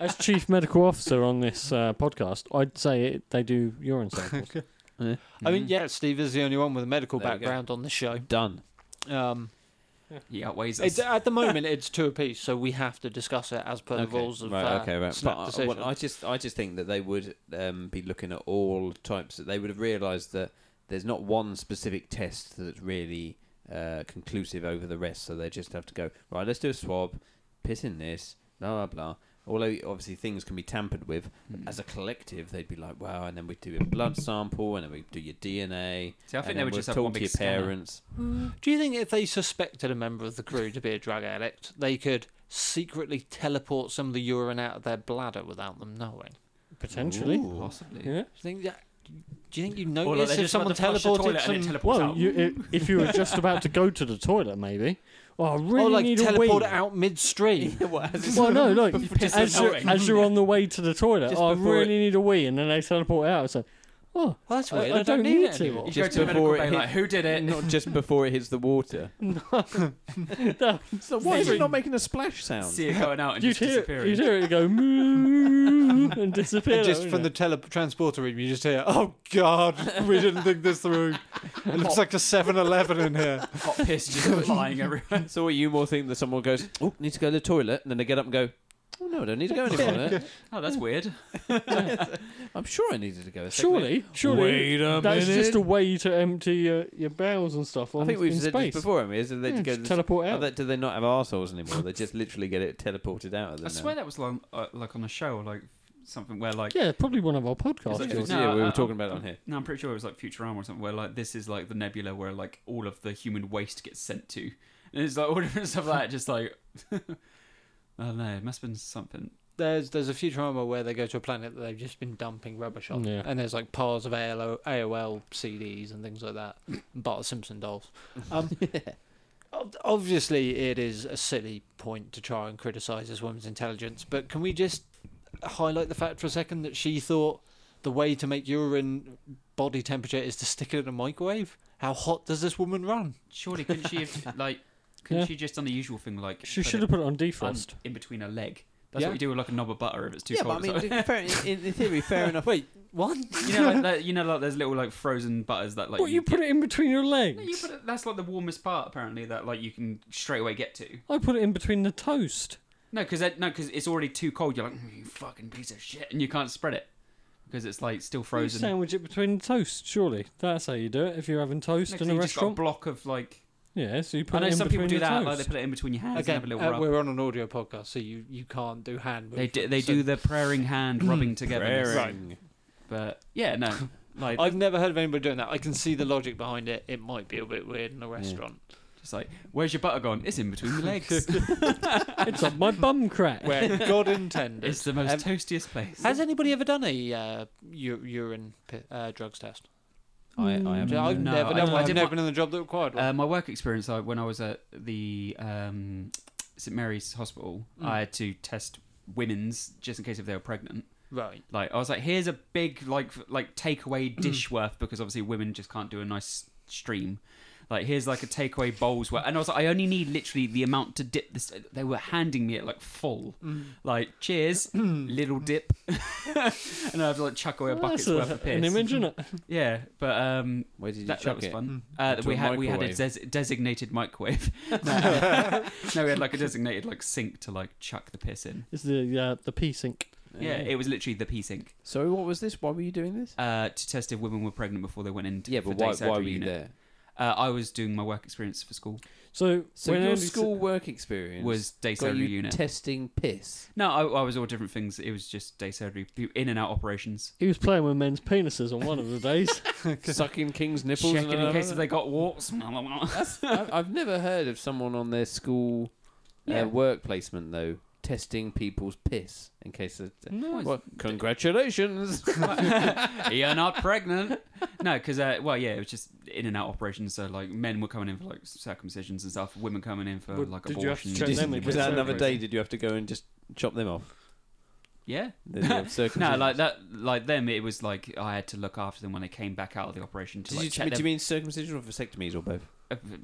Speaker 1: As chief medical officer on this uh, podcast, I'd say it, they do urine samples.
Speaker 2: I
Speaker 4: Hmm.
Speaker 2: mean, yeah, Steve is the only one with a medical
Speaker 3: There you go.
Speaker 2: background on the show.
Speaker 3: Done.
Speaker 2: Um,
Speaker 4: He outweighs us.
Speaker 2: It's, at the moment, it's two apiece, so we have to discuss it as per the
Speaker 3: Okay,
Speaker 2: rules of
Speaker 3: right,
Speaker 2: uh,
Speaker 3: okay, right.
Speaker 2: snap
Speaker 3: But I,
Speaker 2: decision.
Speaker 3: what I just, I just think that they would um, be looking at all types. That they would have realised that there's not one specific test that's really uh, conclusive over the rest. So they just have to go right. Let's do a swab, piss in this, blah blah blah. Although obviously things can be tampered with,
Speaker 4: Hmm.
Speaker 3: as a collective they'd be like, wow. And then we do a blood sample, and then we do your DNA.
Speaker 4: See, I think
Speaker 3: and
Speaker 4: they
Speaker 3: then
Speaker 4: would
Speaker 3: we'll
Speaker 4: just have
Speaker 3: talk
Speaker 4: one
Speaker 3: to
Speaker 4: big
Speaker 3: your
Speaker 4: scanner.
Speaker 3: parents.
Speaker 1: Mm.
Speaker 2: Do you think if they suspected a member of the crew to be a drug addict, they could secretly teleport some of the urine out of their bladder without them knowing?
Speaker 1: Potentially.
Speaker 4: Possibly.
Speaker 1: Yeah.
Speaker 2: Do you think that? Do you think you
Speaker 4: Or
Speaker 2: notice
Speaker 4: like they're
Speaker 2: if
Speaker 4: just about
Speaker 2: someone
Speaker 4: to flush the
Speaker 2: teleported
Speaker 4: toilet and it
Speaker 2: some?
Speaker 4: teleports
Speaker 1: Well,
Speaker 4: out.
Speaker 1: you, i- if you were just about to go to the toilet, maybe. Oh, I really
Speaker 2: Or like
Speaker 1: need a
Speaker 2: teleport
Speaker 1: wee.
Speaker 2: it out midstream.
Speaker 1: Well, no, like
Speaker 4: just
Speaker 1: as
Speaker 4: before
Speaker 1: you're,
Speaker 4: it-
Speaker 1: as you're on the way to the toilet,
Speaker 3: Just
Speaker 1: oh, I
Speaker 3: before
Speaker 1: really need a wee, and then they teleport it out. It's like, oh,
Speaker 2: Well, that's
Speaker 1: I-
Speaker 2: weird. I,
Speaker 1: I
Speaker 2: don't,
Speaker 1: don't
Speaker 2: need,
Speaker 1: need
Speaker 2: it
Speaker 1: to.
Speaker 2: anymore.
Speaker 4: You
Speaker 1: Just
Speaker 4: go to the medical
Speaker 3: before it
Speaker 4: bay
Speaker 3: hit-
Speaker 4: like, who did it?
Speaker 3: Not just before it hits the water.
Speaker 1: no.
Speaker 3: So why is
Speaker 1: Maybe.
Speaker 3: it not making a splash sound?
Speaker 4: See it going out and
Speaker 1: you'd
Speaker 4: just
Speaker 1: hear,
Speaker 4: disappearing.
Speaker 1: you'd hear it go moo and disappear.
Speaker 2: And just
Speaker 1: wouldn't
Speaker 2: from the
Speaker 1: it?
Speaker 2: teletransporter room, you just hear, "Oh God, we didn't think this through." It looks like a 7-Eleven in here.
Speaker 4: Hot piss just flying everywhere.
Speaker 3: So what you more think that someone goes, oh, need to go to the toilet, and then they get up and go, oh no, I don't need to go to the toilet.
Speaker 4: Oh, that's weird.
Speaker 3: I'm sure I needed to go. a second
Speaker 1: surely,
Speaker 3: minute."
Speaker 1: surely,
Speaker 3: Wait a
Speaker 1: that's
Speaker 3: minute.
Speaker 1: just a way to empty your, your bowels and stuff. On,
Speaker 3: I think we've
Speaker 1: in
Speaker 3: said
Speaker 1: space.
Speaker 3: this before. haven't we? Is that they
Speaker 1: Yeah,
Speaker 3: go
Speaker 1: just
Speaker 3: to-
Speaker 1: teleport
Speaker 3: are
Speaker 1: out.
Speaker 3: they- do they not have arseholes anymore? they just literally get it teleported out of them.
Speaker 4: I swear
Speaker 3: now.
Speaker 4: that was like, uh, like on a show, or like something where like
Speaker 1: yeah, probably one of our
Speaker 4: It's
Speaker 1: podcasts.
Speaker 4: like-
Speaker 3: It
Speaker 1: George.
Speaker 3: was-
Speaker 4: no,
Speaker 3: yeah, we were
Speaker 4: I- I'm-
Speaker 3: talking about it on here.
Speaker 4: No, I'm pretty sure it was like Futurama or something where like this is like the nebula where like all of the human waste gets sent to, and it's like all different stuff like that. Just like I don't know, it must have been something.
Speaker 2: There's there's a Futurama where they go to a planet that they've just been dumping rubbish on,
Speaker 1: Yeah.
Speaker 2: and there's like piles of ALO, AOL CDs and things like that, and Bart Simpson dolls. Um, ob- Obviously, it is a silly point to try and criticise this woman's intelligence, but can we just highlight the fact for a second that she thought the way to make urine body temperature is to stick it in a microwave? How hot does this woman run?
Speaker 4: Surely couldn't she have like couldn't
Speaker 1: Yeah.
Speaker 4: she just done the usual thing like
Speaker 1: She
Speaker 4: put
Speaker 1: should
Speaker 4: it
Speaker 1: have put it on
Speaker 4: un-
Speaker 1: defrost.
Speaker 4: in between her leg. That's
Speaker 2: Yeah.
Speaker 4: what you do with like a knob of butter if it's too cold. It's like-
Speaker 3: fair, in, in theory, fair enough.
Speaker 2: Wait, what?
Speaker 4: you know, like, that- you know, like there's little like frozen butters that like
Speaker 1: What you put it in between your legs?
Speaker 4: No, you put it- that's like the warmest part apparently that like you can straight away get to.
Speaker 1: I put it in between the toast.
Speaker 4: No, because no, 'cause it's already too cold. You're like, "Mm, you fucking piece of shit, and you can't spread it because it's like still
Speaker 1: You
Speaker 4: frozen.
Speaker 1: sandwich it between the toast. Surely that's how you do it. If you're having toast
Speaker 4: No, 'cause
Speaker 1: in a
Speaker 4: you just got a
Speaker 1: restaurant,
Speaker 4: block of like.
Speaker 1: yeah. So you put
Speaker 4: I know
Speaker 1: it in
Speaker 4: some people
Speaker 1: between
Speaker 4: do
Speaker 1: the
Speaker 4: that. Like they
Speaker 1: toast.
Speaker 4: put it in between your hands and have
Speaker 2: Again,
Speaker 4: a
Speaker 2: uh,
Speaker 4: little rub.
Speaker 2: we're on an audio podcast, so you, you can't do hand.
Speaker 4: They do,
Speaker 2: movements,
Speaker 4: they
Speaker 2: so-
Speaker 4: do the praying
Speaker 1: Hmm.
Speaker 4: hand rubbing together.
Speaker 3: Raring.
Speaker 4: But yeah, no, like
Speaker 2: I've never heard of anybody doing that. I can see the logic behind it. It might be a bit weird in a restaurant.
Speaker 4: just like, where's your butter gone? It's in between your legs.
Speaker 1: it's on my bum crack.
Speaker 2: Where God intended.
Speaker 4: it's the most
Speaker 2: Um,
Speaker 4: toastiest place.
Speaker 2: Has anybody ever done a uh, u- urine pi- uh, drugs test?
Speaker 1: Mm.
Speaker 3: I, I am.
Speaker 2: Do you- I've
Speaker 4: No,
Speaker 2: never
Speaker 4: I
Speaker 2: done
Speaker 4: did-
Speaker 2: one.
Speaker 4: I
Speaker 2: I've
Speaker 4: did
Speaker 2: never
Speaker 4: one-
Speaker 2: been in the job that required one.
Speaker 4: Uh, my work experience, like when I was at the um, St Mary's Hospital,
Speaker 2: Mm.
Speaker 4: I had to test women's just in case if they were pregnant.
Speaker 2: right.
Speaker 4: Like I was like, here's a big like f- like
Speaker 2: Mm.
Speaker 4: takeaway dish worth because obviously women just can't do a nice stream. Like here's like a takeaway bowls worth, and I was like, I only need literally the amount to dip this. They were handing me it like full,
Speaker 2: Mm.
Speaker 4: like cheers, little dip, and I have to like chuck away a
Speaker 1: Well,
Speaker 4: bucket's
Speaker 1: that's
Speaker 4: worth
Speaker 1: a-
Speaker 4: of piss.
Speaker 1: An image, is it?
Speaker 4: Yeah, but um,
Speaker 3: Where did you
Speaker 4: that, that
Speaker 3: chuck
Speaker 4: was
Speaker 3: it?
Speaker 4: fun. Uh,
Speaker 3: Into
Speaker 4: we
Speaker 3: a
Speaker 4: had we had a
Speaker 3: microwave.
Speaker 4: des- designated microwave. no, we had like a designated like sink to like chuck the piss in.
Speaker 1: It's the uh, the pea sink.
Speaker 4: Yeah, it was literally the pee sink
Speaker 3: Sorry, what was this? Why were you doing this?
Speaker 4: uh, to test if women were pregnant before they went into
Speaker 3: Yeah,
Speaker 4: for
Speaker 3: but
Speaker 4: day
Speaker 3: why,
Speaker 4: surgery
Speaker 3: why were you
Speaker 4: unit.
Speaker 3: there?
Speaker 4: Uh, I was doing my work experience for school
Speaker 1: So,
Speaker 3: So
Speaker 1: when
Speaker 3: your
Speaker 1: Andy s-
Speaker 3: school work experience
Speaker 4: was day
Speaker 3: got
Speaker 4: surgery
Speaker 3: you
Speaker 4: unit.
Speaker 3: testing piss.
Speaker 4: no, I, I was all different things. It was just day surgery, bu- in and out operations,
Speaker 1: he was playing with men's penises on one of the days.
Speaker 3: Sucking king's nipples.
Speaker 4: checking
Speaker 3: and
Speaker 4: in case
Speaker 3: another?
Speaker 4: if they got warts.
Speaker 3: I- I've never heard of someone on their school
Speaker 4: Yeah.
Speaker 3: uh, work placement though testing people's piss in case of.
Speaker 4: Hmm.
Speaker 1: no.
Speaker 3: Well, congratulations!
Speaker 4: You're not pregnant. No, because uh, well, yeah, it was just in and out operations. So like, men were coming in for like circumcisions and stuff. Women coming in for
Speaker 1: Well,
Speaker 4: like
Speaker 1: did you have to
Speaker 4: abortions.
Speaker 1: check them
Speaker 4: and
Speaker 1: again?
Speaker 4: bits
Speaker 3: was
Speaker 1: get
Speaker 4: of-
Speaker 3: that another
Speaker 1: surgery.
Speaker 3: day? Did you have to go and just chop them off?
Speaker 4: Yeah.
Speaker 3: The- the
Speaker 4: No,
Speaker 3: circumcision?
Speaker 4: like that, like them. It was like I had to look after them when they came back out of the operation to
Speaker 3: Did
Speaker 4: like
Speaker 3: you,
Speaker 4: check
Speaker 3: do you
Speaker 4: them.
Speaker 3: mean circumcision or vasectomies or both?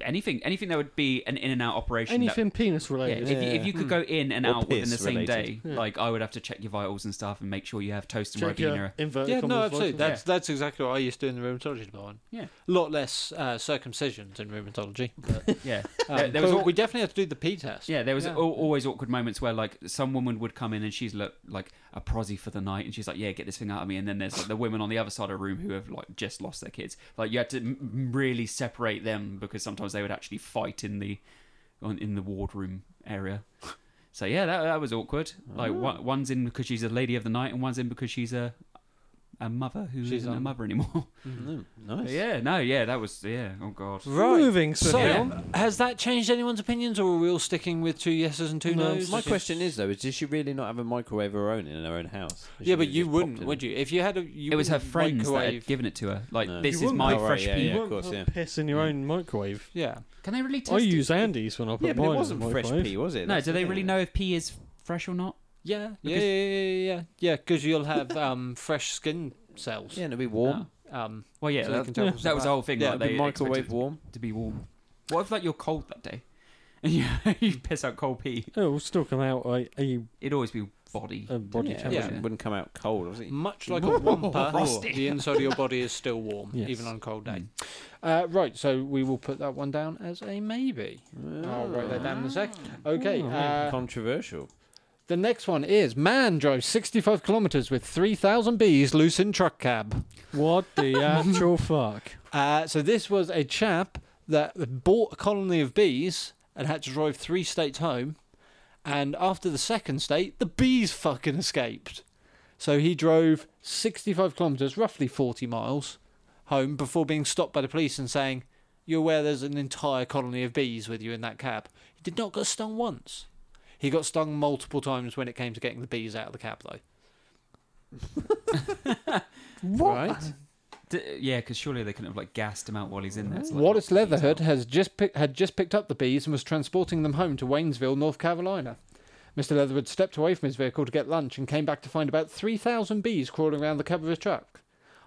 Speaker 4: anything, anything that would be an in and out operation. that-
Speaker 1: Anything penis
Speaker 4: yeah,
Speaker 1: related.
Speaker 4: if, you- if you could go in and
Speaker 3: Or
Speaker 4: out within the
Speaker 3: piss
Speaker 4: same day,
Speaker 3: related.
Speaker 1: Yeah.
Speaker 4: like I would have to check your vitals and stuff and make sure you have toast and
Speaker 1: Check
Speaker 4: ribena.
Speaker 1: your inverted
Speaker 2: Yeah, no,
Speaker 1: commas
Speaker 2: absolutely.
Speaker 1: voice.
Speaker 2: That's that's exactly what I used to do in the rheumatology department.
Speaker 4: Yeah.
Speaker 2: A lot less uh, circumcisions in rheumatology. But,
Speaker 4: Yeah,
Speaker 2: um,
Speaker 4: There- there was
Speaker 2: but
Speaker 4: al-
Speaker 2: we definitely had to do the P test.
Speaker 4: yeah. There was
Speaker 2: Yeah.
Speaker 4: al- always awkward moments where like some woman would come in and she's like, like a prosy for the night, and she's like, "Yeah, get this thing out of me." And then there's like the women on the other side of the room who have like just lost their kids. Like you had to m- m- really separate them because because sometimes they would actually fight in the on, in the wardroom area. So yeah, that, that was awkward. Like one, one's in because she's a lady of the night, and one's in because she's a a mother who
Speaker 2: She's
Speaker 4: not a
Speaker 2: on-
Speaker 4: mother anymore.
Speaker 3: Mm, nice.
Speaker 4: But Mm-hmm. yeah, no, yeah, that was yeah. Oh god.
Speaker 2: Right.
Speaker 1: Moving
Speaker 2: So,
Speaker 1: swiftly
Speaker 4: Yeah.
Speaker 1: on.
Speaker 2: has that changed anyone's opinions, or are we all sticking with two yeses and two
Speaker 1: No,
Speaker 2: nos?
Speaker 3: My question is though: Is does she really not have a microwave of her own in her own house?
Speaker 2: Yeah, but you wouldn't, would you? If you had a, you
Speaker 4: It was her
Speaker 2: wouldn't
Speaker 4: friends that
Speaker 2: microwave-
Speaker 4: had given it to her. Like
Speaker 3: No.
Speaker 4: this
Speaker 1: You
Speaker 4: is
Speaker 1: wouldn't-
Speaker 4: my
Speaker 3: Oh, right,
Speaker 4: fresh
Speaker 3: yeah,
Speaker 4: pee.
Speaker 1: You
Speaker 3: yeah. of
Speaker 1: won't
Speaker 3: course,
Speaker 1: put piss in your own microwave.
Speaker 2: Yeah.
Speaker 4: Can they really test?
Speaker 1: I
Speaker 4: it?
Speaker 1: use Andy's when I put
Speaker 3: Yeah, but
Speaker 1: mine
Speaker 3: it wasn't
Speaker 1: in the
Speaker 3: fresh
Speaker 1: microwave.
Speaker 3: pee, was it?
Speaker 4: No,
Speaker 3: That's
Speaker 4: do
Speaker 3: the
Speaker 4: they
Speaker 3: thing.
Speaker 4: really know if pee is fresh or not?
Speaker 2: Yeah, yeah, yeah,
Speaker 4: Because-
Speaker 2: yeah, yeah, yeah, because you'll have um, fresh skin cells.
Speaker 3: Yeah, and it'd be warm.
Speaker 2: Um,
Speaker 4: Oh. Well, yeah,
Speaker 2: so you
Speaker 4: that,
Speaker 2: can tell
Speaker 1: yeah.
Speaker 2: what's
Speaker 4: that was the
Speaker 2: about.
Speaker 4: whole thing.
Speaker 2: Yeah,
Speaker 4: like,
Speaker 3: it'd
Speaker 4: they
Speaker 3: be
Speaker 4: microwave
Speaker 3: microwave warm.
Speaker 4: to be warm. What if like you're cold that day, and you you piss out cold pee?
Speaker 1: Oh, It will still come out a, a,
Speaker 4: It'd always be body.
Speaker 3: Uh,
Speaker 1: a body
Speaker 3: yeah, it
Speaker 1: temperature.
Speaker 2: yeah. Mm.
Speaker 3: Wouldn't, wouldn't come out cold, was it?
Speaker 2: much like a wampa.
Speaker 4: Frosty.
Speaker 2: The inside of your body is still warm,
Speaker 1: Yes.
Speaker 2: even on a cold day.
Speaker 4: Mm.
Speaker 2: Uh, right, so we will put that one down as a maybe.
Speaker 3: Oh,
Speaker 2: I'll write that down in a sec. Okay, uh,
Speaker 3: Controversial.
Speaker 2: the next one is man drives 65 kilometres with 3,000 bees loose in truck cab.
Speaker 1: What the actual fuck?
Speaker 2: Uh, so this was a chap that bought a colony of bees and had to drive three states home. And after the second state, the bees fucking escaped. So he drove 65 kilometres, roughly 40 miles, home before being stopped by the police and saying, You're aware there's an entire colony of bees with you in that cab. He did not get stung once. He got stung multiple times when it came to getting the bees out of the cab, though.
Speaker 1: What?
Speaker 2: Right?
Speaker 4: D- yeah, because surely they couldn't have like gassed him out while he's in there. to, like,
Speaker 2: Wallace
Speaker 4: knock the bees
Speaker 2: Leatherhead
Speaker 4: out.
Speaker 2: has just pick, had just picked up the bees and was transporting them home to Waynesville, North Carolina. Mr. Leatherwood stepped away from his vehicle to get lunch and came back to find about 3,000 bees crawling around the cab of his truck.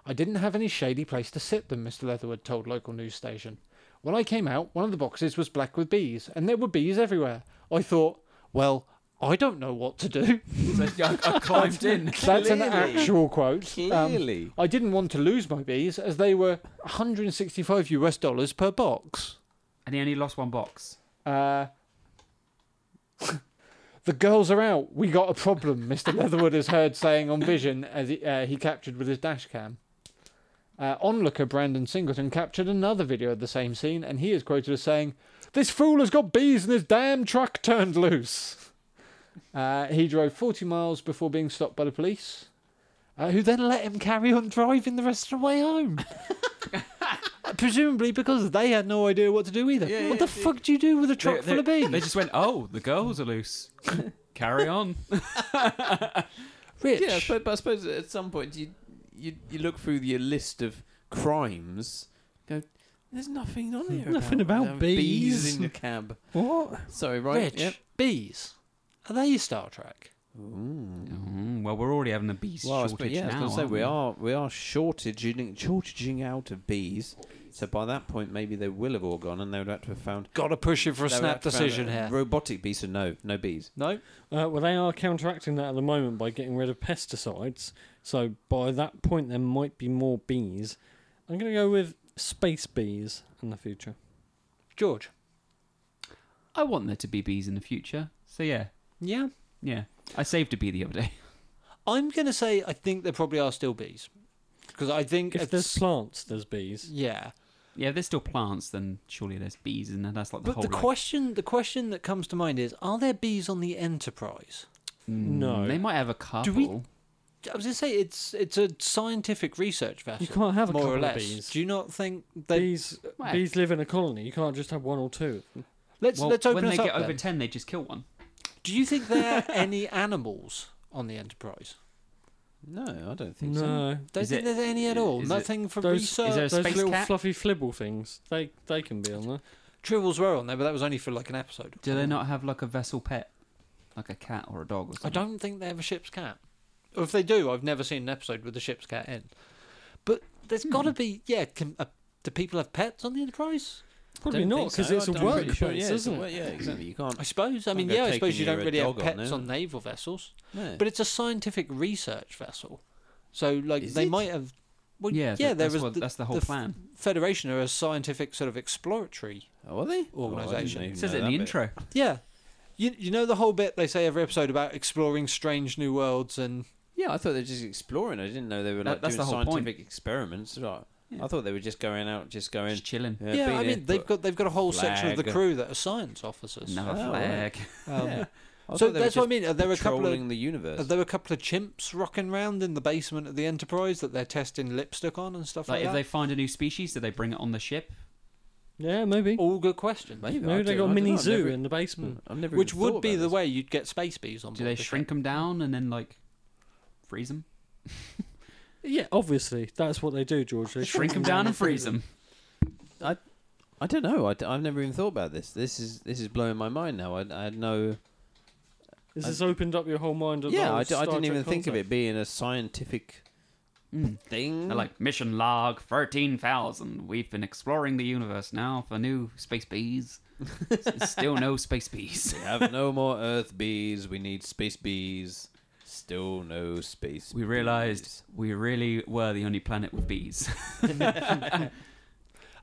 Speaker 2: I didn't have any shady place to sit them, Mr. Leatherwood told local news station. When I came out, one of the boxes was black with bees, and there were bees everywhere. I thought, well, I don't know what to do.
Speaker 4: So I, I climbed in.
Speaker 2: That's an
Speaker 3: Clearly.
Speaker 2: actual quote. Um,
Speaker 3: Clearly.
Speaker 2: I didn't want to lose my bees as they were 165 US dollars per box.
Speaker 4: And he only lost one box.
Speaker 2: Uh, the girls are out. We got a problem, Mr. Leatherwood is heard saying on Vision as he, uh, he captured with his dash cam. Uh, onlooker Brandon Singleton captured another video of the same scene, and he is quoted as saying, This fool has got bees in his damn truck turned loose. Uh, he drove 40 miles before being stopped by the police, uh, who then let him carry on driving the rest of the way home. Presumably because they had no idea what to do either.
Speaker 3: Yeah,
Speaker 2: what
Speaker 3: yeah,
Speaker 2: the fuck do you do with a truck
Speaker 4: they,
Speaker 2: full of bees?
Speaker 4: They just went, oh, the girls are loose. Carry on.
Speaker 2: Rich.
Speaker 3: Yeah, I suppose, but I suppose at some point you you you look through your list of crimes, go. There's nothing on here.
Speaker 6: Nothing about
Speaker 3: um,
Speaker 6: bees."
Speaker 3: in your cab.
Speaker 6: What?
Speaker 3: Sorry, right?
Speaker 2: Rich. Bees. Are they Star Trek?
Speaker 4: Mm, well, we're already having a bee
Speaker 3: Well, I
Speaker 4: shortage
Speaker 3: suppose, yeah, I was
Speaker 4: now.
Speaker 3: gonna say
Speaker 4: aren't
Speaker 3: we are we are shortaging shortaging out of bees. So by that point, maybe they will have all gone, and they would have to have found
Speaker 2: Gotta push it for a
Speaker 3: they would
Speaker 2: snap
Speaker 3: have to have
Speaker 2: decision
Speaker 3: found a
Speaker 2: here.
Speaker 3: Robotic bees, so no, no bees.
Speaker 2: no?
Speaker 1: Uh, well, they are counteracting that at the moment by getting rid of pesticides. So by that point, there might be more bees. I'm going to go with space bees in the future.
Speaker 2: George.
Speaker 4: I want there to be bees in the future. So yeah,
Speaker 2: Yeah?
Speaker 4: yeah. I saved a bee the other day.
Speaker 2: I'm going to say I think there probably are still bees. Because I think.
Speaker 1: If
Speaker 2: it's-
Speaker 1: there's plants, there's bees.
Speaker 2: Yeah.
Speaker 4: Yeah, if there's still plants, then surely there's bees, and that's like the
Speaker 2: But
Speaker 4: whole.
Speaker 2: the
Speaker 4: like,
Speaker 2: question the question that comes to mind is are there bees on the Enterprise?
Speaker 1: No.
Speaker 4: they might have a couple.
Speaker 2: we- I was going to say it's it's a scientific research vessel.
Speaker 1: You can't have a
Speaker 2: more
Speaker 1: couple
Speaker 2: or less.
Speaker 1: of bees.
Speaker 2: Do you not think they
Speaker 1: bees,
Speaker 2: uh,
Speaker 4: Why?
Speaker 1: bees live in a colony. You can't just have one or two.
Speaker 2: Let's
Speaker 4: Well,
Speaker 2: let's open
Speaker 4: when
Speaker 2: it
Speaker 4: they
Speaker 2: up.
Speaker 4: get over
Speaker 2: then.
Speaker 4: ten, they just kill one.
Speaker 2: Do you think there are any animals on the Enterprise?
Speaker 3: No, I don't think so.
Speaker 1: No,
Speaker 2: Don't
Speaker 4: Is
Speaker 2: think
Speaker 4: it-
Speaker 2: there's any at
Speaker 4: i-
Speaker 2: all.
Speaker 4: is it-
Speaker 2: Nothing for
Speaker 1: those-
Speaker 2: research.
Speaker 4: is there a
Speaker 1: those
Speaker 4: space
Speaker 1: little
Speaker 4: cat?
Speaker 1: fluffy flibble things. They they can be on there.
Speaker 2: Tribbles were on there, but that was only for like an episode.
Speaker 4: Do they not have like a vessel pet, like a cat or a dog or
Speaker 2: I
Speaker 4: something?
Speaker 2: don't think they have a ship's cat. Or if they do, I've never seen an episode with the ship's cat in. But there's got to be, yeah. Can, uh, do people have pets on the Enterprise?
Speaker 1: Probably not because it's a workplace, isn't it?
Speaker 3: Yeah, exactly. You can't.
Speaker 2: I suppose. I mean,
Speaker 3: go
Speaker 2: yeah, I
Speaker 3: taking
Speaker 2: suppose you
Speaker 3: your
Speaker 2: don't
Speaker 3: red
Speaker 2: really have
Speaker 3: dog on,
Speaker 2: pets
Speaker 3: no.
Speaker 2: on naval vessels,
Speaker 3: No.
Speaker 2: but it's a scientific research vessel. So, like,
Speaker 3: Is
Speaker 2: they
Speaker 3: it?
Speaker 2: might have. Well,
Speaker 4: yeah,
Speaker 2: yeah,
Speaker 4: that-
Speaker 2: there
Speaker 4: that's,
Speaker 2: was
Speaker 4: what-
Speaker 2: the
Speaker 4: that's the whole
Speaker 2: f-
Speaker 4: plan.
Speaker 2: Federation are a scientific sort of exploratory
Speaker 3: oh, are they?
Speaker 2: organisation.
Speaker 3: Oh, I didn't
Speaker 4: It
Speaker 3: even
Speaker 4: says
Speaker 3: know
Speaker 4: it in
Speaker 3: that
Speaker 4: the
Speaker 3: bit.
Speaker 4: intro.
Speaker 2: Yeah. You, you know the whole bit they say every episode about exploring strange new worlds and
Speaker 3: Yeah, I thought they were just exploring. I didn't know they were
Speaker 4: That-
Speaker 3: like
Speaker 4: that's
Speaker 3: doing
Speaker 4: the whole point.
Speaker 3: scientific experiments. Right. I thought they were just going out, just going.
Speaker 4: Just chilling.
Speaker 2: Yeah,
Speaker 3: Yeah, been
Speaker 2: I
Speaker 3: here,
Speaker 2: mean they've
Speaker 3: but-
Speaker 2: got they've got a whole section of the
Speaker 3: Flag.
Speaker 2: crew that are science officers.
Speaker 4: Another
Speaker 3: Oh,
Speaker 4: flag.
Speaker 2: Um,
Speaker 3: yeah. I
Speaker 2: So
Speaker 3: thought they were
Speaker 2: that's what I
Speaker 3: just
Speaker 2: mean. Are there a couple of
Speaker 3: patrolling the universe.
Speaker 2: are there a couple of chimps rocking round in the basement of the Enterprise that they're testing lipstick on and stuff
Speaker 4: Like,
Speaker 2: like,
Speaker 4: if they
Speaker 2: that?
Speaker 4: find a new species, do they bring it on the ship?
Speaker 1: Yeah, maybe.
Speaker 2: All good questions.
Speaker 3: Maybe, Oh, I
Speaker 1: Maybe they
Speaker 3: don't-
Speaker 1: got
Speaker 3: I
Speaker 1: a
Speaker 3: don't know,
Speaker 1: mini
Speaker 3: I've
Speaker 1: zoo
Speaker 3: never-
Speaker 1: in the basement.
Speaker 3: Hmm. I've never
Speaker 2: Which
Speaker 3: even
Speaker 2: would
Speaker 3: thought
Speaker 2: be
Speaker 3: about
Speaker 2: the
Speaker 3: this.
Speaker 2: way you'd get space bees on
Speaker 4: Do
Speaker 2: board
Speaker 4: they
Speaker 2: the ship.
Speaker 4: shrink them down and then like freeze them?
Speaker 3: Hmm.
Speaker 1: Yeah, obviously that's what they do, George. They
Speaker 4: Shrink them down and freeze them.
Speaker 3: I don't know. I, have never even thought about this. This is this is blowing my mind now. I, I had no.
Speaker 1: This has opened up your whole mind. Of the
Speaker 3: Yeah,
Speaker 1: whole
Speaker 3: I, d- I
Speaker 1: Star
Speaker 3: didn't
Speaker 1: Trek
Speaker 3: even think of
Speaker 1: concept.
Speaker 3: it being a scientific thing.
Speaker 4: They're like mission log thirteen thousand. We've been exploring the universe now for new space bees. S- Still no space bees.
Speaker 3: we have no more Earth bees. We need space bees. Still no space.
Speaker 4: We
Speaker 3: bees.
Speaker 4: realized we really were the only planet with bees.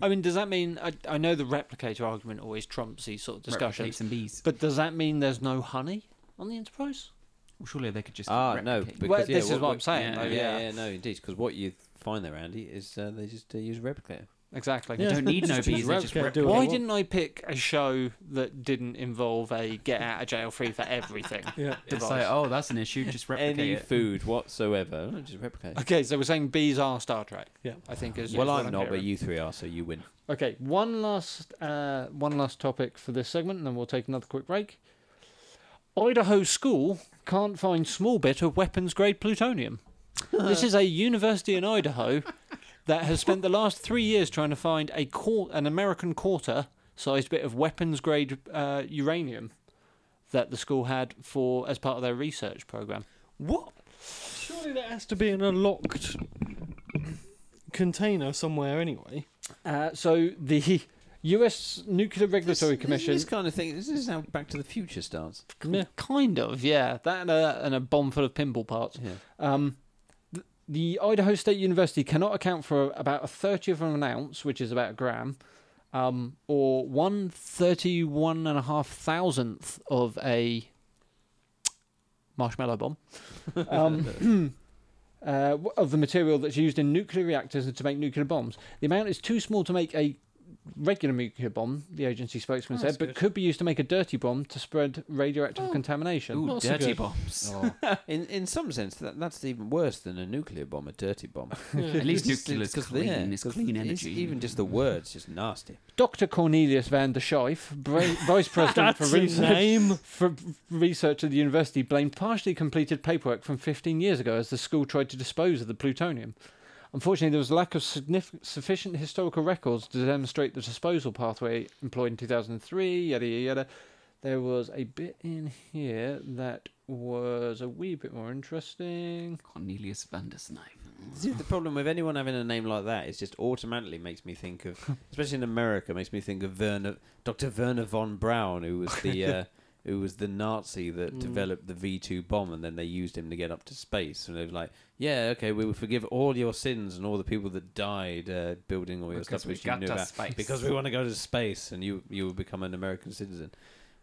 Speaker 2: I mean, does that mean I, I know the replicator argument always trumps these sort of discussions,
Speaker 4: Replicates and bees.
Speaker 2: but does that mean there's no honey on the Enterprise?
Speaker 4: Well, surely they could just
Speaker 3: Ah, no.
Speaker 4: replicate.
Speaker 3: Because,
Speaker 2: well,
Speaker 3: yeah,
Speaker 2: this is what, I'm saying.
Speaker 4: Uh,
Speaker 3: Yeah,
Speaker 2: though,
Speaker 3: yeah, yeah, no, indeed. Because what you find there, Andy, is uh, they just uh, use a replicator.
Speaker 2: exactly.
Speaker 1: Yeah.
Speaker 4: They don't need no
Speaker 1: Just
Speaker 4: bees. They
Speaker 1: replicate,
Speaker 4: just
Speaker 1: do
Speaker 4: replicate.
Speaker 1: it.
Speaker 2: Why
Speaker 1: Well-
Speaker 2: didn't I pick a show that didn't involve a get out of jail free for everything?
Speaker 1: Yeah.
Speaker 4: It's
Speaker 2: device?
Speaker 4: like, oh, that's an issue. Just replicate
Speaker 3: Any
Speaker 4: it.
Speaker 3: food whatsoever, no, just replicate.
Speaker 2: Okay, so we're saying bees are Star Trek.
Speaker 1: Yeah.
Speaker 2: I think is
Speaker 3: well,
Speaker 2: is what
Speaker 3: I'm not, but
Speaker 2: hearing.
Speaker 3: you three are, so you win.
Speaker 2: Okay, one last uh, one last topic for this segment, and then we'll take another quick break. Idaho school can't find small bit of weapons grade plutonium. this is a university in Idaho that has spent the last three years trying to find a quar- an American quarter sized bit of weapons grade uh, uranium that the school had for as part of their research program.
Speaker 1: What? Surely that has to be in a locked container somewhere anyway.
Speaker 2: Uh, so the U.S. Nuclear Regulatory Commission
Speaker 3: This kind of thing. This is how Back to the Future starts.
Speaker 1: Yeah.
Speaker 2: Kind of, yeah. That and a, and a bomb full of pinball parts.
Speaker 3: Yeah.
Speaker 2: Um, th- the Idaho State University cannot account for about a thirtieth of an ounce, which is about a gram, um, or one thirty-one and a half thousandth of a marshmallow bomb. Um, uh, w- of the material that's used in nuclear reactors and to make nuclear bombs. The amount is too small to make a regular nuclear bomb, the agency spokesman
Speaker 1: Oh,
Speaker 2: said,
Speaker 1: that's
Speaker 2: but
Speaker 1: good. Oh.
Speaker 2: could be used to make a dirty bomb to spread radioactive contamination.
Speaker 4: Ooh,
Speaker 1: Not so
Speaker 4: dirty
Speaker 1: good.
Speaker 4: bombs.
Speaker 3: Oh. in in some sense, that, that's even worse than a nuclear bomb, a dirty bomb.
Speaker 4: At least
Speaker 3: It's just-
Speaker 4: nuclear is
Speaker 3: it's 'cause
Speaker 4: clean.
Speaker 3: they're-
Speaker 4: It's
Speaker 3: 'cause
Speaker 4: clean energy.
Speaker 3: even just the words, just nasty.
Speaker 2: Dr. Cornelius van der Scheif, bra- Vice President for
Speaker 1: That's a
Speaker 2: Research.
Speaker 1: name.
Speaker 2: For research at the university blamed partially completed paperwork from 15 years ago as the school tried to dispose of the plutonium. Unfortunately, there was a lack of signif- sufficient historical records to demonstrate the disposal pathway employed in 2003, yada yada yada. There was a bit in here that was a wee bit more interesting.
Speaker 4: Cornelius van der Snipe.
Speaker 3: See, the problem with anyone having a name like that is just automatically makes me think of, especially in America, makes me think of Werner, Dr. Werner von Braun, who was the uh, who was the Nazi that
Speaker 4: Mm.
Speaker 3: developed the V two bomb, and then they used him to get up to space. And they were like, "Yeah, okay, we will forgive all your sins and all the people that died uh, building all your
Speaker 4: Because
Speaker 3: stuff
Speaker 4: we
Speaker 3: which you
Speaker 4: got
Speaker 3: knew
Speaker 4: to
Speaker 3: about
Speaker 4: space."
Speaker 3: because we want to go to space, and you you will become an American citizen."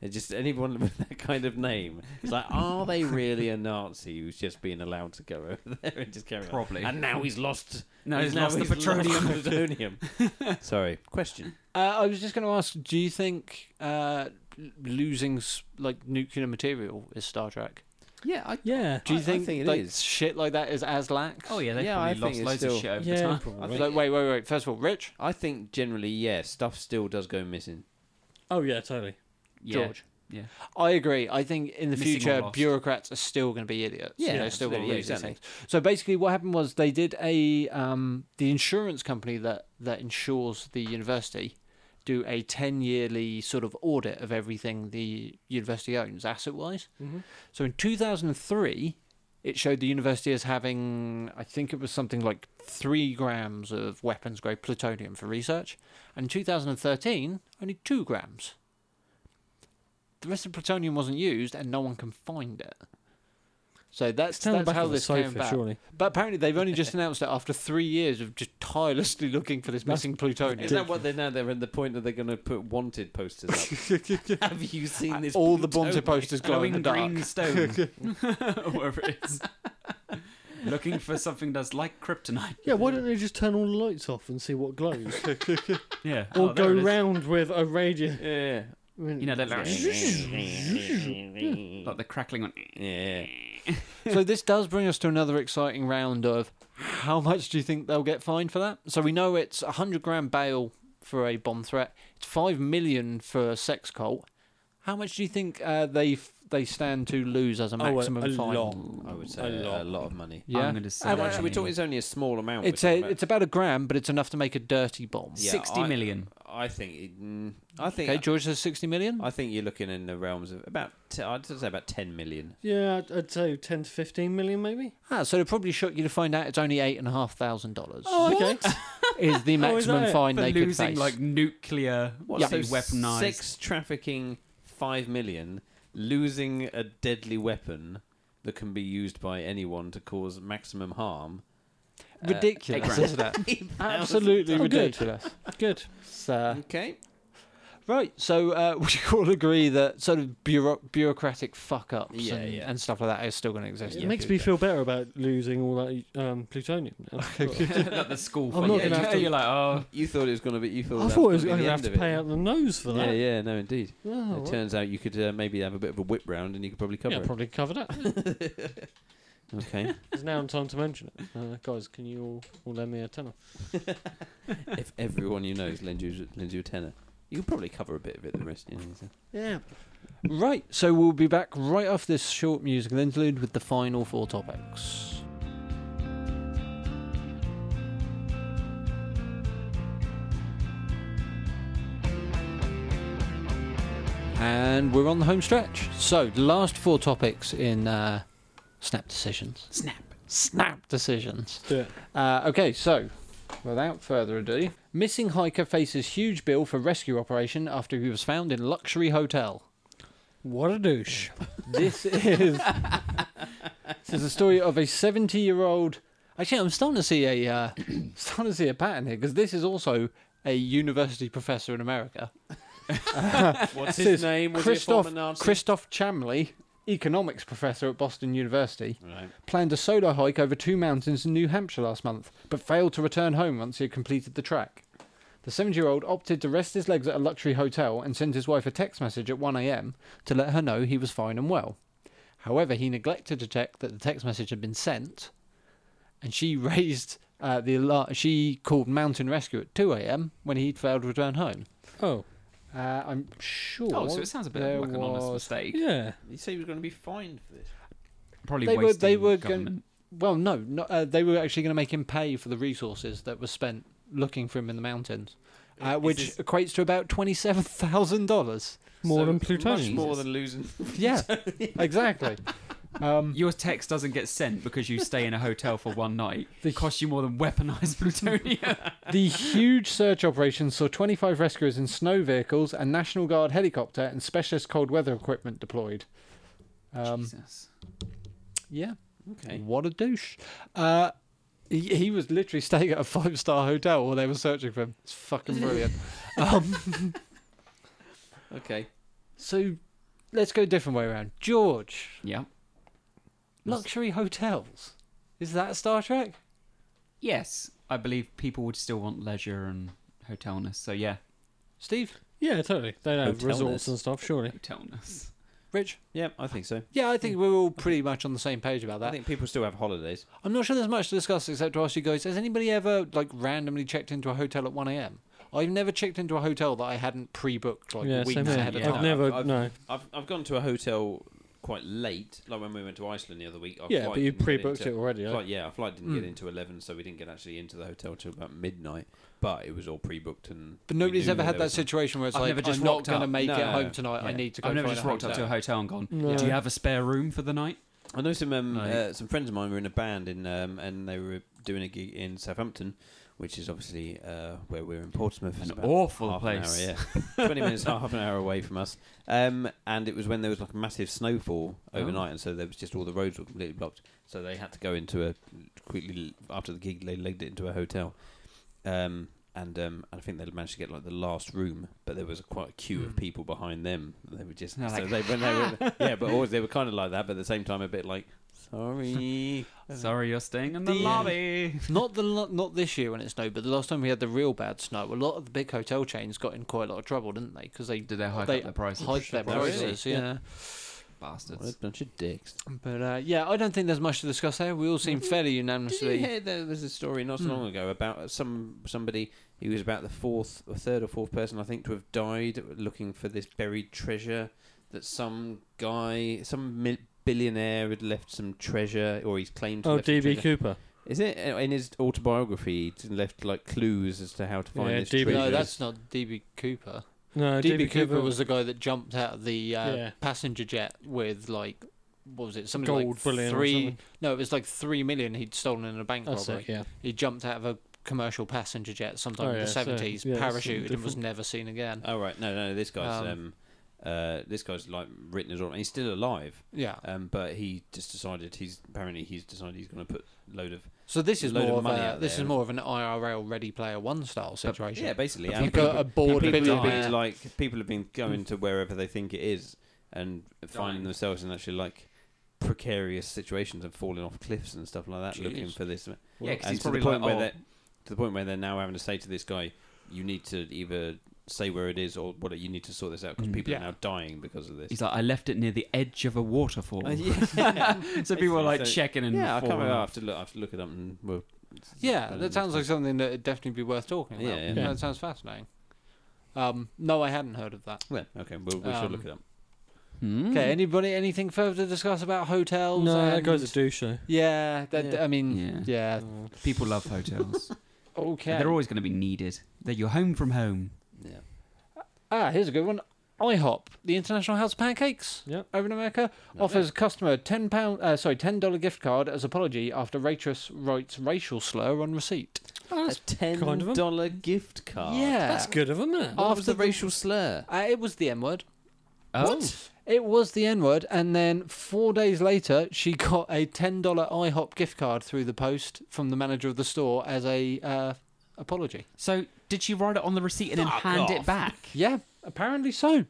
Speaker 3: It just anyone with that kind of name. It's like, are they really a Nazi who's just being allowed to go over there and just carry on?
Speaker 4: Probably.
Speaker 3: And now he's lost.
Speaker 4: No, he's lost the petroleum.
Speaker 3: lost petroleum. Sorry. Question.
Speaker 2: Uh, I was just going to ask do you think uh, l- losing s- like nuclear material is Star Trek?
Speaker 3: Yeah, I,
Speaker 1: Yeah.
Speaker 2: Do you
Speaker 3: I- I
Speaker 2: think,
Speaker 3: think it
Speaker 2: like,
Speaker 3: is.
Speaker 2: shit like that is as lax?
Speaker 4: Oh yeah, they
Speaker 3: Yeah, I
Speaker 4: probably
Speaker 3: think
Speaker 4: lost
Speaker 3: it's
Speaker 4: loads
Speaker 3: still-
Speaker 4: of shit over the
Speaker 1: Yeah.
Speaker 4: time.
Speaker 3: Oh,
Speaker 1: probably.
Speaker 2: Like, wait, wait, wait. First of all, Rich,
Speaker 3: I think generally, yeah, stuff still does go missing.
Speaker 1: Oh yeah, totally.
Speaker 4: Yeah.
Speaker 2: George.
Speaker 4: Yeah.
Speaker 2: I agree. I think in the
Speaker 4: Missing or
Speaker 2: future,
Speaker 4: lost.
Speaker 2: bureaucrats are still going to be idiots.
Speaker 3: Yeah,
Speaker 2: they're still going to
Speaker 3: absolutely,
Speaker 2: lose
Speaker 3: yeah,
Speaker 2: these
Speaker 3: exactly.
Speaker 2: things. So basically, what happened was they did a um, the insurance company that that insures the university do a ten yearly sort of audit of everything the university owns asset wise.
Speaker 3: Mm-hmm.
Speaker 2: So in two thousand and three. It showed the university as having, I think it was something like three grams of weapons grade plutonium for research. And in 2013, only two grams the rest of plutonium wasn't used and no one can find it. So that's,
Speaker 1: It's down the
Speaker 2: that's
Speaker 1: back
Speaker 2: how
Speaker 1: of the
Speaker 2: this came
Speaker 1: sofa,
Speaker 2: about.
Speaker 1: surely.
Speaker 2: But apparently they've only just announced it after three years of just tirelessly looking for this
Speaker 1: That's
Speaker 2: missing plutonium.
Speaker 3: Is that what they're now? They're at the point that they're going to put wanted posters up. Have you seen this?
Speaker 2: All the Bonte posters glow in the
Speaker 4: Glowing
Speaker 2: dark.
Speaker 4: green stone. Or Whatever it is. looking for something that's like kryptonite.
Speaker 1: Yeah, why don't they just turn all the lights off and see what glows?
Speaker 4: Yeah.
Speaker 1: or go
Speaker 4: Oh, there it is.
Speaker 1: round with a radio.
Speaker 3: Yeah.
Speaker 4: You know that like, like the crackling on.
Speaker 3: Yeah.
Speaker 2: so this does bring us to another exciting round of how much do you think they'll get fined for that? So we know it's a hundred grand bail for a bomb threat. It's five million for a sex cult. How much do you think uh, they f- they stand to lose as a
Speaker 1: Oh, a-
Speaker 2: maximum
Speaker 1: a
Speaker 2: fine?
Speaker 1: lot.
Speaker 3: I would say a lot, of money.
Speaker 2: Yeah,
Speaker 4: I'm gonna say
Speaker 2: How
Speaker 3: And
Speaker 2: much-
Speaker 3: actually, we're talking. It's only a small amount.
Speaker 2: it's
Speaker 3: we're
Speaker 2: a
Speaker 3: talking about.
Speaker 2: it's about a gram, but it's enough to make a dirty bomb.
Speaker 3: Yeah,
Speaker 4: Sixty
Speaker 3: I-
Speaker 4: million.
Speaker 3: I think. It, mm, I think.
Speaker 2: Okay, George says sixty million.
Speaker 3: I think you're looking in the realms of about. T- I'd say about ten million.
Speaker 1: Yeah, I'd, I'd say 10 to 15 million maybe.
Speaker 2: Ah, so it probably shocked you to find out it's only eight and a half thousand dollars
Speaker 1: Oh, okay.
Speaker 2: is the
Speaker 1: Oh, is
Speaker 2: maximum
Speaker 1: that it?
Speaker 2: fine
Speaker 4: For
Speaker 2: they could
Speaker 4: losing
Speaker 2: face.
Speaker 4: like nuclear,
Speaker 3: What?
Speaker 4: yeah.
Speaker 3: so
Speaker 4: weaponized.
Speaker 3: Sex trafficking, five million. Losing a deadly weapon that can be used by anyone to cause maximum harm. uh,
Speaker 2: ridiculous,
Speaker 4: eight
Speaker 2: isn't it?
Speaker 3: Absolutely
Speaker 2: Absolutely
Speaker 1: Oh, good.
Speaker 2: ridiculous.
Speaker 1: Good.
Speaker 2: So,
Speaker 3: Okay.
Speaker 2: right, so uh, we should all agree that sort of bureau- bureaucratic fuck ups
Speaker 3: Yeah,
Speaker 2: and,
Speaker 3: yeah.
Speaker 2: and stuff like that is still going to exist.
Speaker 1: It
Speaker 2: in the
Speaker 1: makes me
Speaker 2: future.
Speaker 1: feel better about losing all that um, plutonium. now.
Speaker 4: Like the school.
Speaker 1: I'm
Speaker 4: fund.
Speaker 1: not
Speaker 4: Yeah,
Speaker 1: gonna
Speaker 4: you-
Speaker 1: have to-
Speaker 4: You're like, oh,
Speaker 3: You thought it was going to be. You thought.
Speaker 1: I
Speaker 3: that
Speaker 1: thought I
Speaker 3: was
Speaker 1: was
Speaker 3: gonna
Speaker 1: going
Speaker 3: be
Speaker 1: to
Speaker 3: "Oh, the
Speaker 1: have
Speaker 3: end
Speaker 1: to
Speaker 3: of it.
Speaker 1: pay out the nose for
Speaker 3: Yeah,
Speaker 1: that.
Speaker 3: yeah, no, indeed.
Speaker 1: Oh,
Speaker 3: it
Speaker 1: well.
Speaker 3: turns out you could uh, maybe have a bit of a whip round and you could probably cover
Speaker 1: yeah,
Speaker 3: it.
Speaker 1: probably cover that.
Speaker 3: Okay.
Speaker 1: It's now time to mention it. Uh, guys, can you all, all lend me a tenner?
Speaker 3: if everyone you know lends you lends you a tenner, you could probably cover a bit of it. The rest, you know. so-
Speaker 1: Yeah.
Speaker 2: Right, so we'll be back right after this short musical interlude with the final four topics. And we're on the home stretch. So, the last four topics in uh, Snap Decisions.
Speaker 4: snap.
Speaker 2: Snap Decisions.
Speaker 1: Do it.
Speaker 2: Uh, okay, so without further ado, missing hiker faces huge bill for rescue operation after he was found in luxury hotel.
Speaker 1: What a douche.
Speaker 2: This is this is a story of a seventy-year-old. Actually, I'm starting to see a uh, starting to see a pattern here because this is also a university professor in America,
Speaker 3: What's
Speaker 2: his
Speaker 3: name?
Speaker 2: Was he a Christoph- former Christoph Chamley, economics professor at Boston University,
Speaker 3: Right.
Speaker 2: planned a solo hike over two mountains in New Hampshire last month, but failed to return home once he had completed the track. The 70 year old opted to rest his legs at a luxury hotel and sent his wife a text message at 1am to let her know he was fine and well. However, he neglected to check that the text message had been sent, and she raised uh, the alarm. She called Mountain Rescue at 2am when he'd failed to return home.
Speaker 1: Oh,
Speaker 2: Uh, I'm sure.
Speaker 4: Oh, so it sounds a bit
Speaker 2: there
Speaker 4: like an honest
Speaker 2: was-
Speaker 4: mistake.
Speaker 1: yeah.
Speaker 3: You say he was going to be fined for this.
Speaker 4: Probably
Speaker 2: They were-
Speaker 4: wasting
Speaker 2: they were
Speaker 4: government.
Speaker 2: Well, no, no uh, they were actually going to make him pay for the resources that were spent looking for him in the mountains, uh,
Speaker 3: Is
Speaker 2: which
Speaker 3: this-
Speaker 2: equates to about twenty-seven thousand dollars.
Speaker 1: More
Speaker 3: So,
Speaker 1: than
Speaker 3: Much
Speaker 1: plutonium.
Speaker 3: more than losing.
Speaker 2: Yeah, exactly. Um,
Speaker 4: Your text doesn't get sent because you stay in a hotel for one night.
Speaker 2: The-
Speaker 4: It costs you more than weaponized plutonium.
Speaker 2: the huge search operation saw twenty-five rescuers in snow vehicles, a National Guard helicopter, and specialist cold weather equipment deployed. Um,
Speaker 4: Jesus.
Speaker 2: yeah.
Speaker 3: Okay.
Speaker 2: What a douche. Uh, he, he was literally staying at a five star hotel while they were searching for him. It's fucking brilliant. um,
Speaker 3: Okay.
Speaker 2: so let's go a different way around. George,
Speaker 4: Yeah.
Speaker 2: luxury hotels. Is that Star Trek?
Speaker 4: Yes, I believe people would still want leisure and hotelness. So yeah,
Speaker 2: Steve?
Speaker 1: Yeah, totally. They don't have
Speaker 3: Hotelness.
Speaker 1: resorts and stuff, surely.
Speaker 4: hotelness.
Speaker 2: Rich?
Speaker 3: Yeah, I think so.
Speaker 2: Yeah, I think we're all pretty much on the same page about
Speaker 3: I
Speaker 2: that.
Speaker 3: think people still have holidays.
Speaker 2: I'm not sure there's much to discuss except to ask you guys, has anybody ever like randomly checked into a hotel at 1am? I've never checked into a hotel that I hadn't pre-booked like
Speaker 1: yeah,
Speaker 2: weeks
Speaker 1: same here.
Speaker 2: ahead of
Speaker 4: yeah.
Speaker 2: time.
Speaker 1: I've never,
Speaker 3: I've-
Speaker 1: no.
Speaker 3: I've I've gone to a hotel quite late, like when we went to Iceland the other week. Our
Speaker 1: Yeah,
Speaker 3: flight
Speaker 1: but you
Speaker 3: didn't get
Speaker 1: pre-booked
Speaker 3: into-
Speaker 1: it already. eh?
Speaker 3: Flight, yeah, our flight didn't get
Speaker 2: Mm.
Speaker 3: into eleven, so we didn't get actually into the hotel till about midnight. But it was all pre-booked and.
Speaker 2: But
Speaker 3: we
Speaker 2: nobody's
Speaker 3: knew
Speaker 2: ever had
Speaker 3: there
Speaker 2: that
Speaker 3: was some-
Speaker 2: situation where it's
Speaker 4: I've
Speaker 2: like,
Speaker 4: never just
Speaker 2: I'm not
Speaker 4: rocked
Speaker 2: going to
Speaker 4: up.
Speaker 2: make it
Speaker 3: No.
Speaker 2: home tonight. I
Speaker 4: Yeah.
Speaker 2: need to go.
Speaker 4: I've never
Speaker 2: find
Speaker 4: just
Speaker 2: a
Speaker 4: rocked up to
Speaker 2: hotel.
Speaker 4: a hotel and gone.
Speaker 1: No.
Speaker 4: Do you have a spare room for the night?
Speaker 3: I know some um,
Speaker 4: Like-
Speaker 3: uh, some friends of mine were in a band in um, and they were doing a gig in Southampton, which is obviously uh, where we're in Portsmouth. It's
Speaker 4: An
Speaker 3: about
Speaker 4: awful
Speaker 3: half an
Speaker 4: place.
Speaker 3: hour, yeah, twenty minutes, half an hour away from us. Um, and it was when there was like a massive snowfall
Speaker 4: Oh.
Speaker 3: overnight, and so there was just all the roads were completely blocked. So they had to go into a quickly after the gig, they legged it into a hotel. Um, and um, and I think they managed to get like the last room, but there was quite a queue of people behind them. They were just
Speaker 4: Hmm. They're
Speaker 3: so
Speaker 4: like,
Speaker 3: they, when they were, yeah, but always they were kind of like that, but at the same time a bit like Sorry.
Speaker 4: Sorry, you're staying in the
Speaker 2: The-
Speaker 4: lobby.
Speaker 2: Not the lo- not this year when it snowed, but the last time we had the real bad snow, a lot of the big hotel chains got in quite a lot of trouble, didn't they? Because they
Speaker 4: Did they hike
Speaker 2: They
Speaker 4: up the prices?
Speaker 2: hiked their
Speaker 3: Oh, really?
Speaker 2: prices. Yeah,
Speaker 4: Bastards.
Speaker 3: what a bunch of dicks.
Speaker 2: but uh, yeah, I don't think there's much to discuss there. We all seem
Speaker 4: Mm-hmm.
Speaker 2: fairly
Speaker 3: Did you
Speaker 2: unanimously.
Speaker 3: hear there was a story not so
Speaker 1: Hmm.
Speaker 3: long ago about some somebody who was about the fourth, or third or fourth person I think to have died looking for this buried treasure that some guy, some mil- billionaire had left some treasure, or he's claimed. To
Speaker 1: Oh,
Speaker 3: have left some
Speaker 1: DB
Speaker 3: treasure.
Speaker 1: Cooper.
Speaker 3: Is it uh, in his autobiography? He left like clues as to how to find
Speaker 1: Yeah,
Speaker 3: this
Speaker 1: DB.
Speaker 3: treasure.
Speaker 2: No, that's not DB Cooper.
Speaker 1: No,
Speaker 2: DB, Cooper, was the guy that jumped out of the uh,
Speaker 1: Yeah.
Speaker 2: passenger jet with like what was it? Something
Speaker 1: gold
Speaker 2: like
Speaker 1: bullion. or
Speaker 2: three.
Speaker 1: something.
Speaker 2: No, it was like three million he'd stolen in a bank
Speaker 1: That's
Speaker 2: robbery.
Speaker 1: it. Yeah.
Speaker 2: He jumped out of a commercial passenger jet sometime
Speaker 1: Oh,
Speaker 2: in
Speaker 1: yeah,
Speaker 2: the
Speaker 1: so-
Speaker 2: seventies,
Speaker 1: yeah, that's something Uh,
Speaker 2: parachuted and was never seen again.
Speaker 3: Oh right, no, no, this guy's um,
Speaker 2: Um,
Speaker 3: uh, this guy's like written his autobiography. He's still alive,
Speaker 2: yeah.
Speaker 3: um, but he just decided he's apparently he's decided he's going to put load of
Speaker 2: So this is
Speaker 3: Load of
Speaker 2: more of,
Speaker 3: money
Speaker 2: a,
Speaker 3: out
Speaker 2: this is
Speaker 3: there.
Speaker 2: more of an IRL Ready Player One style situation.
Speaker 3: yeah, basically.
Speaker 2: You've
Speaker 3: and
Speaker 2: got a bored
Speaker 3: people have been,
Speaker 2: billionaire.
Speaker 3: like people have been going to wherever they think it is and finding
Speaker 4: Dying.
Speaker 3: themselves in actually like precarious situations and falling off cliffs and stuff like that, looking
Speaker 2: Jeez.
Speaker 3: for this.
Speaker 4: Yeah, 'cause
Speaker 3: and
Speaker 4: he's
Speaker 3: to the
Speaker 4: probably
Speaker 3: point
Speaker 4: like,
Speaker 3: where
Speaker 4: oh,
Speaker 3: they're to the point where they're now having to say to this guy, "You need to either say where it is or what you need to sort this out because
Speaker 4: Mm.
Speaker 3: people
Speaker 2: Yeah.
Speaker 3: are now dying because of this."
Speaker 4: he's like, I left it near the edge of a waterfall.
Speaker 3: Uh, yeah.
Speaker 4: so people are like
Speaker 3: So-
Speaker 4: checking and
Speaker 3: yeah, I can't
Speaker 4: falling
Speaker 3: remember. I
Speaker 4: off.
Speaker 3: have to look. I have to look it up, and we'll.
Speaker 2: Yeah, that sounds like something that would definitely be worth talking about.
Speaker 3: Yeah,
Speaker 2: Yeah,
Speaker 3: yeah.
Speaker 1: Yeah.
Speaker 2: That sounds fascinating. Um, no, I hadn't heard of that.
Speaker 3: Yeah, okay, we'll, we should
Speaker 2: Um,
Speaker 3: look it up.
Speaker 4: Hmm.
Speaker 2: Okay, anybody, anything further to discuss about hotels?
Speaker 1: No, that
Speaker 2: and-
Speaker 1: guy's a douche. though.
Speaker 2: Yeah, that,
Speaker 3: Yeah.
Speaker 2: I mean,
Speaker 4: Yeah.
Speaker 2: yeah.
Speaker 1: Oh.
Speaker 4: People love hotels.
Speaker 2: Okay.
Speaker 4: And They're always going to be needed. They're your home from home.
Speaker 3: Yeah.
Speaker 2: Ah, here's a good one. IHOP, the International House of Pancakes,
Speaker 1: Yep.
Speaker 2: over in America, offers customer ten pound, uh, sorry, ten dollar gift card as apology after waitress writes racial slur on receipt.
Speaker 3: A ten
Speaker 1: kind of 'em.
Speaker 3: dollar gift card.
Speaker 2: Yeah,
Speaker 1: Oh, That's good of him, isn't it?
Speaker 2: Oh.
Speaker 3: What was
Speaker 2: After
Speaker 3: the
Speaker 2: the-
Speaker 3: racial slur?
Speaker 2: Uh, it was the N word.
Speaker 1: Oh.
Speaker 4: What?
Speaker 2: It was the N word, and then four days later, she got a ten dollar IHOP gift card through the post from the manager of the store as a uh, apology.
Speaker 4: So did she write it on the receipt and then
Speaker 3: Fuck
Speaker 4: hand
Speaker 3: off.
Speaker 4: it back?
Speaker 2: Yeah, apparently so.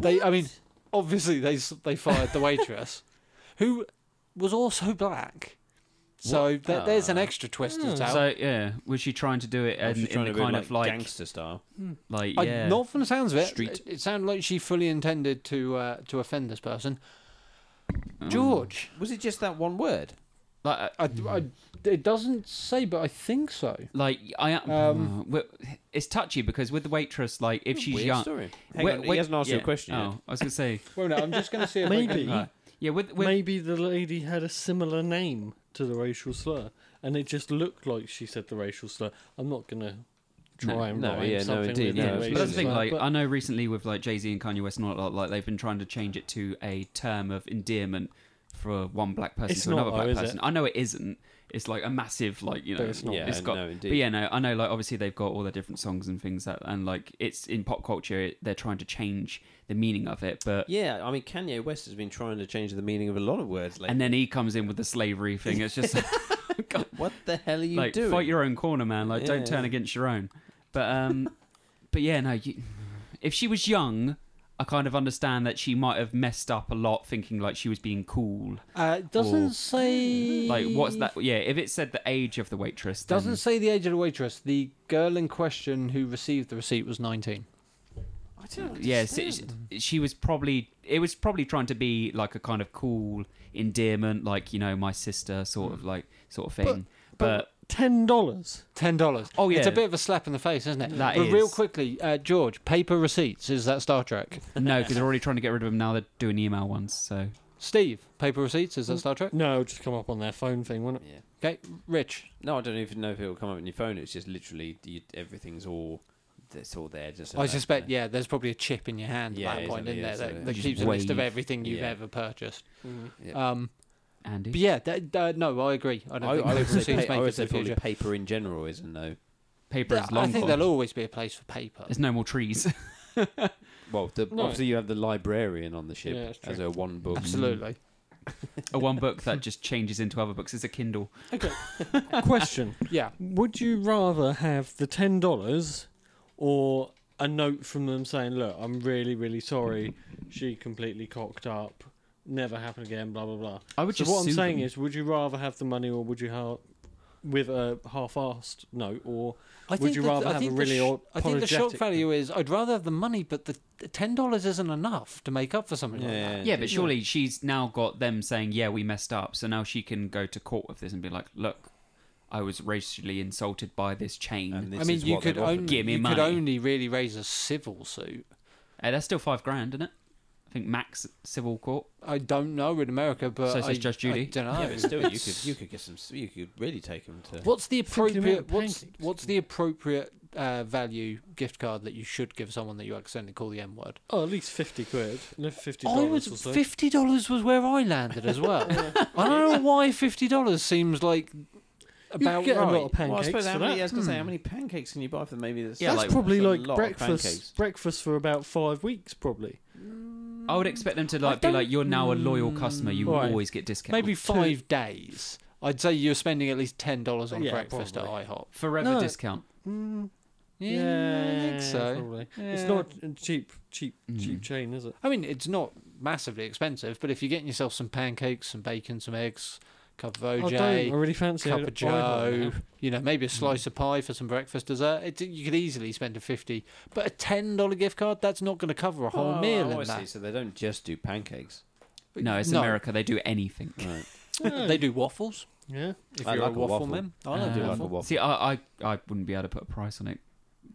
Speaker 2: They, I mean, obviously they s- they fired the waitress, who was also black. So there, there's an extra twist to the tale.
Speaker 4: Hmm, So yeah, was she trying to do it
Speaker 3: Or
Speaker 4: in,
Speaker 3: Oh, she's
Speaker 4: in
Speaker 3: trying
Speaker 4: the
Speaker 3: to be
Speaker 4: kind
Speaker 3: like
Speaker 4: of like
Speaker 3: gangster style.
Speaker 4: like
Speaker 2: I,
Speaker 4: yeah?
Speaker 2: Not from the sounds of it,
Speaker 3: Street.
Speaker 2: it, it sounded like she fully intended to uh, to offend this person.
Speaker 4: Hmm.
Speaker 2: George,
Speaker 3: Was it just that one word?
Speaker 4: Mm. like uh,
Speaker 2: I, I, it doesn't say, but I think so.
Speaker 4: like I
Speaker 2: Um,
Speaker 4: um, it's touchy because with the waitress, like if she's
Speaker 3: Weird
Speaker 4: young,
Speaker 3: story. Hang
Speaker 4: Wait-
Speaker 3: on, he
Speaker 4: wait-
Speaker 3: hasn't asked you
Speaker 4: yeah.
Speaker 3: a question
Speaker 4: Oh,
Speaker 3: yet.
Speaker 4: I was gonna say
Speaker 2: Well, no, I'm just going to see if I
Speaker 1: Maybe.
Speaker 2: can-
Speaker 1: Right.
Speaker 4: yeah. With, with
Speaker 1: Maybe the lady had a similar name to the racial slur, and it just looked like she said the racial slur. I'm not gonna try
Speaker 4: No,
Speaker 1: and
Speaker 3: no,
Speaker 1: rhyme
Speaker 3: yeah, no,
Speaker 1: something
Speaker 3: indeed,
Speaker 1: with
Speaker 3: no,
Speaker 1: the
Speaker 3: absolutely.
Speaker 1: racial
Speaker 4: But that's the thing,
Speaker 1: slur,
Speaker 4: like
Speaker 1: but-
Speaker 4: I know recently with like Jay Z and Kanye West and all that, like they've been trying to change it to a term of endearment for one black person
Speaker 1: It's
Speaker 4: to
Speaker 1: not,
Speaker 4: another black
Speaker 1: though, is
Speaker 4: person. I know it isn't. It's like a massive, like you know,
Speaker 1: But it's not.
Speaker 4: it's got.
Speaker 3: no,
Speaker 4: but yeah, no, I know. Like obviously they've got all their different songs and things that, and like it's in pop culture, it- they're trying to change the meaning of it. But
Speaker 3: Yeah, I mean Kanye West has been trying to change the meaning of a lot of words lately.
Speaker 4: and then he comes in with the slavery thing. It's just
Speaker 3: what the hell are you
Speaker 4: like
Speaker 3: doing?
Speaker 4: fight your own corner, man. Like
Speaker 3: Yeah.
Speaker 4: don't turn against your own. But um, but yeah, no. You, if she was young, I kind of understand that she might have messed up a lot, thinking like she was being cool.
Speaker 2: Uh, it doesn't
Speaker 4: Or-
Speaker 2: say.
Speaker 4: Like what's that? Yeah, if it said the age of the waitress, then,
Speaker 2: Doesn't say the age of the waitress. The girl in question who received the receipt was 19.
Speaker 3: I don't
Speaker 4: Yes,
Speaker 3: understand.
Speaker 4: she was probably. It was probably trying to be like a kind of cool endearment, like you know, my sister, sort of like sort of thing. But,
Speaker 1: ten dollars.
Speaker 2: Ten dollars.
Speaker 4: Oh,
Speaker 2: it's
Speaker 4: yeah.
Speaker 2: a bit of a slap in the face, isn't it?
Speaker 4: That
Speaker 2: but real
Speaker 4: is.
Speaker 2: quickly, uh, George, paper receipts is that Star Trek?
Speaker 4: no, because they're already trying to get rid of them now. They're doing email ones, so
Speaker 2: Steve, paper receipts is that Star Trek?
Speaker 1: No, it'll just come up on their phone thing, wouldn't
Speaker 3: Yeah.
Speaker 2: Okay, Rich.
Speaker 3: No, I don't even know if it'll come up on your phone. It's just literally you, everything's all it's all there. Just
Speaker 2: I suspect, yeah, there's probably a chip in your hand
Speaker 3: Yeah,
Speaker 2: at that point,
Speaker 3: exactly,
Speaker 2: in
Speaker 3: yeah,
Speaker 2: there, that,
Speaker 3: so-
Speaker 2: that
Speaker 4: Just
Speaker 2: keeps a list of
Speaker 4: wave.
Speaker 2: everything you've
Speaker 3: Yeah.
Speaker 2: ever purchased.
Speaker 1: it?
Speaker 3: Yeah.
Speaker 2: Um,
Speaker 4: Andy.
Speaker 2: but yeah, that, uh, no, I agree. I don't
Speaker 3: I,
Speaker 2: think
Speaker 3: I
Speaker 2: paper
Speaker 3: would say,
Speaker 2: receipts
Speaker 3: pa- I
Speaker 2: make it
Speaker 3: would
Speaker 2: to
Speaker 3: say
Speaker 2: the
Speaker 3: probably
Speaker 2: future.
Speaker 3: paper in general is a no.
Speaker 4: paper is long.
Speaker 2: I think
Speaker 4: gone.
Speaker 2: there'll always be a place for paper.
Speaker 4: There's no more trees.
Speaker 3: Well, the,
Speaker 1: No.
Speaker 3: obviously you have the librarian on the ship
Speaker 1: Yeah, that's true.
Speaker 3: as a one book.
Speaker 2: Absolutely.
Speaker 4: a one book that just changes into other books. It's a Kindle.
Speaker 1: Question:
Speaker 2: Yeah.
Speaker 1: Would you rather have the ten dollars or a note from them saying, "Look, I'm really, really sorry. She completely cocked up. never happen again, blah blah blah.
Speaker 4: I would
Speaker 1: So
Speaker 4: just.
Speaker 1: what I'm
Speaker 4: sue
Speaker 1: saying
Speaker 4: them.
Speaker 1: is, would you rather have the money or would you have with a half-assed note or
Speaker 2: I
Speaker 1: Would
Speaker 2: think
Speaker 1: you
Speaker 2: the-
Speaker 1: rather
Speaker 2: I
Speaker 1: have
Speaker 2: think
Speaker 1: a
Speaker 2: the
Speaker 1: really
Speaker 2: sh-
Speaker 1: old
Speaker 2: I think the shock
Speaker 1: apologetic-
Speaker 2: value is I'd rather have the money, but the the ten dollars isn't enough to make up for something like that.
Speaker 4: Yeah, but surely she's now got them saying, "Yeah, we messed up," so now she can go to court with this and be like, "Look, I was racially insulted by this chain."
Speaker 3: And
Speaker 4: And
Speaker 3: this
Speaker 2: I mean,
Speaker 3: is
Speaker 2: you
Speaker 3: what they've
Speaker 2: could
Speaker 3: offered
Speaker 2: only
Speaker 4: Give me
Speaker 2: you could
Speaker 4: money.
Speaker 2: only really raise a civil suit.
Speaker 4: that's still five grand, isn't it? I think max civil court.
Speaker 2: I don't know in America, but
Speaker 4: So
Speaker 2: I,
Speaker 4: says Judge Judy.
Speaker 2: don't know.
Speaker 3: Yeah, but still, you could you could get some. You could really take them to.
Speaker 2: What's the
Speaker 1: Simply make
Speaker 2: appropriate what's
Speaker 1: pancakes.
Speaker 2: what's the appropriate uh, value gift card that you should give someone that you accidentally call the N word?
Speaker 1: oh, at least fifty quid, no fifty
Speaker 2: I
Speaker 1: dollars
Speaker 2: was
Speaker 1: or so.
Speaker 2: fifty dollars was where I landed as well. I don't know why fifty dollars seems like
Speaker 1: you
Speaker 2: about
Speaker 1: could get
Speaker 2: right.
Speaker 1: a lot of
Speaker 3: Well, I
Speaker 1: pancakes
Speaker 3: suppose how
Speaker 1: for
Speaker 3: many, I
Speaker 1: that.
Speaker 3: was gonna say, how many pancakes can you buy for them? Maybe that's,
Speaker 4: Yeah,
Speaker 1: That's
Speaker 4: like-
Speaker 1: probably
Speaker 3: that's a
Speaker 1: like
Speaker 3: lot of pancakes.
Speaker 1: breakfast. Breakfast for about five weeks, probably.
Speaker 4: I would expect them to
Speaker 2: I
Speaker 4: like be
Speaker 2: don't-
Speaker 4: like, "You're now a loyal customer. You will
Speaker 1: Right.
Speaker 4: always get discount."
Speaker 2: maybe five days. I'd say you're spending at least ten dollars on
Speaker 1: Yeah,
Speaker 2: breakfast
Speaker 1: probably.
Speaker 2: at IHOP.
Speaker 4: forever
Speaker 1: No.
Speaker 4: discount.
Speaker 1: Mm,
Speaker 2: Yeah, I think so.
Speaker 1: Probably.
Speaker 2: Yeah.
Speaker 1: It's not a cheap, cheap, cheap
Speaker 4: Mm.
Speaker 1: chain, is it?
Speaker 2: I mean, it's not massively expensive, but if you're getting yourself some pancakes, some bacon, some eggs, cup of
Speaker 1: I Oh, don't. I
Speaker 2: OJ,
Speaker 1: really fancy
Speaker 2: cup
Speaker 1: it
Speaker 2: of
Speaker 1: at IHOP now.
Speaker 2: Joe, you know, maybe a slice of pie for some breakfast dessert. It, you could easily spend a fifty, but a ten dollar gift card that's not going to cover a whole
Speaker 3: Oh,
Speaker 2: meal
Speaker 3: I
Speaker 2: in
Speaker 3: see.
Speaker 2: that.
Speaker 3: So they don't just do pancakes.
Speaker 4: No, it's America. They do anything.
Speaker 3: Right.
Speaker 2: They do waffles.
Speaker 1: Yeah.
Speaker 2: If
Speaker 3: I
Speaker 2: you're
Speaker 3: like
Speaker 2: a
Speaker 3: a
Speaker 2: waffle,
Speaker 3: waffle.
Speaker 2: man, I like
Speaker 4: Uh,
Speaker 2: a
Speaker 3: do like a
Speaker 2: waffle.
Speaker 3: waffle.
Speaker 4: See, I, I, I wouldn't be able to put a price on it,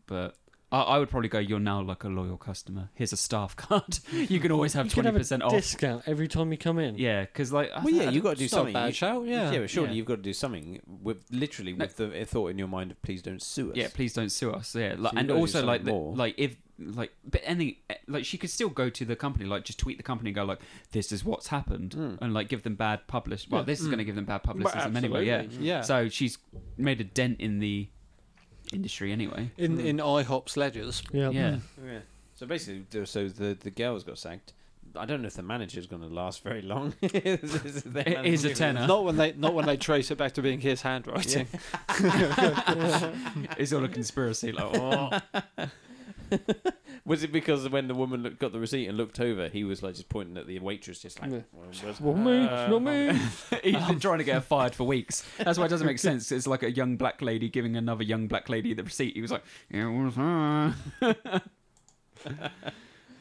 Speaker 4: but I, I would probably go. You're now like a loyal customer. Here's a staff card. you can always have
Speaker 1: You could
Speaker 4: twenty
Speaker 1: have
Speaker 4: percent
Speaker 1: a
Speaker 4: off.
Speaker 1: discount every time you come in.
Speaker 4: Yeah, because like, I
Speaker 3: Well, yeah,
Speaker 4: think-
Speaker 3: you've got to do
Speaker 2: It's not a
Speaker 3: something.
Speaker 2: bad
Speaker 3: You-
Speaker 2: shout. Yeah.
Speaker 3: Yeah, but surely
Speaker 4: Yeah.
Speaker 3: you've got to do something with literally
Speaker 4: No.
Speaker 3: with the thought in your mind of please don't sue us.
Speaker 4: yeah, please don't sue us. Yeah, like,
Speaker 3: you've
Speaker 4: and
Speaker 3: gotta do
Speaker 4: also like,
Speaker 3: something
Speaker 4: the,
Speaker 3: more.
Speaker 4: like if like, but any like she could still go to the company, like just tweet the company and go like, this is what's happened,
Speaker 3: Mm.
Speaker 4: and like give them bad publish. Hmm. Well,
Speaker 2: Yeah.
Speaker 4: this is
Speaker 2: Mm.
Speaker 4: going to give them bad publicism anyway. Yeah.
Speaker 2: Yeah.
Speaker 4: So she's made a dent in the industry anyway.
Speaker 2: in in IHOP's ledgers.
Speaker 1: Yeah.
Speaker 4: Yeah.
Speaker 3: Oh, Yeah. So basically, th- so the the girls got sacked. I don't know if the manager's going to last very long.
Speaker 4: It
Speaker 3: it
Speaker 4: is a tenner.
Speaker 2: Not when they not when they trace it back to being his handwriting.
Speaker 4: it's all a conspiracy. Like, oh.
Speaker 3: Was it because when the woman look, got the receipt and looked over, he was like just pointing at the waitress, just like,
Speaker 1: Yeah.
Speaker 3: "Well, where's-
Speaker 1: Well, me,
Speaker 3: uh,
Speaker 1: Mm. not me.
Speaker 4: He's been trying to get her fired for weeks. That's why it doesn't make sense. It's like a young black lady giving another young black lady the receipt. He was like, it was her.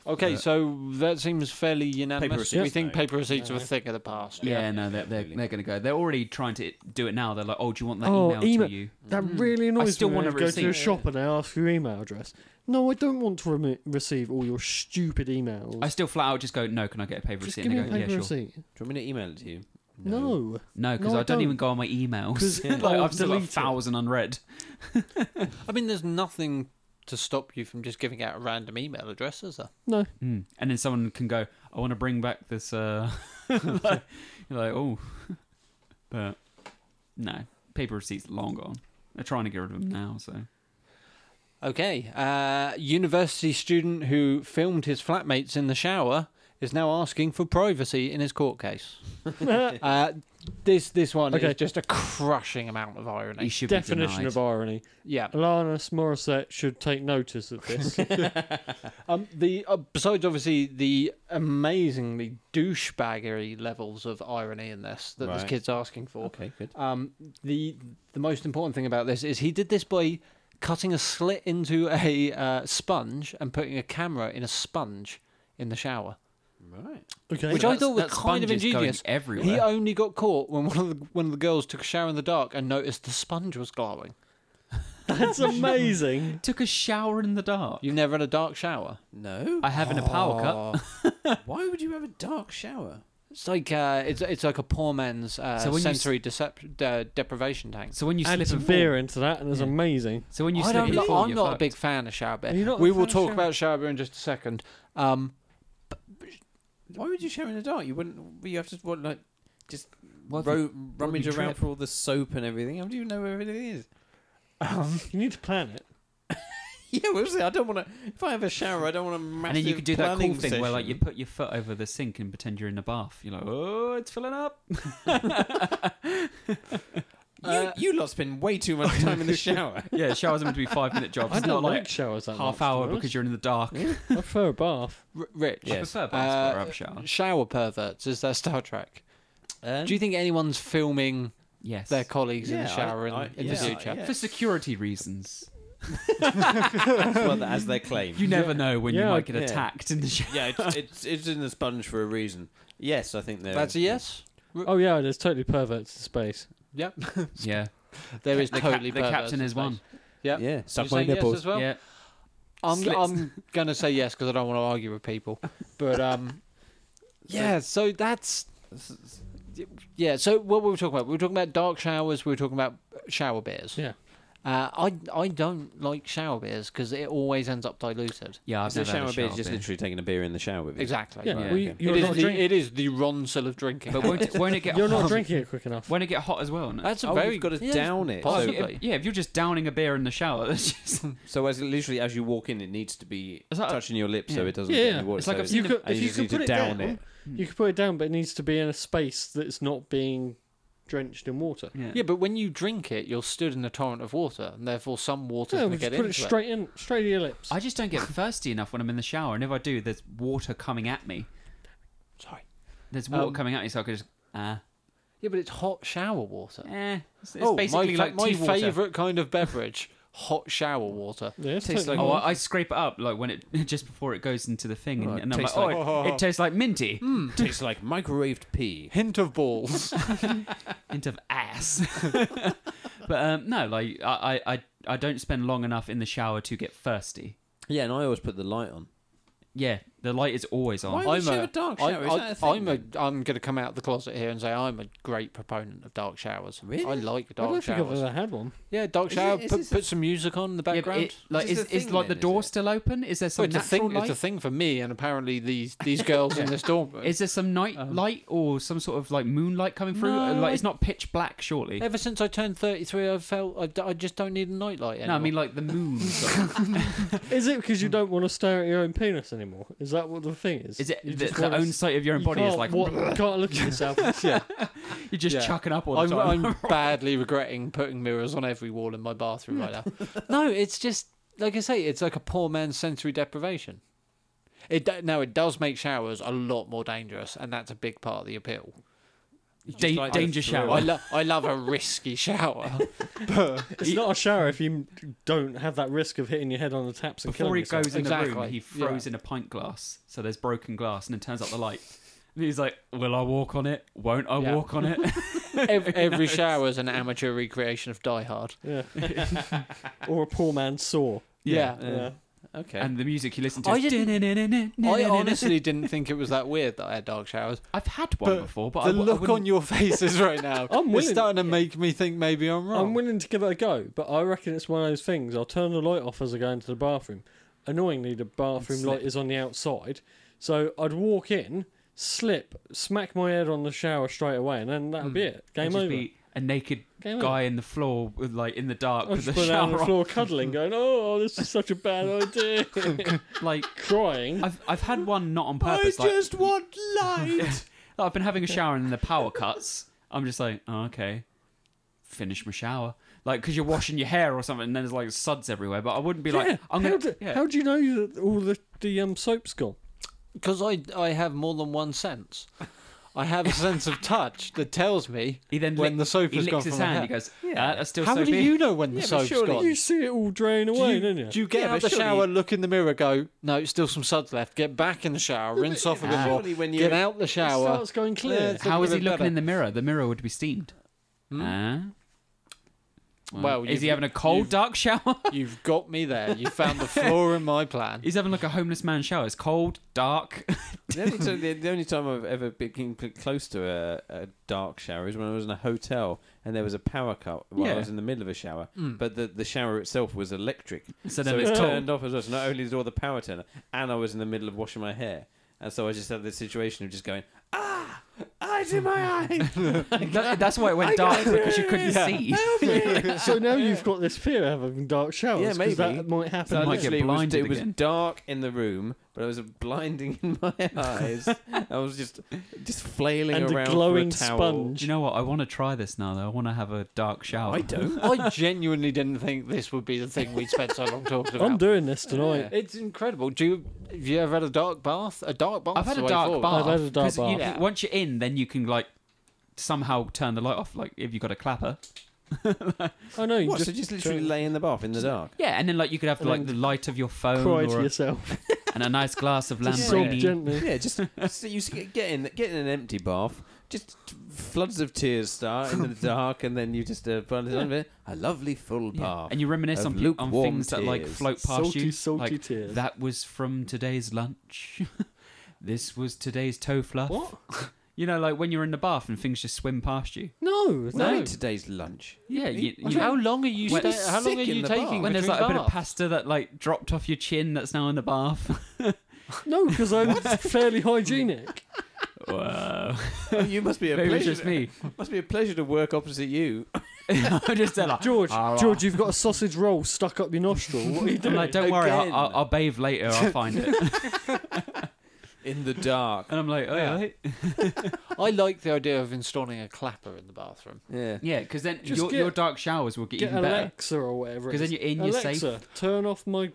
Speaker 2: Okay, so that seems fairly unanimous.
Speaker 3: Paper
Speaker 2: we
Speaker 3: receipts,
Speaker 2: think
Speaker 3: no.
Speaker 2: paper receipts are a
Speaker 1: No.
Speaker 2: thing of the past.
Speaker 4: Yeah, no, they're, they're,
Speaker 3: Absolutely.
Speaker 4: they're going to go. They're already trying to do it now. They're like, oh, do you want that
Speaker 1: Oh,
Speaker 4: email,
Speaker 1: email.
Speaker 4: to you?
Speaker 1: That
Speaker 2: Mm.
Speaker 1: really annoys
Speaker 4: still
Speaker 1: me. when
Speaker 4: want a
Speaker 1: I go to a
Speaker 4: receipt.
Speaker 1: shop and I ask for your email address. No, I don't want to remi- receive all your stupid emails.
Speaker 4: I still flat out just go, no, can I get a paper
Speaker 1: Just
Speaker 4: receipt?
Speaker 1: give me a
Speaker 4: And they
Speaker 1: paper
Speaker 4: go, yeah, sure.
Speaker 1: receipt.
Speaker 3: Do you want me to email it to you?
Speaker 1: No.
Speaker 4: No, because
Speaker 1: No,
Speaker 4: I
Speaker 1: I
Speaker 4: don't even
Speaker 1: don't.
Speaker 4: go on my emails.
Speaker 1: 'Cause
Speaker 4: like,
Speaker 1: I'll
Speaker 4: I've still got a
Speaker 1: delete it.
Speaker 4: thousand unread.
Speaker 2: I mean, there's nothing to stop you from just giving out a random email address, is there?
Speaker 1: No.
Speaker 4: Mm. And then someone can go, I want to bring back this. Uh... like, you're like, oh. but no, paper receipts long gone. They're trying to get rid of them now, so.
Speaker 2: Okay, uh, university student who filmed his flatmates in the shower is now asking for privacy in his court case. uh, this this one
Speaker 1: Okay.
Speaker 2: is just a crushing amount of irony.
Speaker 4: He should
Speaker 1: Definition
Speaker 4: be denied.
Speaker 1: of irony.
Speaker 2: yeah.
Speaker 1: Alanis Morissette should take notice of this.
Speaker 2: Um, the uh, besides obviously the amazingly douchebaggery levels of irony in this that this
Speaker 3: Right.
Speaker 2: kid's asking for.
Speaker 3: Okay, good.
Speaker 2: Um, the the most important thing about this is he did this by cutting a slit into a uh, sponge and putting a camera in a sponge in the shower,
Speaker 3: Right.
Speaker 1: Okay.
Speaker 2: which I thought was kind of ingenious.
Speaker 4: everywhere.
Speaker 2: He only got caught when one of the one of the girls took a shower in the dark and noticed the sponge was glowing.
Speaker 1: That's amazing.
Speaker 4: took a shower in the dark.
Speaker 2: You've never had a dark shower. Oh.
Speaker 3: No.
Speaker 4: I have in a power cut.
Speaker 3: Why would you have a dark shower?
Speaker 2: It's like uh, it's it's like a poor man's uh,
Speaker 4: So when you s-
Speaker 2: sensory decep- uh, deprivation tank.
Speaker 4: So when you
Speaker 1: Add
Speaker 4: slip
Speaker 1: some
Speaker 4: and
Speaker 1: beer
Speaker 4: fall,
Speaker 1: into that, and it's
Speaker 4: Yeah.
Speaker 1: amazing.
Speaker 4: so when you
Speaker 2: I
Speaker 4: slip
Speaker 2: don't.
Speaker 4: and
Speaker 2: Know,
Speaker 4: fall,
Speaker 2: I'm
Speaker 4: you're
Speaker 2: not a
Speaker 4: fucked.
Speaker 2: big fan of shower
Speaker 1: You're
Speaker 2: beer.
Speaker 1: not a
Speaker 2: We
Speaker 1: fan
Speaker 2: will
Speaker 1: of
Speaker 2: talk
Speaker 1: shower-
Speaker 2: about shower beer in just a second. Um,
Speaker 3: Why would you shower in the dark? You wouldn't. You have to what like just
Speaker 4: What if
Speaker 3: ro-
Speaker 4: you-
Speaker 3: rummage
Speaker 4: if you
Speaker 3: around
Speaker 4: trip?
Speaker 3: for all the soap and everything. How do you know where everything is?
Speaker 1: Um, You need to plan it.
Speaker 3: Yeah, well, obviously, I don't want to. If I have a shower, I don't want to.
Speaker 4: And then you could do that cool thing where like you put your foot over the sink and pretend you're in the bath. You're like, oh, it's filling up.
Speaker 3: You,
Speaker 2: Uh,
Speaker 3: you You lot's been way too much time in the shower.
Speaker 4: Yeah, showers are meant to be five minute jobs.
Speaker 1: I
Speaker 4: It's
Speaker 1: don't
Speaker 4: not
Speaker 1: like
Speaker 4: like
Speaker 1: showers that
Speaker 4: half hour because you're in the dark.
Speaker 1: you're. I prefer a bath.
Speaker 2: R- Rich.
Speaker 3: Yeah. Yes.
Speaker 4: I prefer
Speaker 2: Uh,
Speaker 4: baths over a shower.
Speaker 2: Shower perverts. Is there Star Trek?
Speaker 3: Um,
Speaker 2: Do you think anyone's filming
Speaker 4: Yes.
Speaker 2: their colleagues in the
Speaker 3: Yeah, I-
Speaker 2: shower in,
Speaker 3: I-
Speaker 2: in the
Speaker 3: yeah,
Speaker 2: future?
Speaker 3: yeah.
Speaker 4: for security reasons.
Speaker 3: well, as their claim?
Speaker 4: You never know when you
Speaker 1: Yeah,
Speaker 4: might get
Speaker 3: yeah.
Speaker 4: attacked in the shower.
Speaker 3: yeah, it's, it's it's in the sponge for a reason. Yes, I think they're-
Speaker 2: That's a yes.
Speaker 1: Oh yeah, there's totally perverts in space.
Speaker 2: Yep.
Speaker 4: Yeah.
Speaker 2: There is
Speaker 4: The, cap-
Speaker 2: totally
Speaker 4: the
Speaker 2: perverts
Speaker 4: captain
Speaker 2: in
Speaker 4: is
Speaker 2: space.
Speaker 4: one.
Speaker 2: Yep.
Speaker 3: Yeah,
Speaker 2: You're saying yes as well?
Speaker 4: Yeah.
Speaker 2: I'm,
Speaker 4: Slits.
Speaker 2: I'm gonna say yes because I don't want to argue with people. But um, yeah. So that's yeah. So what were we talking about? We were talking about dark showers. We were talking about shower beers.
Speaker 1: Yeah.
Speaker 2: Uh, I I don't like shower beers because it always ends up diluted.
Speaker 4: Yeah, I've
Speaker 3: So
Speaker 4: never had
Speaker 3: shower
Speaker 4: a
Speaker 3: beer
Speaker 4: shower
Speaker 3: is just
Speaker 4: beer.
Speaker 3: literally taking a beer in the shower with you.
Speaker 2: Exactly.
Speaker 1: Yeah,
Speaker 3: Right,
Speaker 1: well, you,
Speaker 3: okay.
Speaker 1: you're
Speaker 2: it
Speaker 1: not
Speaker 2: is the
Speaker 1: drinking.
Speaker 2: it is the Ronsel of drinking.
Speaker 4: But won't it, won't it get
Speaker 1: You're
Speaker 4: hot?
Speaker 1: not drinking it quick enough.
Speaker 4: Won't it get hot as well? No?
Speaker 2: that's a
Speaker 3: Oh,
Speaker 2: very
Speaker 3: you've got to
Speaker 2: yeah,
Speaker 3: down it.
Speaker 4: Oh, if-
Speaker 2: possibly.
Speaker 4: yeah, if you're just downing a beer in the shower, that's just
Speaker 3: So as literally as you walk in, it needs to be
Speaker 4: Is that a-
Speaker 3: touching your lips so
Speaker 4: yeah.
Speaker 3: it doesn't.
Speaker 1: Yeah,
Speaker 3: get any
Speaker 1: yeah.
Speaker 3: water.
Speaker 4: It's like
Speaker 3: so
Speaker 4: I've
Speaker 1: you
Speaker 4: seen
Speaker 1: could,
Speaker 3: and
Speaker 1: if
Speaker 3: you
Speaker 1: you
Speaker 3: just
Speaker 1: could
Speaker 3: need to
Speaker 1: put it
Speaker 3: down
Speaker 1: down, you could put it down, but it needs to be in a space that's not being drenched in water.
Speaker 4: yeah.
Speaker 2: Yeah, but when you drink it, you're stood in a torrent of water, and therefore some water's
Speaker 1: Yeah,
Speaker 2: going to
Speaker 1: we just
Speaker 2: get
Speaker 1: put
Speaker 2: into
Speaker 1: it straight in, straight to your lips.
Speaker 4: I just don't get thirsty enough when I'm in the shower, and if I do, there's water coming at me.
Speaker 2: Sorry.
Speaker 4: There's water
Speaker 2: Um,
Speaker 4: coming at me, so I could just ah.
Speaker 2: Yeah, but it's hot shower water.
Speaker 4: eh. It's, it's
Speaker 2: oh,
Speaker 4: basically
Speaker 2: my, fa-
Speaker 4: like
Speaker 2: my
Speaker 4: tea water.
Speaker 2: favorite kind of beverage: hot shower water.
Speaker 1: yeah, it's
Speaker 3: tastes
Speaker 1: totally
Speaker 3: like-
Speaker 4: Oh,
Speaker 1: normal.
Speaker 4: I, I scrape it up like when it just before it goes into the thing,
Speaker 3: Oh,
Speaker 4: and,
Speaker 3: it
Speaker 4: and I'm like,
Speaker 3: tastes
Speaker 4: oh,
Speaker 3: like- Hmm.
Speaker 4: it, it tastes like minty,
Speaker 3: it. Tastes like microwaved pee.
Speaker 2: Hint of balls.
Speaker 4: hint of ass. but um, no, like I, I, I- I don't spend long enough in the shower to get thirsty.
Speaker 3: Yeah, and I always put the light on.
Speaker 4: Yeah, the light is always on.
Speaker 3: Why would you have a dark
Speaker 2: I,
Speaker 3: shower? Is that a
Speaker 2: am
Speaker 3: thing
Speaker 2: a, I'm going to come out of the closet here and say I'm a great proponent of dark showers.
Speaker 3: Really?
Speaker 2: I like
Speaker 1: I don't
Speaker 2: dark
Speaker 1: think I've
Speaker 2: showers.
Speaker 1: ever had one.
Speaker 2: Yeah, dark
Speaker 3: Is
Speaker 2: shower.
Speaker 3: it- is
Speaker 2: put,
Speaker 3: this a-
Speaker 2: put some music on in the
Speaker 4: Yeah, but
Speaker 2: background.
Speaker 4: it- like
Speaker 3: Is
Speaker 4: is,
Speaker 3: this
Speaker 4: is,
Speaker 3: a thing
Speaker 4: like the
Speaker 3: then, is
Speaker 4: door
Speaker 3: it?
Speaker 4: still open? Is there
Speaker 2: Well,
Speaker 4: some
Speaker 2: it's a
Speaker 4: natural
Speaker 2: thing. It's a
Speaker 4: light?
Speaker 2: thing for me, and apparently these these girls in this dorm. room.
Speaker 4: Is there some night light or some sort of like moonlight coming through?
Speaker 2: Um, No,
Speaker 4: like
Speaker 2: I-
Speaker 4: it's not pitch black, surely.
Speaker 2: Ever since I turned 33, I've felt I, d- I just don't need a nightlight anymore.
Speaker 4: No, I mean like the moon. sort of.
Speaker 1: Is it because you don't want to stare at your own penis anymore? Is that what the thing is?
Speaker 4: is it
Speaker 1: You
Speaker 4: the,
Speaker 1: just
Speaker 4: the
Speaker 1: wanna-
Speaker 4: own sight of your own
Speaker 1: you
Speaker 4: body is
Speaker 1: can't
Speaker 4: like
Speaker 1: wa- you can't look at yourself.
Speaker 4: you're just
Speaker 2: Yeah.
Speaker 4: chucking up all the
Speaker 2: I'm,
Speaker 4: time.
Speaker 2: I'm badly regretting putting mirrors on every wall in my bathroom right now. No, it's just like I say, it's like a poor man's sensory deprivation. It do- now it does make showers a lot more dangerous, and that's a big part of the appeal.
Speaker 4: Da-
Speaker 3: like the
Speaker 4: danger
Speaker 3: thrill.
Speaker 4: shower.
Speaker 2: I, lo- I love a risky shower.
Speaker 1: It's not a shower if you don't have that risk of hitting your head on the taps and
Speaker 4: Before
Speaker 1: killing
Speaker 4: he
Speaker 1: yourself.
Speaker 4: goes in the room,
Speaker 2: Exactly,
Speaker 4: he throws
Speaker 2: yeah.
Speaker 4: in a pint glass. So there's broken glass, and then turns up the light. And he's like, "Will I walk on it? Won't I
Speaker 2: Yeah.
Speaker 4: walk on it?"
Speaker 2: Every, every shower is an amateur recreation of Die Hard.
Speaker 1: Yeah. or a poor man's saw.
Speaker 2: Yeah.
Speaker 1: Yeah.
Speaker 3: Okay.
Speaker 4: And the music you listen to.
Speaker 2: I
Speaker 4: is
Speaker 2: I honestly didn't think it was that weird that I had dark showers.
Speaker 4: I've had one
Speaker 2: But
Speaker 4: before, but I
Speaker 2: the
Speaker 4: w- I
Speaker 2: look
Speaker 4: wouldn't-
Speaker 2: on your faces right now
Speaker 1: I'm
Speaker 2: is
Speaker 1: willing-
Speaker 2: starting to make me think maybe I'm wrong.
Speaker 1: I'm willing to give it a go, but I reckon it's one of those things. I'll turn the light off as I go into the bathroom. Annoyingly, the bathroom light is on the outside, so I'd walk in, slip, smack my head on the shower straight away, and then that'd be it.
Speaker 4: Hmm. I'd
Speaker 1: Game
Speaker 4: just
Speaker 1: over.
Speaker 4: be a naked
Speaker 1: Game
Speaker 4: guy in the floor, with, like in the dark
Speaker 1: over. I'd
Speaker 4: with the
Speaker 1: just go down on
Speaker 4: shower
Speaker 1: the
Speaker 4: on.
Speaker 1: floor cuddling, going, "Oh, this is such a bad idea,"
Speaker 4: Like
Speaker 1: crying.
Speaker 4: I've I've had one not on purpose. like,
Speaker 3: want light.
Speaker 4: like, I've been having a shower and the power cuts. I'm just like, oh, okay, finish my shower. Like, because you're washing your hair or something, and then there's like suds everywhere. But I wouldn't be
Speaker 1: yeah.
Speaker 4: like, I'm
Speaker 1: how,
Speaker 4: gonna.
Speaker 1: do,
Speaker 4: yeah.
Speaker 1: how do you know that all the the um, soap's gone?
Speaker 2: Because I, I have more than one sense. I have a sense of touch that tells me
Speaker 4: He then
Speaker 2: when
Speaker 4: lick-
Speaker 2: the soap
Speaker 4: he
Speaker 2: has
Speaker 4: licks
Speaker 2: gone
Speaker 4: his
Speaker 2: from my
Speaker 4: hand.
Speaker 2: hand.
Speaker 4: He goes, yeah, that's still
Speaker 2: How
Speaker 4: soapy.
Speaker 2: do you know when the soap's gone?
Speaker 1: You see it all drain
Speaker 2: do,
Speaker 1: away,
Speaker 2: you,
Speaker 1: don't you?
Speaker 2: do you get
Speaker 3: Yeah,
Speaker 2: out the
Speaker 3: but surely-
Speaker 2: shower, look in the mirror, go, no, it's still some suds left. Get back in the shower, rinse off a bit more.
Speaker 3: Surely when you
Speaker 2: Get out the
Speaker 1: it
Speaker 2: shower.
Speaker 1: starts going clear.
Speaker 2: it's
Speaker 4: How
Speaker 2: looking
Speaker 4: is
Speaker 2: a
Speaker 4: he
Speaker 2: bit
Speaker 4: looking
Speaker 2: better.
Speaker 4: in the mirror? The mirror would be steamed.
Speaker 2: Hmm?
Speaker 4: Ah.
Speaker 2: Well,
Speaker 4: is
Speaker 2: you've-
Speaker 4: he having a cold
Speaker 2: you've-
Speaker 4: dark shower?
Speaker 2: You've got me there. You found the flaw in my plan.
Speaker 4: He's having like a homeless man shower. It's cold, dark.
Speaker 3: the, only time, the, the only time I've ever been cl- close to a, a dark shower is when I was in a hotel and there was a power cut while I
Speaker 4: Yeah.
Speaker 3: was in the middle of a shower,
Speaker 2: Mm.
Speaker 3: but the, the shower itself was electric.
Speaker 4: So
Speaker 3: so
Speaker 4: then
Speaker 3: it's
Speaker 4: it's cold.
Speaker 3: turned off as well. So not only did all the power turn off, and I was in the middle of washing my hair. And so I just had this situation of just going, ah! Eyes in my eyes.
Speaker 4: That- that's why it went dark because you couldn't see.
Speaker 1: so now you've got this fear of having dark showers.
Speaker 3: Yeah,
Speaker 1: 'cause
Speaker 3: maybe.
Speaker 1: that might happen.
Speaker 4: That might
Speaker 3: Literally,
Speaker 4: get
Speaker 3: it was-
Speaker 4: blinded
Speaker 3: It was,
Speaker 4: again.
Speaker 3: dark in the room, but it was blinding in my eyes. I was just just flailing
Speaker 1: And a
Speaker 3: around
Speaker 1: glowing
Speaker 3: for a towel.
Speaker 1: sponge.
Speaker 4: Do you know what? I want to try this now. Though I want to have a dark shower.
Speaker 3: I don't.
Speaker 2: I genuinely didn't think this would be the thing we'd spent so long talking about.
Speaker 1: I'm doing this tonight.
Speaker 2: It's incredible. Do you have you ever had a dark bath? A dark bath.
Speaker 4: I've had
Speaker 2: the
Speaker 4: a
Speaker 2: way
Speaker 4: dark
Speaker 2: forward.
Speaker 4: bath.
Speaker 1: I've had a dark
Speaker 4: 'cause you-
Speaker 1: bath.
Speaker 2: Yeah.
Speaker 4: Once you're in, then you can like somehow turn the light off. Like if you got a clapper.
Speaker 1: I know. You
Speaker 3: What?
Speaker 1: just,
Speaker 3: so just literally lay in the bath in the dark.
Speaker 4: Yeah, and then like you could have
Speaker 1: And
Speaker 4: like
Speaker 1: then
Speaker 4: the light of your phone
Speaker 1: cry to
Speaker 4: or a,
Speaker 1: yourself.
Speaker 4: and a nice glass of
Speaker 1: Just sob
Speaker 4: Lamborghini.
Speaker 1: gently.
Speaker 3: Yeah, just so you see- get in get in an empty bath. Just floods of tears start in the dark, and then you just uh, find it under it. a lovely full
Speaker 4: Yeah.
Speaker 3: bath.
Speaker 4: And you reminisce
Speaker 3: of
Speaker 4: on, pe- on
Speaker 3: lukewarm
Speaker 4: things that like
Speaker 3: tears.
Speaker 4: float past
Speaker 1: Salty,
Speaker 4: you.
Speaker 1: salty
Speaker 4: like,
Speaker 1: tears.
Speaker 4: That was from today's lunch. this was today's toe fluff.
Speaker 1: What?
Speaker 4: You know, like when you're in the bath and things just swim past you.
Speaker 1: No,
Speaker 3: Well, I
Speaker 1: no.
Speaker 3: mean, today's lunch.
Speaker 4: Yeah, you, you
Speaker 2: How
Speaker 4: know,
Speaker 2: long are you?
Speaker 4: When-
Speaker 2: Sta- how long
Speaker 3: sick
Speaker 2: are
Speaker 3: in
Speaker 2: you
Speaker 3: the
Speaker 2: taking?
Speaker 3: bath.
Speaker 4: when there's like
Speaker 2: between
Speaker 4: a bit of
Speaker 2: baths?
Speaker 4: pasta that like dropped off your chin that's now in the bath.
Speaker 1: No, because I'm fairly hygienic.
Speaker 4: Wow.
Speaker 3: Oh, you must be a
Speaker 4: Maybe it's
Speaker 3: pleasure.
Speaker 4: just me.
Speaker 3: Must be a pleasure to work opposite you.
Speaker 4: I'm just there like,
Speaker 1: George,
Speaker 4: "All Ah, right."
Speaker 1: George, you've got a sausage roll stuck up your nostril. What are you
Speaker 4: I'm
Speaker 1: doing?
Speaker 4: like, don't worry, I'll,
Speaker 3: Again.
Speaker 4: I'll, I'll bathe later. I'll find it.
Speaker 3: In the dark.
Speaker 4: And I'm like, oh
Speaker 2: Yeah.
Speaker 4: yeah,
Speaker 2: I like the idea of installing a clapper in the bathroom.
Speaker 3: Yeah.
Speaker 4: yeah, because then
Speaker 1: Just
Speaker 4: your,
Speaker 1: get-
Speaker 4: your dark showers will get,
Speaker 1: Get
Speaker 4: even better.
Speaker 1: Alexa or whatever. it
Speaker 4: Because then
Speaker 1: is.
Speaker 4: you're in, you're
Speaker 1: Alexa,
Speaker 4: safe.
Speaker 1: turn off my.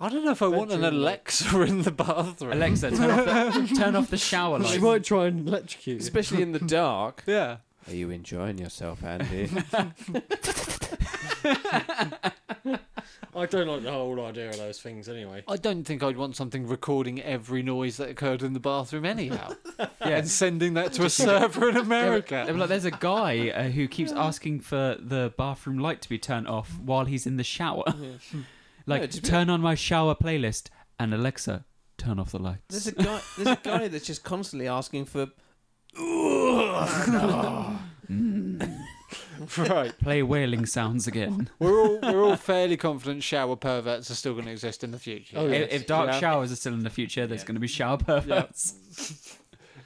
Speaker 2: I don't know if I want an
Speaker 1: Bedroom.
Speaker 2: Alexa in the bathroom.
Speaker 4: Alexa, turn off the, turn off the shower
Speaker 1: She
Speaker 4: light.
Speaker 1: might try and electrocute. you.
Speaker 3: Especially in the dark.
Speaker 2: Yeah.
Speaker 3: Are you enjoying yourself, Andy?
Speaker 1: I don't like the whole idea of those things anyway.
Speaker 2: I don't think I'd want something recording every noise that occurred in the bathroom anyhow,
Speaker 4: Yeah.
Speaker 2: and sending that to a server in
Speaker 4: They were-
Speaker 2: America.
Speaker 4: they were like, there's a guy uh, who keeps asking for the bathroom light to be turned off while he's in the shower. like,
Speaker 3: Yeah, just-
Speaker 4: turn on my shower playlist and Alexa, turn off the lights.
Speaker 3: there's a guy. There's a guy that's just constantly asking for.
Speaker 4: Mm.
Speaker 1: right.
Speaker 4: Play wailing sounds again.
Speaker 2: We're all we're all fairly confident shower perverts are still going to exist in the future.
Speaker 1: Oh,
Speaker 4: if,
Speaker 1: yes.
Speaker 4: if dark
Speaker 2: Yeah.
Speaker 4: showers are still in the future, there's going to be shower perverts.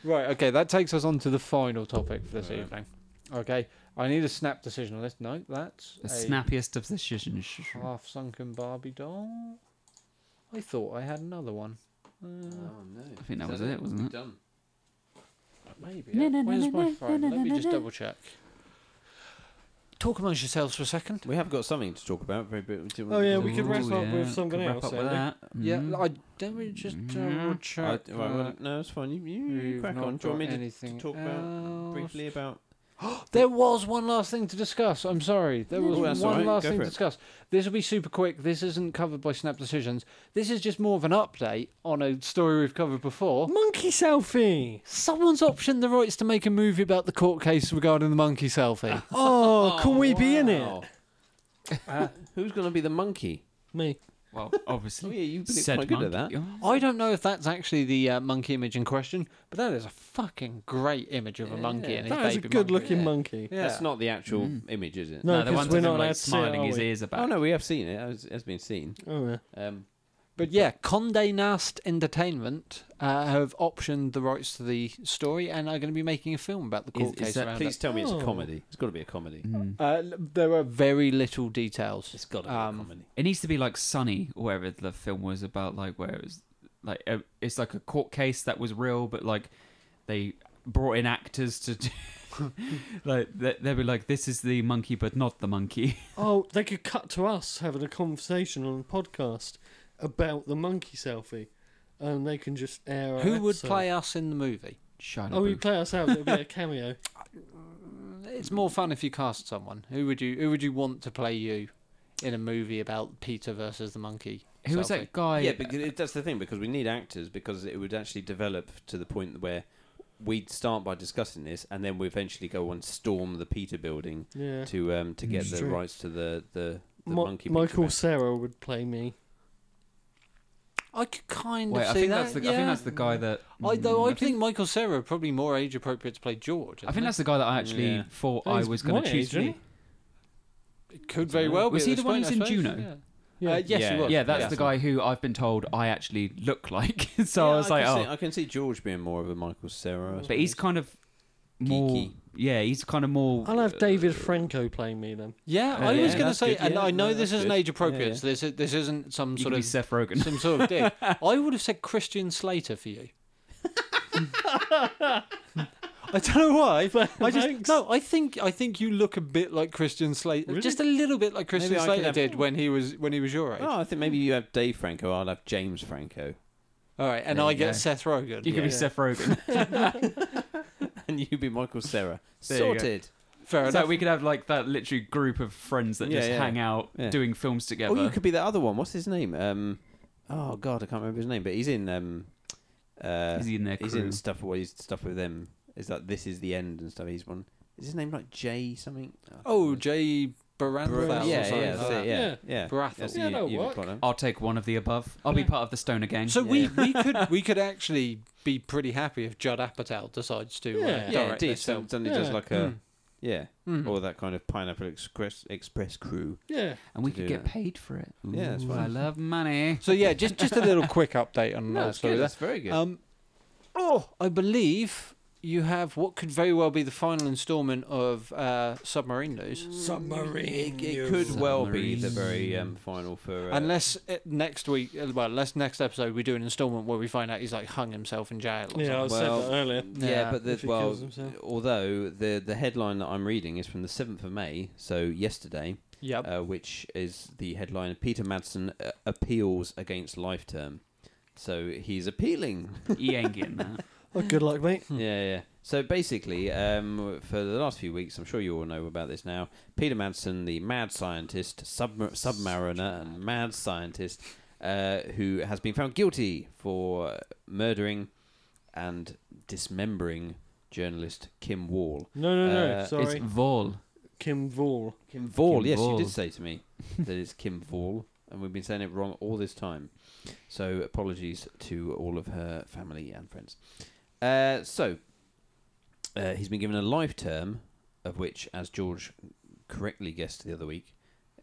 Speaker 2: Right. Okay, that takes us on to the final topic for this
Speaker 3: Alright.
Speaker 2: evening. Okay, I need a snap decision on this. No, that's
Speaker 4: The
Speaker 2: a
Speaker 4: snappiest of decisions.
Speaker 1: Oh,
Speaker 2: half sunken Barbie doll. I thought I had another one. Uh,
Speaker 3: no! I
Speaker 4: think that was it, wasn't it?
Speaker 3: Done.
Speaker 2: maybe. Where's my phone? Let me just double check. Talk amongst yourselves for a second.
Speaker 3: We have got something to talk about. Very bit. do you
Speaker 1: Oh,
Speaker 3: want-
Speaker 1: yeah, we could wrap
Speaker 4: Ooh,
Speaker 1: up with
Speaker 4: yeah,
Speaker 1: something
Speaker 4: could wrap
Speaker 1: else,
Speaker 4: up with
Speaker 1: Andy.
Speaker 4: that. Mhm.
Speaker 2: Yeah, I don't we just double
Speaker 4: Mhm.
Speaker 3: Mm-hmm. I,
Speaker 2: check.
Speaker 3: right, well,
Speaker 2: that
Speaker 3: no, it's fine. You, you,
Speaker 2: we've
Speaker 3: crack
Speaker 2: not
Speaker 3: on. Do you want me
Speaker 2: got
Speaker 3: to
Speaker 2: anything
Speaker 3: talk about
Speaker 2: else.
Speaker 3: briefly about?
Speaker 2: There was one last thing to discuss. I'm sorry. There
Speaker 3: No,
Speaker 2: was
Speaker 3: no, that's all
Speaker 2: one
Speaker 3: right.
Speaker 2: last
Speaker 3: Go
Speaker 2: thing
Speaker 3: for
Speaker 2: to
Speaker 3: it.
Speaker 2: discuss. This will be super quick. This isn't covered by Snap Decisions. This is just more of an update on a story we've covered before.
Speaker 1: Monkey selfie.
Speaker 2: Someone's optioned the rights to make a movie about the court case regarding the monkey selfie.
Speaker 1: Oh, can we be in it?
Speaker 3: Uh, Who's going to be the monkey?
Speaker 1: Me.
Speaker 4: Well,
Speaker 3: Oh
Speaker 4: obviously.
Speaker 3: yeah, you've been
Speaker 4: said
Speaker 3: quite good at that.
Speaker 4: monkey- Oh.
Speaker 2: I don't know if that's actually the uh, monkey image in question, but that is a fucking great image of a monkey
Speaker 3: Yeah.
Speaker 2: and his
Speaker 1: That is a
Speaker 2: baby
Speaker 1: good-looking
Speaker 2: monkey.
Speaker 1: monkey.
Speaker 2: Yeah.
Speaker 3: That's not the actual image, is it?
Speaker 1: No,
Speaker 4: No, the
Speaker 1: 'cause
Speaker 4: ones
Speaker 1: we're
Speaker 4: of
Speaker 1: not
Speaker 4: him
Speaker 1: allowed
Speaker 4: like
Speaker 1: to see it,
Speaker 4: smiling
Speaker 1: are
Speaker 4: his
Speaker 1: we?
Speaker 4: ears about.
Speaker 3: Oh no, we have seen it. It's, it's been seen.
Speaker 1: Oh, yeah.
Speaker 3: Um,
Speaker 2: But yeah, Condé Nast Entertainment uh, have optioned the rights to the story and are going to be making a film about the
Speaker 4: Is-
Speaker 2: court
Speaker 4: is
Speaker 2: case.
Speaker 4: that-
Speaker 2: around it.
Speaker 3: please tell me it's
Speaker 1: Oh.
Speaker 3: a comedy. It's got to be a comedy.
Speaker 4: Mm.
Speaker 2: Uh, l- there are very little details.
Speaker 3: It's got to be
Speaker 2: Um,
Speaker 3: a comedy.
Speaker 4: It needs to be like Sunny, or whatever the film was about, like where it was like a, it's like a court case that was real, but like they brought in actors to do. like they, they were like, this is the monkey, but not the monkey.
Speaker 1: Oh, they could cut to us having a conversation on a podcast about the monkey selfie, and they can just air. our
Speaker 2: Who would
Speaker 1: episode.
Speaker 2: play us in the movie?
Speaker 4: Shut
Speaker 1: Oh,
Speaker 4: up.
Speaker 1: we
Speaker 4: Booth.
Speaker 1: play us out. It'll be a cameo.
Speaker 2: Mm, It's more fun if you cast someone. Who would you Who would you want to play you in a movie about Peter versus the monkey?
Speaker 4: Who was
Speaker 2: selfie?
Speaker 4: that guy?
Speaker 3: yeah, because it, that's the thing because we need actors because it would actually develop to the point where we'd start by discussing this and then we eventually go and storm the Peter building
Speaker 1: Yeah.
Speaker 3: to um to get
Speaker 1: It's
Speaker 3: the
Speaker 1: true.
Speaker 3: rights to the the, the
Speaker 1: Mi-
Speaker 3: monkey. picture
Speaker 1: Michael
Speaker 3: back.
Speaker 1: Sarah would play me.
Speaker 2: I could kind
Speaker 4: Wait,
Speaker 2: of
Speaker 4: I
Speaker 2: see
Speaker 4: think
Speaker 2: that.
Speaker 4: that's the
Speaker 2: yeah.
Speaker 4: I think that's the guy that.
Speaker 2: I, though
Speaker 4: Mm,
Speaker 2: I, think, Michael Cera probably more age appropriate to play George.
Speaker 4: I think that's the guy that I actually
Speaker 3: Yeah.
Speaker 4: thought
Speaker 1: That
Speaker 4: I
Speaker 1: is
Speaker 4: was going
Speaker 1: my
Speaker 4: to choose.
Speaker 1: age,
Speaker 4: for me.
Speaker 1: isn't
Speaker 2: it could very well.
Speaker 4: Was
Speaker 2: be
Speaker 4: he
Speaker 2: at this
Speaker 4: the one
Speaker 2: point,
Speaker 4: who's
Speaker 2: I
Speaker 4: in
Speaker 2: suppose,
Speaker 4: Juno?
Speaker 2: Yeah. Uh, yes,
Speaker 3: Yeah,
Speaker 2: he was.
Speaker 4: Yeah, that's
Speaker 3: Yeah.
Speaker 4: the guy who I've been told I actually look like. so
Speaker 3: Yeah,
Speaker 4: I was
Speaker 3: I
Speaker 4: like,
Speaker 3: can
Speaker 4: oh,
Speaker 3: see, I can see George being more of a Michael Sarah. I
Speaker 4: But he's
Speaker 3: suppose.
Speaker 4: kind of more.
Speaker 3: Geeky.
Speaker 4: Yeah, he's kind of more.
Speaker 1: I'll have
Speaker 4: uh,
Speaker 1: David Franco playing me then.
Speaker 2: Yeah,
Speaker 3: Yeah,
Speaker 2: I was
Speaker 3: yeah,
Speaker 2: going to
Speaker 3: that's
Speaker 2: say,
Speaker 3: good,
Speaker 2: and
Speaker 3: yeah,
Speaker 2: I know
Speaker 3: no,
Speaker 2: this
Speaker 3: that's
Speaker 2: isn't
Speaker 3: good.
Speaker 2: age appropriate. so This this isn't some
Speaker 4: You
Speaker 2: sort
Speaker 4: could be
Speaker 2: of
Speaker 4: Seth Rogen.
Speaker 2: some sort of dig. I would have said Christian Slater for you. I don't know why. But I just
Speaker 1: Thanks.
Speaker 2: no. I think I think you look a bit like Christian Slater,
Speaker 1: Really?
Speaker 2: just a little bit like Christian
Speaker 3: Maybe I could
Speaker 2: Slater
Speaker 3: have-
Speaker 2: did when he was when he was your age.
Speaker 3: Oh, I think maybe you have Dave Franco. I'll have James Franco,
Speaker 2: All right, and
Speaker 4: There
Speaker 2: I
Speaker 4: you
Speaker 2: get
Speaker 4: go.
Speaker 2: Seth Rogen.
Speaker 4: You could
Speaker 1: Yeah.
Speaker 4: be Seth Rogen.
Speaker 3: and you be Michael Sarah.
Speaker 4: There you go.
Speaker 3: Sorted.
Speaker 2: Fair
Speaker 4: so
Speaker 2: enough.
Speaker 4: we could have like that literally group of friends that
Speaker 3: Yeah,
Speaker 4: just
Speaker 3: yeah.
Speaker 4: hang out
Speaker 3: Yeah.
Speaker 4: doing films together.
Speaker 3: Or Oh, you could be that other one. What's his name? Um, oh God, I can't remember his name. But he's in. Um, uh,
Speaker 4: Is he in their
Speaker 3: he's
Speaker 4: crew?
Speaker 3: in stuff. What he's stuff with them is that this is the end and stuff. He's one. Is his name like Jay something?
Speaker 2: oh, Jay Baranthal. or
Speaker 3: Bra- yeah,
Speaker 2: something
Speaker 3: yeah,
Speaker 2: like
Speaker 3: that's
Speaker 2: that.
Speaker 3: it, yeah, yeah,
Speaker 1: Yeah.
Speaker 2: Barathel.
Speaker 3: That's
Speaker 1: Yeah,
Speaker 3: you-
Speaker 1: that'll
Speaker 3: you would
Speaker 1: work.
Speaker 3: call him.
Speaker 4: I'll take one of the above. I'll be part of the Stoner Gang.
Speaker 2: So
Speaker 3: Yeah.
Speaker 2: we, we could we could actually be pretty happy if Judd Apatow decides to uh,
Speaker 1: Yeah.
Speaker 2: direct
Speaker 3: Yeah, Uh, indeed.
Speaker 2: this film.
Speaker 3: Suddenly, just
Speaker 1: Yeah.
Speaker 3: like a yeah,
Speaker 2: Mm.
Speaker 3: or that kind of Pineapple Express Express crew.
Speaker 1: Yeah.
Speaker 4: and we
Speaker 3: to
Speaker 4: could
Speaker 3: do
Speaker 4: get
Speaker 3: that.
Speaker 4: paid for it.
Speaker 3: Yeah, that's
Speaker 4: Ooh,
Speaker 3: fine.
Speaker 4: I love money.
Speaker 2: So yeah, just just a little quick update on uh, that. Sorry,
Speaker 3: That's very good.
Speaker 2: Um, oh, I believe you have what could very well be the final instalment of uh, submarine news,
Speaker 1: Submarine.
Speaker 3: it, it could well be the
Speaker 4: Submarines.
Speaker 3: very um, final for. Uh,
Speaker 2: unless uh, next week, uh, well, unless next episode we do an instalment where we find out he's like hung himself in jail. Or
Speaker 1: Yeah, I
Speaker 2: something.
Speaker 1: said
Speaker 3: Well,
Speaker 1: that earlier.
Speaker 3: yeah,
Speaker 2: Yeah,
Speaker 3: but the,
Speaker 1: if he
Speaker 3: well,
Speaker 1: kills himself.
Speaker 3: although the the headline that I'm reading is from the seventh of May, so yesterday,
Speaker 2: Yep.
Speaker 3: uh, which is the headline: Peter Madsen uh, appeals against life term. So he's appealing.
Speaker 4: he ain't getting that.
Speaker 1: Oh, good luck, mate.
Speaker 3: Yeah, yeah. So basically, um, for the last few weeks, I'm sure you all know about this now. Peter Madsen, the mad scientist, submar- submariner, and mad scientist, uh, who has been found guilty for murdering and dismembering journalist Kim Wall.
Speaker 1: No, no, no.
Speaker 3: Uh, it's-
Speaker 1: sorry,
Speaker 4: It's Vol.
Speaker 1: Kim Vall.
Speaker 3: Kim Vall,
Speaker 4: Kim
Speaker 3: yes,
Speaker 4: Vall.
Speaker 3: you did say to me that it's Kim Vall, and we've been saying it wrong all this time. So apologies to all of her family and friends. Uh, so uh, he's been given a life term, of which, as George correctly guessed the other week,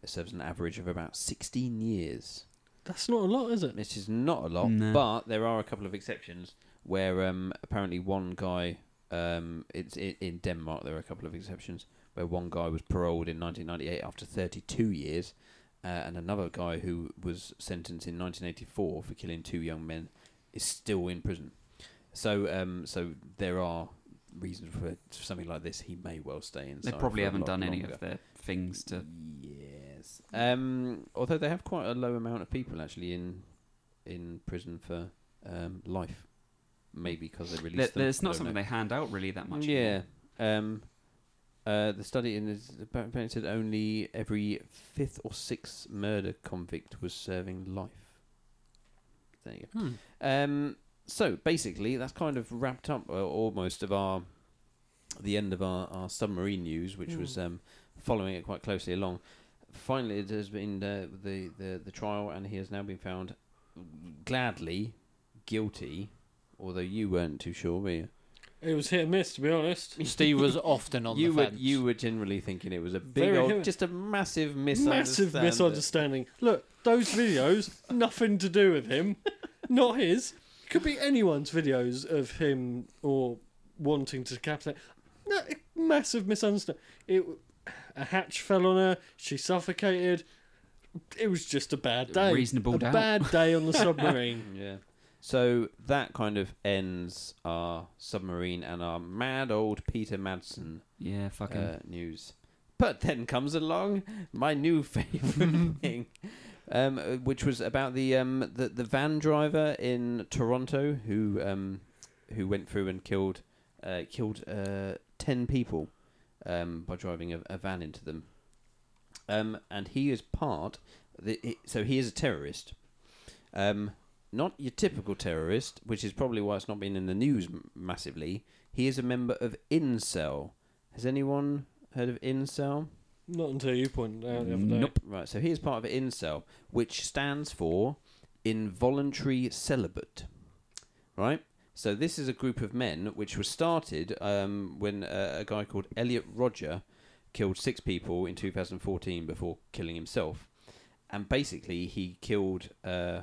Speaker 3: it serves an average of about 16 years.
Speaker 1: That's not a lot, is it?
Speaker 3: This is not a lot,
Speaker 4: No.
Speaker 3: but there are a couple of exceptions where um, apparently one guy, um, it's in, in Denmark, there are a couple of exceptions where one guy was paroled in 1998 after 32 years, uh, and another guy who was sentenced in 1984 for killing two young men is still in prison. So, um, so there are reasons for something like this. He may well stay
Speaker 4: They
Speaker 3: inside.
Speaker 4: probably
Speaker 3: for a
Speaker 4: haven't
Speaker 3: lot
Speaker 4: done any
Speaker 3: longer.
Speaker 4: of their things to.
Speaker 3: Yes. Um, although they have quite a low amount of people actually in in prison for um, life, maybe because they released them.
Speaker 4: It's
Speaker 3: I
Speaker 4: not
Speaker 3: don't
Speaker 4: something
Speaker 3: know.
Speaker 4: they hand out really that much.
Speaker 3: Yeah. Um, uh, the study in is apparently said only every fifth or sixth murder convict was serving life. There you go.
Speaker 2: Hmm.
Speaker 3: Um, so basically, that's kind of wrapped up uh, almost of our the end of our, our submarine news,
Speaker 1: Hmm.
Speaker 3: which was um, following it quite closely along. Finally, it has been uh, the, the the trial, and he has now been found gladly guilty. Although you weren't too sure, were you?
Speaker 1: It was hit and miss, to be honest.
Speaker 2: Steve was often on
Speaker 3: you
Speaker 2: the
Speaker 3: were
Speaker 2: fence.
Speaker 3: you were generally thinking it was a big
Speaker 1: Very
Speaker 3: old,
Speaker 1: him-
Speaker 3: just a massive misunderstanding.
Speaker 1: Massive misunderstanding. Look, those videos, nothing to do with him, not his. Could be anyone's videos of him or wanting to decapitate. No, it- massive misunderstanding. It, a hatch fell on her. She suffocated. It was just a bad day.
Speaker 4: Reasonable
Speaker 1: a
Speaker 4: doubt.
Speaker 1: bad day on the submarine.
Speaker 3: Yeah. So that kind of ends our submarine and our mad old Peter Madsen
Speaker 4: Yeah, fucking.
Speaker 3: uh, news. But then comes along my new favourite thing, um, uh, which was about the, um, the the van driver in Toronto who um, who went through and killed uh, killed uh, ten people um, by driving a, a van into them. Um, and he is part. The, he- so he is a terrorist. Um, not your typical terrorist, which is probably why it's not been in the news m- massively. He is a member of Incel. Has anyone heard of Incel?
Speaker 1: Not until you pointed out the other day.
Speaker 4: Nope.
Speaker 3: Right, so he is part of Incel, which stands for Involuntary Celibate. Right? So this is a group of men which was started um, when uh, a guy called Elliot Roger killed six people in 2014 before killing himself. And basically, he killed uh,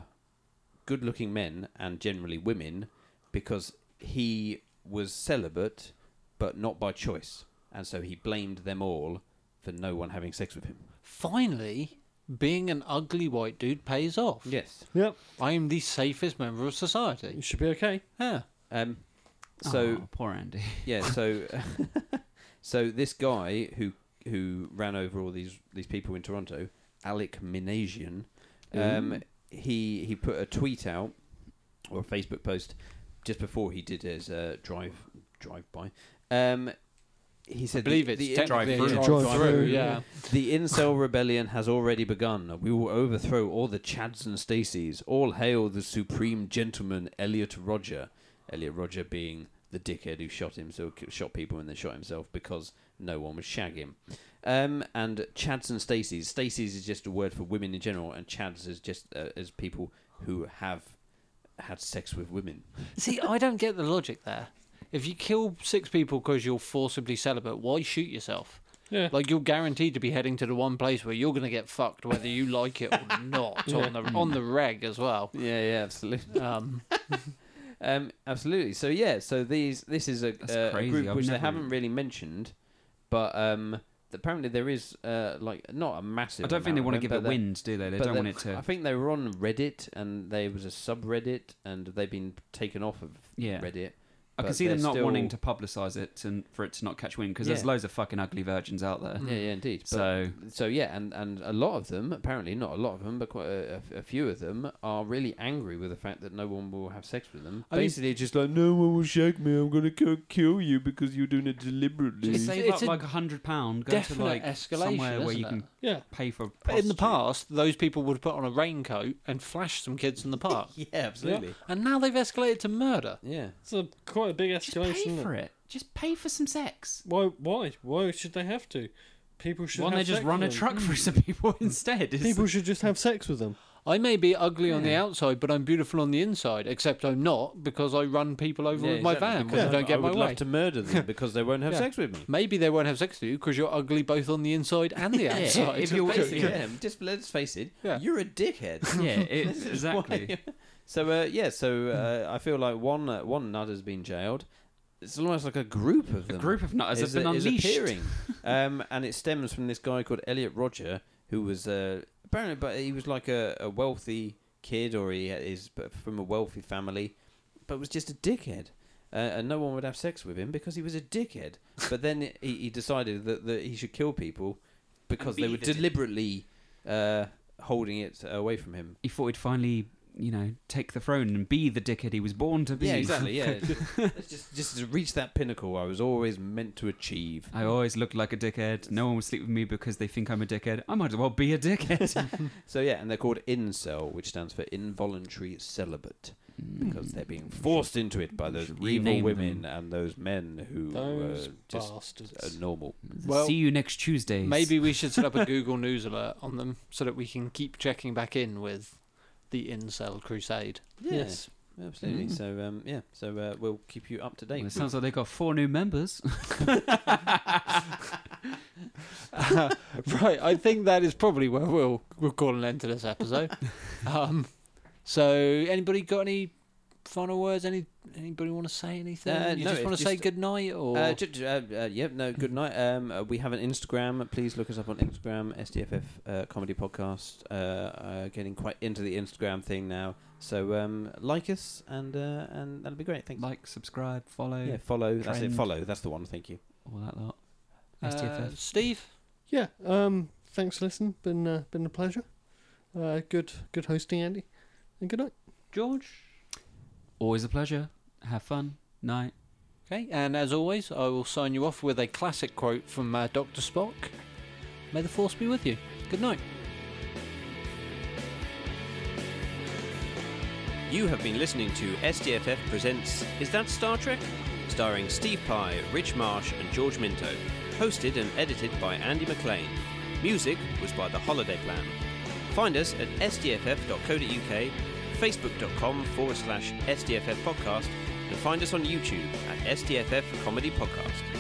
Speaker 3: good looking men and generally women because he was celibate but not by choice. And so he blamed them all for no one having sex with him.
Speaker 2: Finally, being an ugly white dude pays off.
Speaker 3: Yes.
Speaker 1: Yep.
Speaker 2: I am the safest member of society.
Speaker 1: It should be okay.
Speaker 2: Yeah.
Speaker 3: Um, so
Speaker 4: Oh, poor Andy.
Speaker 3: yeah, so so this guy who who ran over all these these people in Toronto, Alec Minasian, um, he he put a tweet out or a Facebook post just before he did his uh, drive drive by. Um, he said,
Speaker 2: I believe
Speaker 3: the,
Speaker 2: it's
Speaker 3: the-
Speaker 2: technically
Speaker 3: drive-thru.
Speaker 2: a
Speaker 1: Drive-thru,
Speaker 2: drive-thru, yeah.
Speaker 3: The incel rebellion has already begun. We will overthrow all the Chads and Stacys. All hail the supreme gentleman, Elliot Roger. Elliot Roger being the dickhead who shot himself, shot people and then shot himself because no one would shag him. Um, and Chads and Stacys. Stacys is just a word for women in general, and Chads is just uh, as people who have had sex with women.
Speaker 2: See, I don't get the logic there. If you kill six people because you're forcibly celibate, why shoot yourself?
Speaker 1: Yeah.
Speaker 2: Like you're guaranteed to be heading to the one place where you're going to get fucked, whether you like it or not, on the on the reg as well.
Speaker 3: Yeah, yeah, absolutely.
Speaker 2: Um,
Speaker 3: Um, absolutely. So yeah, so these this is a,
Speaker 4: That's
Speaker 3: uh, a
Speaker 4: crazy.
Speaker 3: group
Speaker 4: I've
Speaker 3: which they
Speaker 4: never-
Speaker 3: haven't really mentioned, but um, apparently there is uh, like not a massive.
Speaker 4: I don't think they
Speaker 3: amount
Speaker 4: want
Speaker 3: of
Speaker 4: to give
Speaker 3: them,
Speaker 4: it
Speaker 3: but they-
Speaker 4: wind, do they? They
Speaker 3: but
Speaker 4: don't
Speaker 3: they-
Speaker 4: want it
Speaker 3: I
Speaker 4: to.
Speaker 3: think they were on Reddit and there was a subreddit and they've been taken off of
Speaker 4: Yeah.
Speaker 3: Reddit.
Speaker 4: I can
Speaker 3: but
Speaker 4: see them
Speaker 3: they're
Speaker 4: not wanting to
Speaker 3: still-
Speaker 4: publicise it and for it to not catch wind because there's
Speaker 3: Yeah.
Speaker 4: loads of fucking ugly virgins out there.
Speaker 3: Yeah, yeah, indeed. But,
Speaker 4: So
Speaker 3: so yeah, and and a lot of them apparently not a lot of them, but quite a, a- a few of them are really angry with the fact that no one will have sex with them.
Speaker 2: I mean-
Speaker 3: Basically, just like no one will shag me. I'm gonna go kill you because you're doing it deliberately.
Speaker 4: just
Speaker 2: It's-
Speaker 4: save
Speaker 2: it's
Speaker 4: up
Speaker 2: a
Speaker 4: like a hundred pound, go to
Speaker 2: definite
Speaker 4: like
Speaker 2: escalation,
Speaker 4: somewhere where
Speaker 2: isn't
Speaker 4: you
Speaker 2: it?
Speaker 4: can
Speaker 1: Yeah.
Speaker 4: pay for.
Speaker 2: but in the
Speaker 4: prostitute.
Speaker 2: past, those people would put on a raincoat and flash some kids in the park,
Speaker 3: Yeah, absolutely.
Speaker 2: and now they've escalated to murder.
Speaker 3: Yeah.
Speaker 1: It's a quite a big
Speaker 4: just pay
Speaker 1: escalation.
Speaker 4: for it. Just pay for some sex.
Speaker 1: Why? Why? Why should they have to? People should.
Speaker 4: Why don't
Speaker 1: have
Speaker 4: they just
Speaker 1: sex
Speaker 4: run a
Speaker 1: with them.
Speaker 4: truck through some people instead? It's-
Speaker 1: People should just have sex with them.
Speaker 2: I may be ugly on the outside, but I'm beautiful on the inside. Except I'm not because I run people over
Speaker 3: Yeah,
Speaker 2: with my
Speaker 3: exactly,
Speaker 2: van
Speaker 3: because
Speaker 2: when I don't get
Speaker 3: I
Speaker 2: my
Speaker 3: would
Speaker 2: way.
Speaker 3: love to murder them because they won't have
Speaker 2: Yeah.
Speaker 3: sex with me.
Speaker 2: Maybe they won't have sex with you because you're ugly both on the inside and the outside.
Speaker 4: if you're-
Speaker 3: Basically,
Speaker 4: Yeah.
Speaker 3: yeah, just let's face it,
Speaker 2: Yeah.
Speaker 3: you're a dickhead.
Speaker 4: yeah, it,
Speaker 3: This is why-
Speaker 4: exactly.
Speaker 3: so uh, yeah, so uh, I feel like one uh, one nut has been jailed. It's almost like a group of
Speaker 4: A
Speaker 3: them.
Speaker 4: group of nutters have
Speaker 3: is,
Speaker 4: been
Speaker 3: is
Speaker 4: unleashed.
Speaker 3: appearing, um, and it stems from this guy called Elliot Roger, who was uh, apparently, but he was like a, a wealthy kid, or he is from a wealthy family, but was just a dickhead. Uh, and no one would have sex with him because he was a dickhead. But then he, he decided that, that he should kill people because
Speaker 4: be
Speaker 3: they were
Speaker 4: the dick.
Speaker 3: deliberately uh, holding it away from him.
Speaker 4: He thought he'd finally, you know, take the throne and be the dickhead he was born to be.
Speaker 3: Yeah, exactly. Yeah, It's just just to reach that pinnacle I was always meant to achieve.
Speaker 4: I always looked like a dickhead. No one would sleep with me because they think I'm a dickhead. I might as well be a dickhead.
Speaker 3: So yeah, and they're called incel, which stands for involuntary celibate, because they're being forced into it by those
Speaker 4: Hmm. Should
Speaker 3: evil
Speaker 4: rename
Speaker 3: women
Speaker 4: them.
Speaker 3: and those men who
Speaker 1: Those
Speaker 3: were just
Speaker 1: bastards.
Speaker 3: uh, normal.
Speaker 2: Well,
Speaker 4: See you next Tuesday.
Speaker 2: Maybe we should set up a Google News alert on them so that we can keep checking back in with the incel crusade.
Speaker 1: Yes.
Speaker 3: Yeah, absolutely.
Speaker 4: Mm.
Speaker 3: So um, yeah, so uh, we'll keep you up to date. Hmm.
Speaker 4: Well, it sounds like they got four new members.
Speaker 2: Uh, right, I think that is probably where we'll we'll call an end to this episode. um, so, anybody got any final words? Any anybody want to say anything?
Speaker 3: Uh,
Speaker 2: you
Speaker 3: no,
Speaker 2: just want
Speaker 3: it's
Speaker 2: to say
Speaker 3: just-
Speaker 2: good night or
Speaker 3: uh, ju- ju- uh, uh, yep, no, good night. Um, uh, we have an Instagram. Please look us up on Instagram, SDFF uh, Comedy Podcast. Uh, uh, getting quite into the Instagram thing now. So um, like us, and uh, and that'll be great. Thanks.
Speaker 4: like, subscribe, follow,
Speaker 3: yeah, follow. That's it.
Speaker 4: Trend.
Speaker 3: Follow. That's the one. Thank you.
Speaker 4: all that lot.
Speaker 2: Uh,
Speaker 4: STFF.
Speaker 2: Steve?
Speaker 1: Yeah. Um. Thanks for listening. Been uh, been a pleasure. Uh. Good. Good hosting, Andy. And good night.
Speaker 2: George?
Speaker 4: Always a pleasure. Have fun. Night.
Speaker 2: Okay, and as always, I will sign you off with a classic quote from uh, Dr. Spock. May the Force be with you. Good night.
Speaker 3: You have been listening to SDFF Presents Is That Star Trek? starring Steve Pye, Rich Marsh, and George Minto. Hosted and edited by Andy McLean. Music was by The Holiday Plan. Find us at sdff.co.uk, facebook.com forward slash SDFF podcast, and find us on YouTube at SDFF Comedy Podcast.